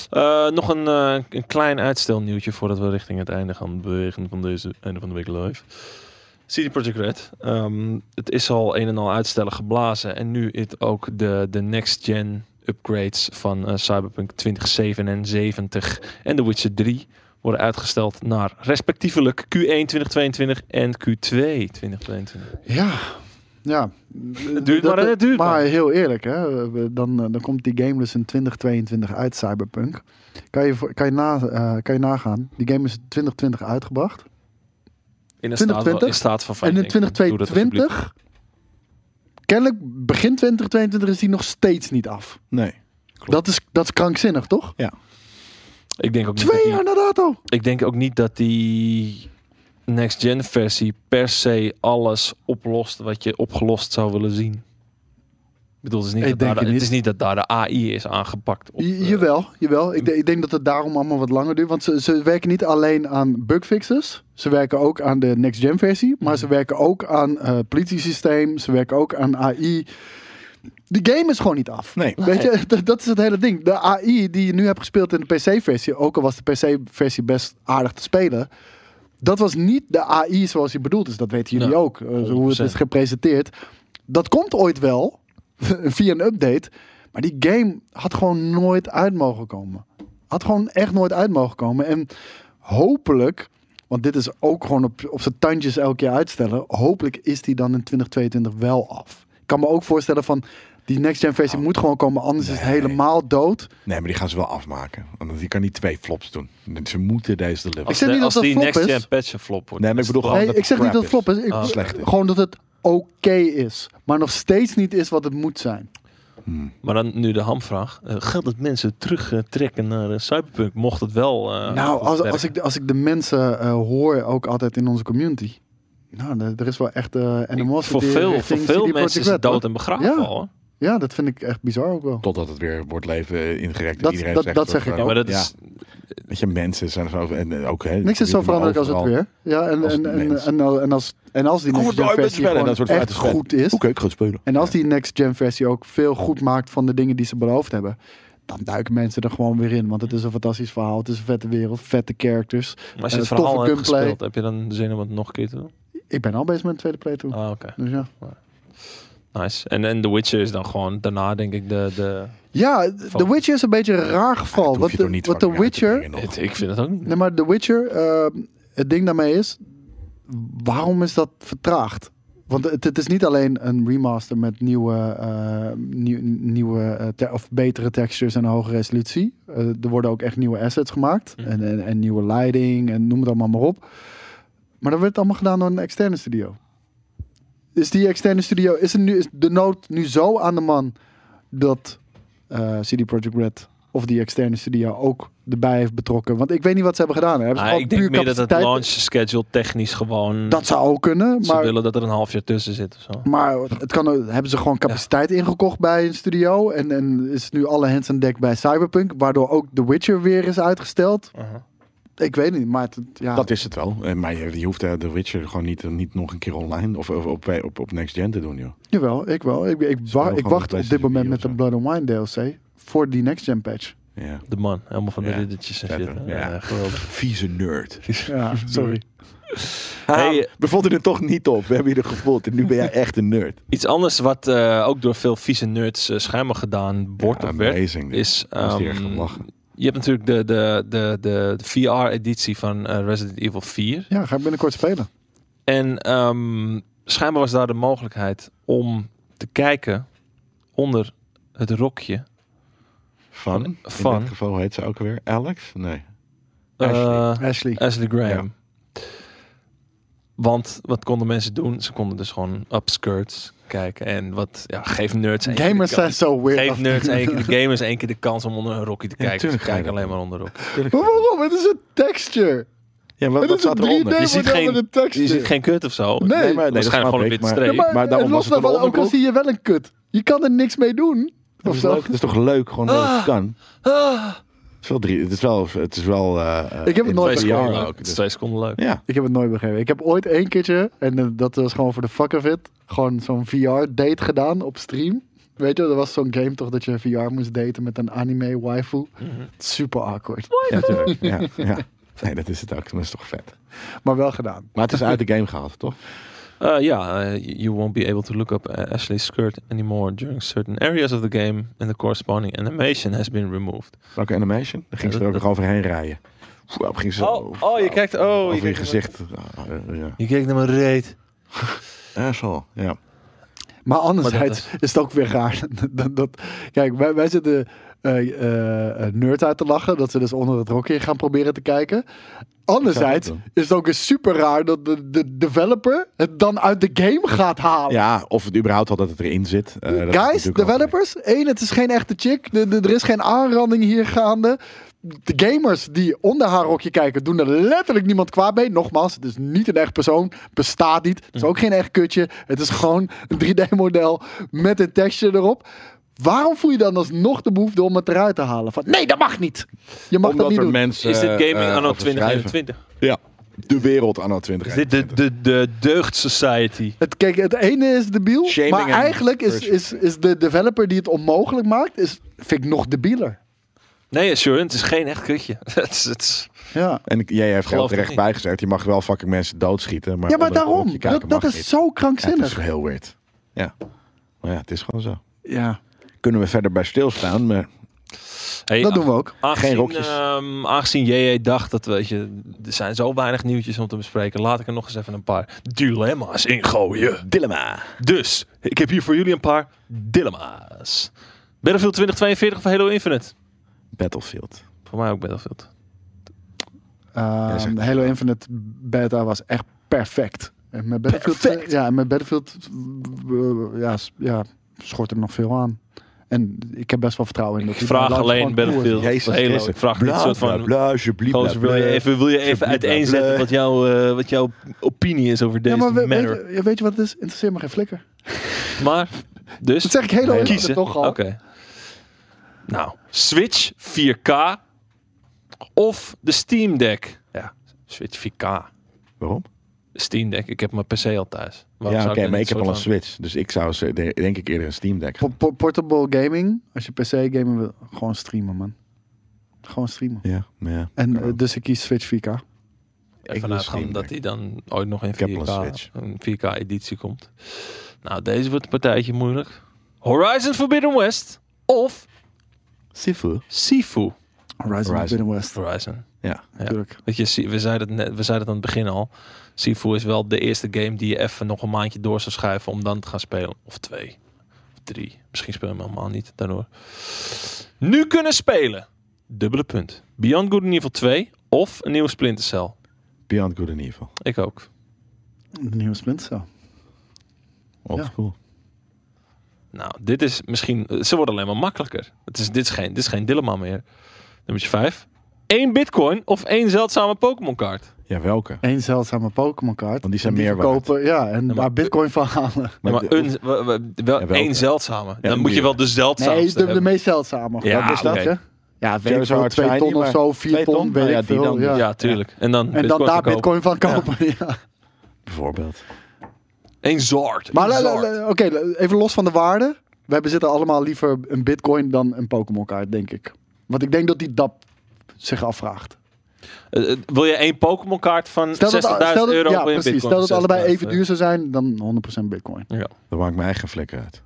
S1: Eh, nog een, eh, een klein uitstelnieuwtje voordat we richting het einde gaan bewegen van deze einde van de week live. CD Projekt Red. ehm, het is al een en al uitstellen geblazen. En nu is ook de, de next gen upgrades van eh, Cyberpunk 2077 en The Witcher 3 worden uitgesteld naar respectievelijk Q1 2022 en Q2 2022.
S2: Ja, ja.
S1: Het duurt maar en het duurt
S2: Maar
S1: maar.
S2: heel eerlijk, hè, we- dan, eh, dan komt die game dus in 2022 uit Cyberpunk. Kan je, voor- kan je, na, eh, kan je nagaan, die game is in 2020 uitgebracht.
S1: In een
S2: 2020?
S1: staat, in staat van
S2: en in
S1: fighting. Doe dat alsjeblieft.
S2: 2022, kennelijk begin 2022 is die nog steeds niet af.
S3: Nee.
S2: Dat is, dat is krankzinnig, toch?
S1: Ik denk ook niet dat
S2: Twee
S1: die-
S2: jaar na dato!
S1: ik denk ook niet dat die next gen versie per se alles oplost wat je opgelost zou willen zien. Ik bedoel, het is niet, dat
S2: Ik
S1: daar,
S2: denk
S1: de-
S2: het
S1: het
S2: niet.
S1: is niet dat daar de AI is aangepakt. op,
S2: Je-
S1: eh,
S2: jawel, jawel. Ik, de- ik denk dat het daarom allemaal wat langer duurt. Want ze, ze werken niet alleen aan bugfixes. Ze werken ook aan de next-gen versie. Maar
S3: Mhm.
S2: ze werken ook aan eh politiesysteem. Ze werken ook aan AI. De game is gewoon niet af.
S3: Nee.
S2: Weet je, dat, dat is het hele ding. De AI die je nu hebt gespeeld in de PC-versie, ook al was de PC-versie best aardig te spelen, dat was niet de AI zoals die bedoeld is. Dat weten jullie
S1: Nee,
S2: ook, eh, hoe het
S1: 100%.
S2: is gepresenteerd. Dat komt ooit wel, via een update, maar die game had gewoon nooit uit mogen komen. Had gewoon echt nooit uit mogen komen. En hopelijk, want dit is ook gewoon op, op zijn tandjes elke keer uitstellen, hopelijk is die dan in 2022 wel af. Ik kan me ook voorstellen van, Die next-gen versie
S3: Oh.
S2: moet gewoon komen, anders is het
S3: Nee. Oh,
S2: helemaal dood.
S3: Nee, maar die gaan ze wel afmaken. Want die kan niet twee flops doen. Ze moeten deze deliveren.
S1: Als,
S2: zeg
S1: de-
S2: niet
S1: als
S2: dat het
S1: die
S2: flop
S1: next
S2: is.
S1: gen patch een flop wordt.
S3: Nee, maar ik bedoel
S1: dan-
S3: gewoon-
S2: Nee,
S3: dat
S2: ik zeg
S3: het
S2: niet dat het
S3: crap Oh.
S2: flop is. Ik,
S1: Ah.
S3: Slecht is.
S2: Gewoon dat het oké is. Maar nog steeds niet is wat het moet zijn.
S1: Maar dan nu de hamvraag. Eh, geldt dat mensen terugtrekken naar eh, Cyberpunk? Mocht het wel... eh,
S2: nou,
S1: goed
S2: als,
S1: werken?
S2: als, ik, de- als ik de mensen eh, hoor, ook altijd in onze community. Nou, er- er is wel echt eh animosity
S1: Voor veel, voor
S2: richting
S1: veel
S2: CD Projekt
S1: mensen is het
S2: Red, hoor.
S1: dood en begraven
S2: Ja.
S1: al. hoor.
S2: Ja, dat vind ik echt bizar ook wel.
S3: Totdat het weer wordt leven eh, ingerekt. en
S2: Dat-
S3: iedereen
S2: dat-
S3: zegt
S2: dat zeg ik
S1: Ja,
S3: eh,
S1: maar dat
S3: ja.
S1: is,
S3: Weet je, mensen zijn zo... En eh, ook, hè,
S2: Niks is zo veranderlijk als het
S3: overal.
S2: weer. Ja, en,
S3: Als
S2: en,
S3: het
S2: en,
S3: mens.
S2: en, al- en als, en als die
S3: Goed,
S2: next-gen
S3: daar ben je
S2: versie
S3: bij, en
S2: gewoon
S3: dat soort
S2: echt
S3: uitgespeeld.
S2: goed is.
S3: Oké, ik ga het spelen.
S2: En als die next-gen versie ook veel goed maakt van de dingen die ze beloofd hebben. Dan duiken mensen er gewoon weer in. Want het is een fantastisch verhaal. Het is een vette wereld. Vette characters.
S1: maar als je
S2: Eh,
S1: het verhaal
S2: toffe
S1: hebt
S2: gunplay.
S1: gespeeld, heb je dan zin om het nog een keer te doen?
S2: Ik ben al bezig met een tweede playthrough.
S1: Ah, oké.
S2: Dus ja.
S1: Nice. En, en The Witcher is dan gewoon daarna denk ik de... de
S2: Ja, The Witcher is een beetje een raar
S3: Dat
S2: geval.
S3: hoef je
S2: Want
S3: toch
S2: de,
S3: niet
S2: want The
S3: fucking uit te
S2: Witcher...
S3: brengen nog.
S1: het, ik vind het ook niet.
S2: Nee, maar The Witcher, ehm, het ding daarmee is, waarom is dat vertraagd? Want het, het is niet alleen een remaster met nieuwe, eh, nieuw- nieuwe eh, te- of betere textures en een hogere resolutie. Eh, er worden ook echt nieuwe assets gemaakt
S1: Mhm.
S2: en, en, en nieuwe leiding en noem het allemaal maar op. Maar dat werd allemaal gedaan door een externe studio. Is die externe studio, is, er nu, is de nood nu zo aan de man dat eh, CD Projekt Red of die externe studio ook erbij heeft betrokken? Want ik weet niet wat ze hebben gedaan. Hebben ze
S1: Ah,
S2: gewoon
S1: ik denk
S2: puur
S1: meer dat het
S2: capaciteit-
S1: launch schedule technisch gewoon...
S2: Dat zou ook kunnen,
S1: ze
S2: maar,
S1: willen dat er een half jaar tussen zit of zo.
S2: maar het kan, ook- hebben ze gewoon capaciteit ingekocht bij een studio en, en is nu alle hands aan dek bij Cyberpunk, waardoor ook The Witcher weer is uitgesteld?
S3: Uh-huh.
S1: Aha.
S2: Ik weet niet, maar het, ja.
S3: Dat is het wel. Eh, Maar je je hoeft eh, The Witcher gewoon niet, niet nog een keer online of, of op, op, op Next Gen te doen, joh.
S2: Jawel, ik wel. Ik, ik, wa-
S3: wel
S2: ik
S3: gewoon
S2: wacht
S3: een
S2: op dit moment
S3: PlayStation
S2: met de
S3: of
S2: Blood and Wine DLC voor die next gen patch.
S3: Ja.
S1: De man, helemaal van de
S3: Ja,
S1: riddertjes en shit.
S3: vet,
S1: hè?
S3: hè? Ja.
S1: Ja, eh, geweldig.
S3: Vieze nerd.
S2: Ja, sorry.
S1: Hey,
S3: Ah, we vonden het toch niet op. We hebben je er gevoeld. En nu ben jij echt een nerd.
S1: Iets anders wat eh, ook door veel vieze nerds eh, schijnbaar gedaan wordt
S3: Ja,
S1: of werd,
S3: amazing.
S1: is...
S3: Ik moest hier echt
S1: ehm,
S3: om lachen.
S1: je hebt natuurlijk de, de, de, de, VR-editie van eh, Resident Evil 4.
S2: Ja, ga ik binnenkort spelen.
S1: En ehm, schijnbaar was daar de mogelijkheid om te kijken onder het rokje.
S3: Van?
S1: Van?
S3: In dit geval heet ze ook weer Alex? Nee.
S1: eh,
S3: Ashley.
S2: Ashley.
S1: Ashley Graham. Want wat konden mensen doen? Ze konden dus gewoon upskirts kijken. En wat ja, geef nerds één keer de
S2: Gamers
S1: kans.
S2: zijn zo weird.
S1: Geef nerds één keer de gamers één keer de kans om onder een rokje te
S3: Ja,
S1: kijken. Ze
S3: tuurlijk ga je
S1: kijken
S3: dat
S1: alleen maar onder rok.
S2: Maar waarom? Het is een texture.
S3: Ja, wat,
S2: Het
S3: wat
S2: is een
S3: staat eronder?
S2: 3D
S1: Je ziet
S2: model
S1: geen-
S2: met een texture.
S1: Je ziet geen kut of zo.
S2: Nee, maar-
S1: waarschijnlijk
S3: snap
S1: gewoon een
S3: ik,
S1: witte
S3: maar-
S1: streep.
S2: Ja, maar,
S3: maar daarom
S2: los
S3: was het een
S2: daarvan, ook al
S3: onderbroek.
S2: zie je wel een kut. Je kan er niks mee doen.
S3: Dat
S2: Of
S3: is,
S2: zo.
S3: leuk. Dat is toch leuk gewoon dat het
S1: Ah.
S3: kan?
S1: Ah,
S3: Het is wel drie. Het is wel. Het is wel eh, eh,
S2: Ik heb het
S3: in
S1: twee
S2: nooit Twee
S1: seconden
S3: VR
S1: leuk.
S3: ook.
S1: Het is
S3: Dus-
S1: twee seconden leuk.
S3: ja.
S2: Ik heb het nooit begrepen. Ik heb ooit één keertje, en eh, dat was gewoon voor de fuck of it, gewoon zo'n VR-date gedaan op stream. Weet je, wel, er was zo'n game toch dat je VR moest daten met een anime waifu.
S3: Mhm.
S2: Super awkward.
S3: Ja, natuurlijk. Ja, ja. Nee, dat is het ook. Dat is toch vet.
S2: Maar wel gedaan.
S3: Maar het is uit de game gehaald, toch?
S1: Uh, ja, eh, you won't be able to look up uh, Ashley's skirt anymore during certain areas of the game and the corresponding animation has been removed.
S3: Welke animation? Dan ging
S1: Ja,
S3: ze er ook
S1: dat-
S3: nog overheen rijden. Oeh, op ging ze,
S1: Oh, oh, je kijkt- oh, je
S3: over je,
S1: kijkt-
S3: gezicht. Ah, eh, ja.
S1: Je keek naar mijn reet.
S3: Asshole. Ja.
S2: Maar anderzijds
S1: Maar
S2: is het ook weer raar. dat, dat, kijk, wij, wij zitten eh eh, eh, nerd uit te lachen. Dat ze dus onder het rokje gaan proberen te kijken. Anderzijds
S3: Ik zou het
S2: is het ook weer super raar dat de, de developer het dan uit de game gaat halen.
S3: ja, of het überhaupt al dat het erin zit. Eh, dat is
S2: Guys,
S3: natuurlijk ook-
S2: developers, één, het is geen echte chick. De- de- er is geen aanranding hier gaande. De gamers die onder haar rokje kijken, doen er letterlijk niemand kwaad mee. Nogmaals, het is niet een echt persoon. Bestaat niet.
S3: Hm.
S2: Het is ook geen echt kutje. Het is gewoon een 3D-model met een texture erop. Waarom voel je dan alsnog de behoefte om het eruit te halen? Van, nee, dat mag niet. Je mag
S3: Omdat
S2: dat niet
S3: er
S2: doen.
S3: mensen.
S1: Is dit gaming
S3: eh,
S1: anno
S3: over schrijven.
S1: 2021?
S3: Ja. De wereld anno 20.
S1: Is dit de, de, de deugd society?
S2: Het, kijk, het ene is debiel,
S3: Shaming
S2: maar
S3: and
S2: eigenlijk is,
S3: cursing.
S2: is, is de developer die het onmogelijk maakt, is, vind ik nog debieler.
S1: Nee, assurance het is geen echt kutje. het is, het is-
S2: Ja.
S3: En ik- jij heeft er
S1: Geloof
S3: al
S1: het
S3: terecht
S1: niet.
S3: bijgezet. Je mag wel fucking mensen doodschieten. Maar
S2: Ja, maar
S3: onder een
S2: daarom.
S3: rokje kijken
S2: Dat, dat
S3: mag
S2: is
S3: niet.
S2: zo
S3: Ja, het is
S2: krankzinnig.
S3: heel weird. Ja. Maar ja, het is gewoon zo.
S2: Ja.
S3: Kunnen we verder bij stilstaan, maar...
S1: Hé, Hey,
S2: dat doen we ook.
S1: Aangezien,
S3: Geen rokjes.
S1: ehm, aangezien JJ dacht dat, weet je, er zijn zo weinig nieuwtjes om te bespreken. Laat ik er nog eens even een paar dilemma's in gooien.
S3: Dilemma.
S1: Dus, ik heb hier voor jullie een paar dilemma's. Battlefield 2042 of Halo Infinite?
S3: Battlefield.
S1: Voor mij ook Battlefield.
S2: Ehm,
S3: zegt-
S2: Halo Infinite beta was echt perfect. En met Battlefield, eh,
S3: Perfect.
S2: Ja, en met Battlefield eh, ja, s- ja, schort er nog veel aan. En ik heb best wel vertrouwen in dat
S1: Ik
S2: die
S1: vraag
S2: balans
S1: alleen
S2: gewoon cool is.
S1: Battlefield.
S3: Jezus
S1: Halo.
S3: Christus.
S1: Ik vraag niet
S3: Bla,
S1: soort van-
S3: bla, bla, alsjeblieft,
S1: Koos,
S3: bla,
S1: wil je
S3: bla.
S1: even, wil je even
S3: Alsjeblieft,
S1: uiteenzetten
S3: bla.
S1: wat, jouw eh, wat jouw opinie is over deze
S2: Ja, maar we- weet,
S1: matter?
S2: je, ja, weet je wat het is? Interesseert me geen flikker.
S1: Maar, dus...
S2: Dat zeg ik Halo
S3: Nee,
S2: Infinite
S1: kiezen.
S2: toch al.
S1: Oké. Nou, Switch 4K of de Steam Deck. Ja, Switch 4K.
S3: Waarom?
S1: Steam Deck, ik heb mijn PC al thuis. Waarom
S3: Ja,
S1: zou
S3: oké,
S1: dan
S3: maar ik
S1: dit
S3: heb al een
S1: soort
S3: Switch. Dus ik zou ze- de- denk ik eerder een Steam Deck.
S2: Po- po- portable gaming, als je PC gamen wil, gewoon streamen man. Gewoon streamen.
S3: Ja, ja.
S2: En
S3: kan
S2: eh,
S3: ook.
S2: dus ik kies Switch 4K.
S1: van-
S3: ik
S1: ervan
S3: wil
S1: uitgaan
S3: Steam
S1: dat
S3: Deck.
S1: hij dan ooit nog in
S3: heb al een
S1: 4K,
S3: Switch.
S1: een 4K editie komt. Nou, deze wordt een partijtje moeilijk. Horizon Forbidden West of
S3: Sifu.
S1: Sifu
S2: Horizon,
S3: Horizon.
S2: Forbidden West,
S1: Horizon.
S3: Ja.
S2: natuurlijk.
S1: Weet je, Si- we zeiden het, net, we zeiden het aan het begin al. Sifu is wel de eerste game die je even nog een maandje door zou schuiven om dan te gaan spelen. Of twee. Of drie. Misschien spelen we hem allemaal niet daardoor. Nu kunnen spelen. Dubbele punt. Beyond Good and Evil 2 of een nieuwe Splinter Cell.
S3: Beyond Good and Evil.
S1: Ik ook.
S2: De nieuwe Splinter Cell.
S3: Old
S2: Ja.
S3: school.
S1: Nou, dit is misschien... Ze worden alleen maar makkelijker. Het is, dit, is geen, dit is geen dilemma meer. Nummer 5. Eén bitcoin of één zeldzame Pokémon kaart.
S3: Ja, welke?
S2: Eén zeldzame Pokémon kaart.
S3: Want die zijn
S2: En
S3: meer waard.
S2: verkopen, Ja, en
S1: maar-
S2: daar bitcoin van halen.
S1: Ja, maar
S3: de-
S1: een, we- we- wel
S3: Ja, welke?
S1: één zeldzame. dan
S3: een
S1: moet je wel de zeldzaamste
S2: Nee, de, de
S1: hebben.
S2: meest zeldzame.
S1: Ja,
S2: Wat is dat,
S1: oké.
S2: hè? Ja, weet ik veel,
S3: Charizard
S2: twee
S3: shiny,
S2: ton of
S3: maar-
S2: zo, vier
S3: twee
S2: ton,
S3: ton?
S2: weet
S3: Nou ja,
S2: ik
S3: die
S2: veel.
S3: dan
S2: ja.
S3: dus.
S1: Ja, tuurlijk. En dan,
S2: En dan daar
S1: verkopen.
S2: bitcoin van kopen. ja.
S3: Bijvoorbeeld.
S1: Eén zord.
S2: Maar
S1: Eén
S2: la- la-
S1: zord.
S2: la- oké, la- even los van de waarde. We bezitten allemaal liever een bitcoin dan een Pokémon kaart, denk ik. Want ik denk dat die DAP zich afvraagt.
S1: Eh, eh, wil je één Pokémon kaart van 60.000
S2: Stel dat, stel dat,
S1: euro
S2: ja,
S1: wil je een
S2: precies,
S1: bitcoin
S2: stel dat
S1: van
S2: allebei
S1: 60.000
S2: even duur zou zijn, dan 100% bitcoin.
S1: Ja,
S3: Dat maakt mijn eigen flikker uit.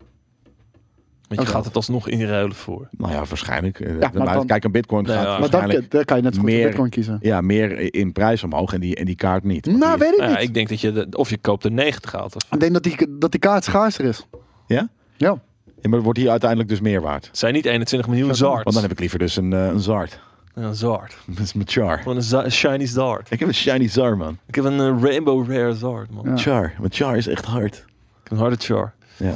S1: want je
S2: Ook
S1: gaat het alsnog inruilen voor.
S3: Nou ja, waarschijnlijk. Eh,
S2: maar
S3: maar
S2: dan-
S3: kijk, een bitcoin
S1: Nee,
S3: gaat
S1: ja.
S2: Maar dan,
S3: waarschijnlijk
S2: kan- dan kan je net zo goed voor
S3: meer-
S2: bitcoin kiezen.
S3: ja, meer in prijs omhoog en die, en die kaart niet. Want
S2: Nou,
S3: die is-
S2: weet ik
S1: Nou ja,
S2: niet.
S1: ik denk dat je, de, of je koopt er 90 haalt. Of,
S2: Ik denk dat die, dat die kaart schaarser is.
S3: Ja?
S2: Ja.
S3: Ja, maar wordt hier uiteindelijk dus meer waard.
S1: het zijn niet 21 miljoen zards.
S3: Want dan heb ik liever dus een, eh, een Zard.
S1: Een zard.
S3: Dat is mijn Char.
S1: Gewoon een za- shiny zard.
S3: Ik heb een shiny Zar, man.
S1: Ik heb een eh, rainbow rare zard, man.
S2: Ja.
S3: Char. Mijn Char is echt hard.
S1: Ik heb een harde char.
S3: Ja.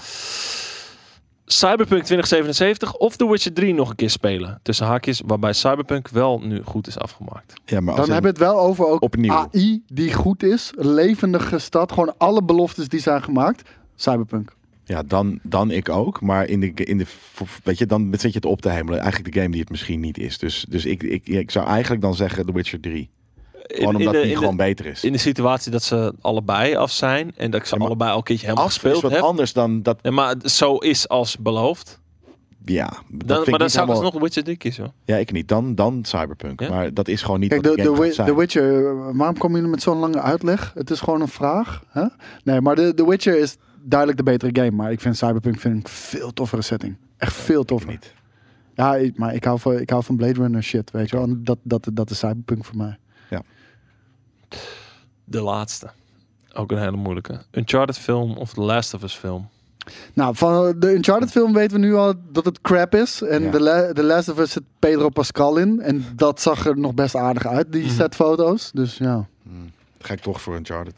S1: Cyberpunk 2077 of The Witcher 3 nog een keer spelen. Tussen haakjes, waarbij Cyberpunk wel nu goed is afgemaakt.
S3: Ja, maar als
S2: Dan
S3: in-
S2: hebben we het wel over ook
S3: Opnieuw.
S2: AI die goed is, levendige stad, gewoon alle beloftes die zijn gemaakt. Cyberpunk.
S3: Ja, dan, dan ik ook. Maar in de, in de, weet je, dan zit je het op te hemelen. Eigenlijk de game die het misschien niet is. Dus, dus ik, ik, ik zou eigenlijk dan zeggen The Witcher 3. Gewoon omdat die gewoon beter is.
S1: in de situatie dat ze allebei af zijn en dat ik ze
S3: Ja, maar
S1: allebei al een keertje helemaal
S3: Afspeel is
S1: gespeeld
S3: wat
S1: heb.
S3: anders dan dat.
S1: Ja, maar het zo is als beloofd.
S3: Ja, dat vind
S1: Dan, maar
S3: ik
S1: dan
S3: niet
S1: zou ik
S3: helemaal-
S1: alsnog Witcher 3 kiezen. hoor.
S3: Ja, ik niet. Dan, dan Cyberpunk.
S1: Ja?
S3: Maar dat is gewoon niet
S2: Kijk,
S3: wat
S2: de,
S3: de
S2: de,
S3: game gaat
S2: Wi-
S3: zijn.
S2: The Witcher, eh, waarom komen jullie met zo'n lange uitleg? Het is gewoon een vraag. Hè? Nee, maar de, The Witcher is duidelijk de betere game. Maar ik vind Cyberpunk vind ik veel toffere setting. Echt veel toffer.
S3: niet.
S2: Ja, ik- maar ik hou, van, ik hou van Blade Runner shit, weet je wel. En Dat, dat, dat is Cyberpunk voor mij.
S1: De laatste. Ook een hele moeilijke. Uncharted film of The Last of Us film.
S2: Nou, van de Uncharted film weten we nu al dat het crap is. En
S3: Ja.
S2: de La- The Last of Us zit Pedro Pascal in. En dat zag er nog best aardig uit,
S3: Mhm.
S2: die set foto's. Dus ja.
S3: Dan ga ik toch voor Uncharted.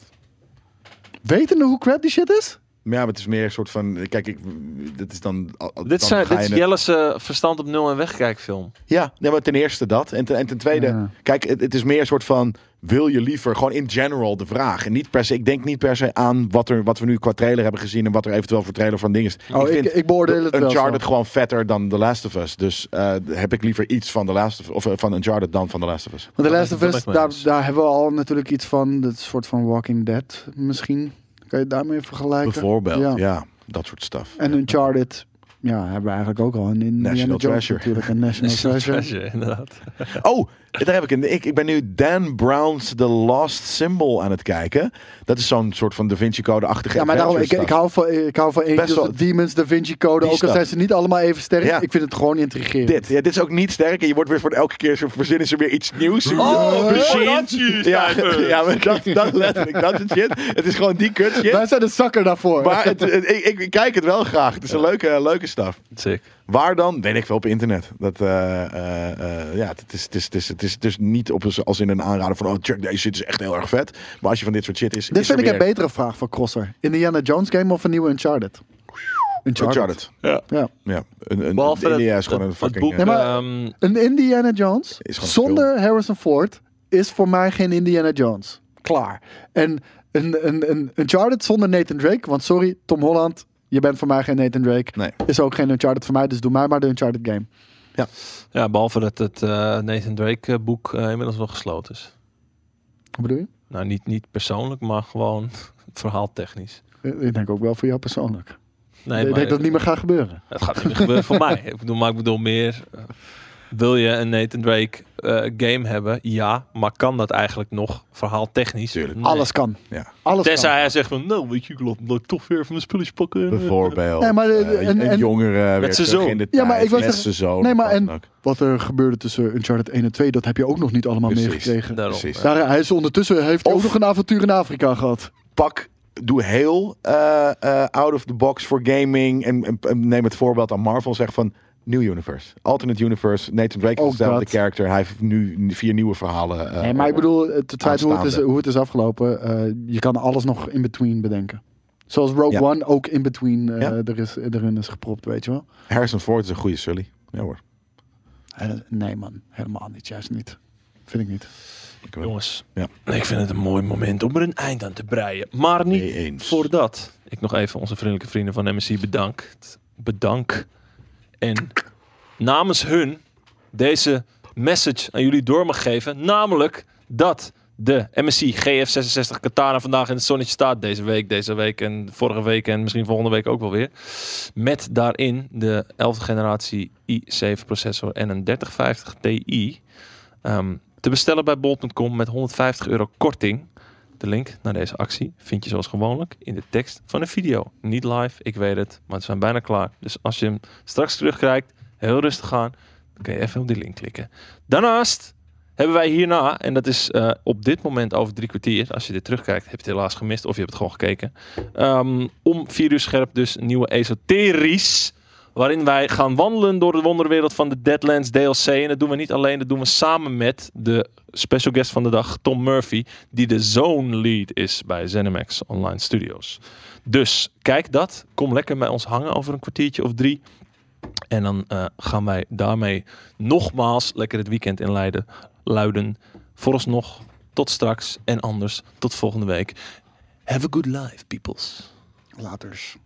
S2: Wetende hoe crap die shit is?
S3: Maar ja, maar het is meer een soort van. Kijk, ik, dit is dan. al- al-
S1: Dit,
S3: dan
S1: zijn,
S3: ga
S1: dit
S3: je
S1: is
S3: het-
S1: Jelle's eh, verstand op nul en wegkijkfilm.
S3: Ja, nee, maar ten eerste dat. En ten, en ten tweede,
S2: Ja.
S3: kijk, het, het is meer een soort van. Wil je liever gewoon in general de vraag? En niet per se. Ik denk niet per se aan wat, er, wat we nu qua trailer hebben gezien. En wat er eventueel voor trailer van dingen is.
S2: Oh, ik,
S3: vind
S2: ik, beoordeel het wel zo.
S3: Uncharted gewoon vetter dan The Last of Us. Dus eh, heb ik liever iets van, The Last of, of, eh, van Uncharted dan van The Last of Us.
S2: Want The
S1: Dat ben
S2: Last of
S1: ik- dat
S2: Us,
S1: ben ik mee
S2: daar,
S1: eens.
S2: daar hebben we al natuurlijk iets van. Dat soort van Walking Dead misschien. Kan je het daarmee vergelijken?
S3: Bijvoorbeeld,
S2: Ja.
S3: ja. Dat soort stuff.
S2: En Uncharted, ja, hebben we eigenlijk ook al. En in Indiana
S3: National
S2: Jones
S3: Treasure.
S2: natuurlijk. Een National Treasure.
S1: Treasure, inderdaad.
S3: Oh, daar heb ik een. Ik, ik ben nu Dan Brown's The Lost Symbol aan het kijken. Dat is zo'n soort van Da Vinci Code-achtige.
S2: Ja, maar daarom, ik, ik
S3: adventure
S2: hou van, ik hou van Angels,
S3: wel-
S2: Demons, Da Vinci Code.
S3: Die
S2: Ook al
S3: stuff.
S2: zijn ze niet allemaal even sterk.
S3: Ja.
S2: Ik vind het gewoon intrigerend.
S3: stuff. Dit, ja, dit is ook niet sterk. En je wordt weer voor elke keer zo verzinnen ze weer iets nieuws.
S2: Oh,
S3: ja, ja, maar dat, dat letterlijk. Dat is shit. Het is gewoon die kut shit.
S2: Wij zijn de zakker daarvoor.
S3: Maar het, het- ik, ik, ik kijk het wel graag. Het is een leuke, leuke staf.
S1: Sick.
S3: Waar dan? Weet ik veel op internet. Dat, eh, eh, eh, ja, het is, het, is, het, is, het is dus niet op een- als in een aanrader van oh check deze shit is echt heel erg vet. Maar als je van dit soort shit is,
S2: Dit
S3: is er
S2: vind ik een
S3: weer-
S2: betere vraag voor Crosser. Indiana Jones game of een nieuwe Uncharted? Uncharted.
S3: Uncharted.
S1: Ja.
S2: Ja.
S3: Ja, een, een,
S1: Behalve
S3: India
S1: dat-
S3: is gewoon een
S1: dat-
S3: fucking.
S1: Het boek,
S3: eh,
S2: Nee, maar-
S1: ehm,
S2: Een Indiana Jones
S3: Is gewoon
S2: zonder Harrison Ford is voor mij geen Indiana Jones. Klaar. En een, een, een Uncharted zonder Nathan Drake, want sorry, Tom Holland, je bent voor mij geen Nathan Drake.
S3: Nee.
S2: Is ook geen Uncharted voor mij, dus doe mij maar de Uncharted game.
S1: ja, behalve dat het eh, Nathan Drake eh, boek eh, inmiddels wel gesloten is.
S2: Wat bedoel je?
S1: Nou, niet, niet persoonlijk, maar gewoon verhaaltechnisch.
S2: Eh, Ik denk ook wel voor jou persoonlijk.
S1: Nee,
S2: ik
S1: maar
S2: denk dat het niet meer gaat gebeuren.
S1: het gaat niet meer gebeuren voor mij. Ik bedoel, maar ik bedoel meer... eh, wil je een Nathan Drake eh, game hebben? Ja, maar kan dat eigenlijk nog verhaaltechnisch?
S3: Tuurlijk.
S1: Nee.
S2: Alles kan.
S3: Ja.
S2: Alles
S1: Tenzij
S2: kan.
S1: hij zegt van, nou weet je, ik laat laat ik toch weer even mijn spulletjes pakken. eh,
S3: Bijvoorbeeld.
S2: Nee, maar de-
S3: eh,
S2: en-
S3: een
S2: en-
S3: jongere. weer
S1: zijn
S3: terug
S1: zoon.
S3: In de tijd,
S2: Ja, maar ik wou
S3: met
S2: zeggen-
S3: zijn zoon,
S2: nee, maar
S3: wat dan
S2: en-
S3: ook.
S2: Wat er gebeurde tussen Uncharted 1 en 2, dat heb je ook nog niet allemaal
S3: Precies.
S2: meegekregen.
S1: Daarom.
S3: Precies.
S1: Ja.
S2: Daar, hij is ondertussen heeft hij
S3: Of-
S2: ook nog een avontuur in Afrika gehad.
S3: Pak, doe heel eh, eh, out of the box voor gaming. En, en- en neem het voorbeeld aan Marvel. Zeg van New Universe. Alternate Universe. Nathan Drake
S2: Ook
S3: is dezelfde
S2: dat.
S3: character. Hij heeft nu vier nieuwe verhalen. eh,
S2: Oh, nee, maar ik bedoel, het, het feit hoe het, is,
S3: aanstaande.
S2: hoe het is afgelopen, eh, je kan alles nog in between bedenken. Zoals Rogue
S3: Ja.
S2: One ook in between eh,
S3: Ja.
S2: er is, erin is gepropt, weet je wel.
S3: Harrison Ford is een goede Sully. Ja hoor.
S2: Eh, nee man, helemaal niet, juist niet. Vind ik niet.
S3: Ik wel.
S1: Jongens,
S3: Ja.
S1: ik vind het een mooi moment om er een eind aan te breien. Maar niet
S3: Mee eens.
S1: voordat ik nog even onze vriendelijke vrienden van MSC bedank. Bedank. En namens hun deze message aan jullie door mag geven. Namelijk dat de MSC GF66 Katana vandaag in het zonnetje staat. Deze week, deze week en vorige week en misschien volgende week ook wel weer. Met daarin de 11e generatie i7 processor en een 3050 Ti. Ehm, te bestellen bij bol.com met 150 euro korting. De link naar deze actie vind je zoals gewoonlijk in de tekst van de video. Niet live, ik weet het, maar we zijn bijna klaar. Dus als je hem straks terugkrijgt, heel rustig aan, dan kun je even op die link klikken. Daarnaast hebben wij hierna, en dat is eh, op dit moment over drie kwartier, als je dit terugkijkt, heb je het helaas gemist of je hebt het gewoon gekeken. Ehm, om vier uur scherp dus een nieuwe esoterisch, waarin wij gaan wandelen door de wonderwereld van de Deadlands DLC. En dat doen we niet alleen, dat doen we samen met de special guest van de dag, Tom Murphy, die de zone lead is bij ZeniMax Online Studios. Dus kijk dat, kom lekker bij ons hangen over een kwartiertje of drie. En dan eh, gaan wij daarmee nogmaals lekker het weekend inleiden. Luiden, vooralsnog, tot straks en anders, tot volgende week. Have a good life, peoples.
S2: Laters.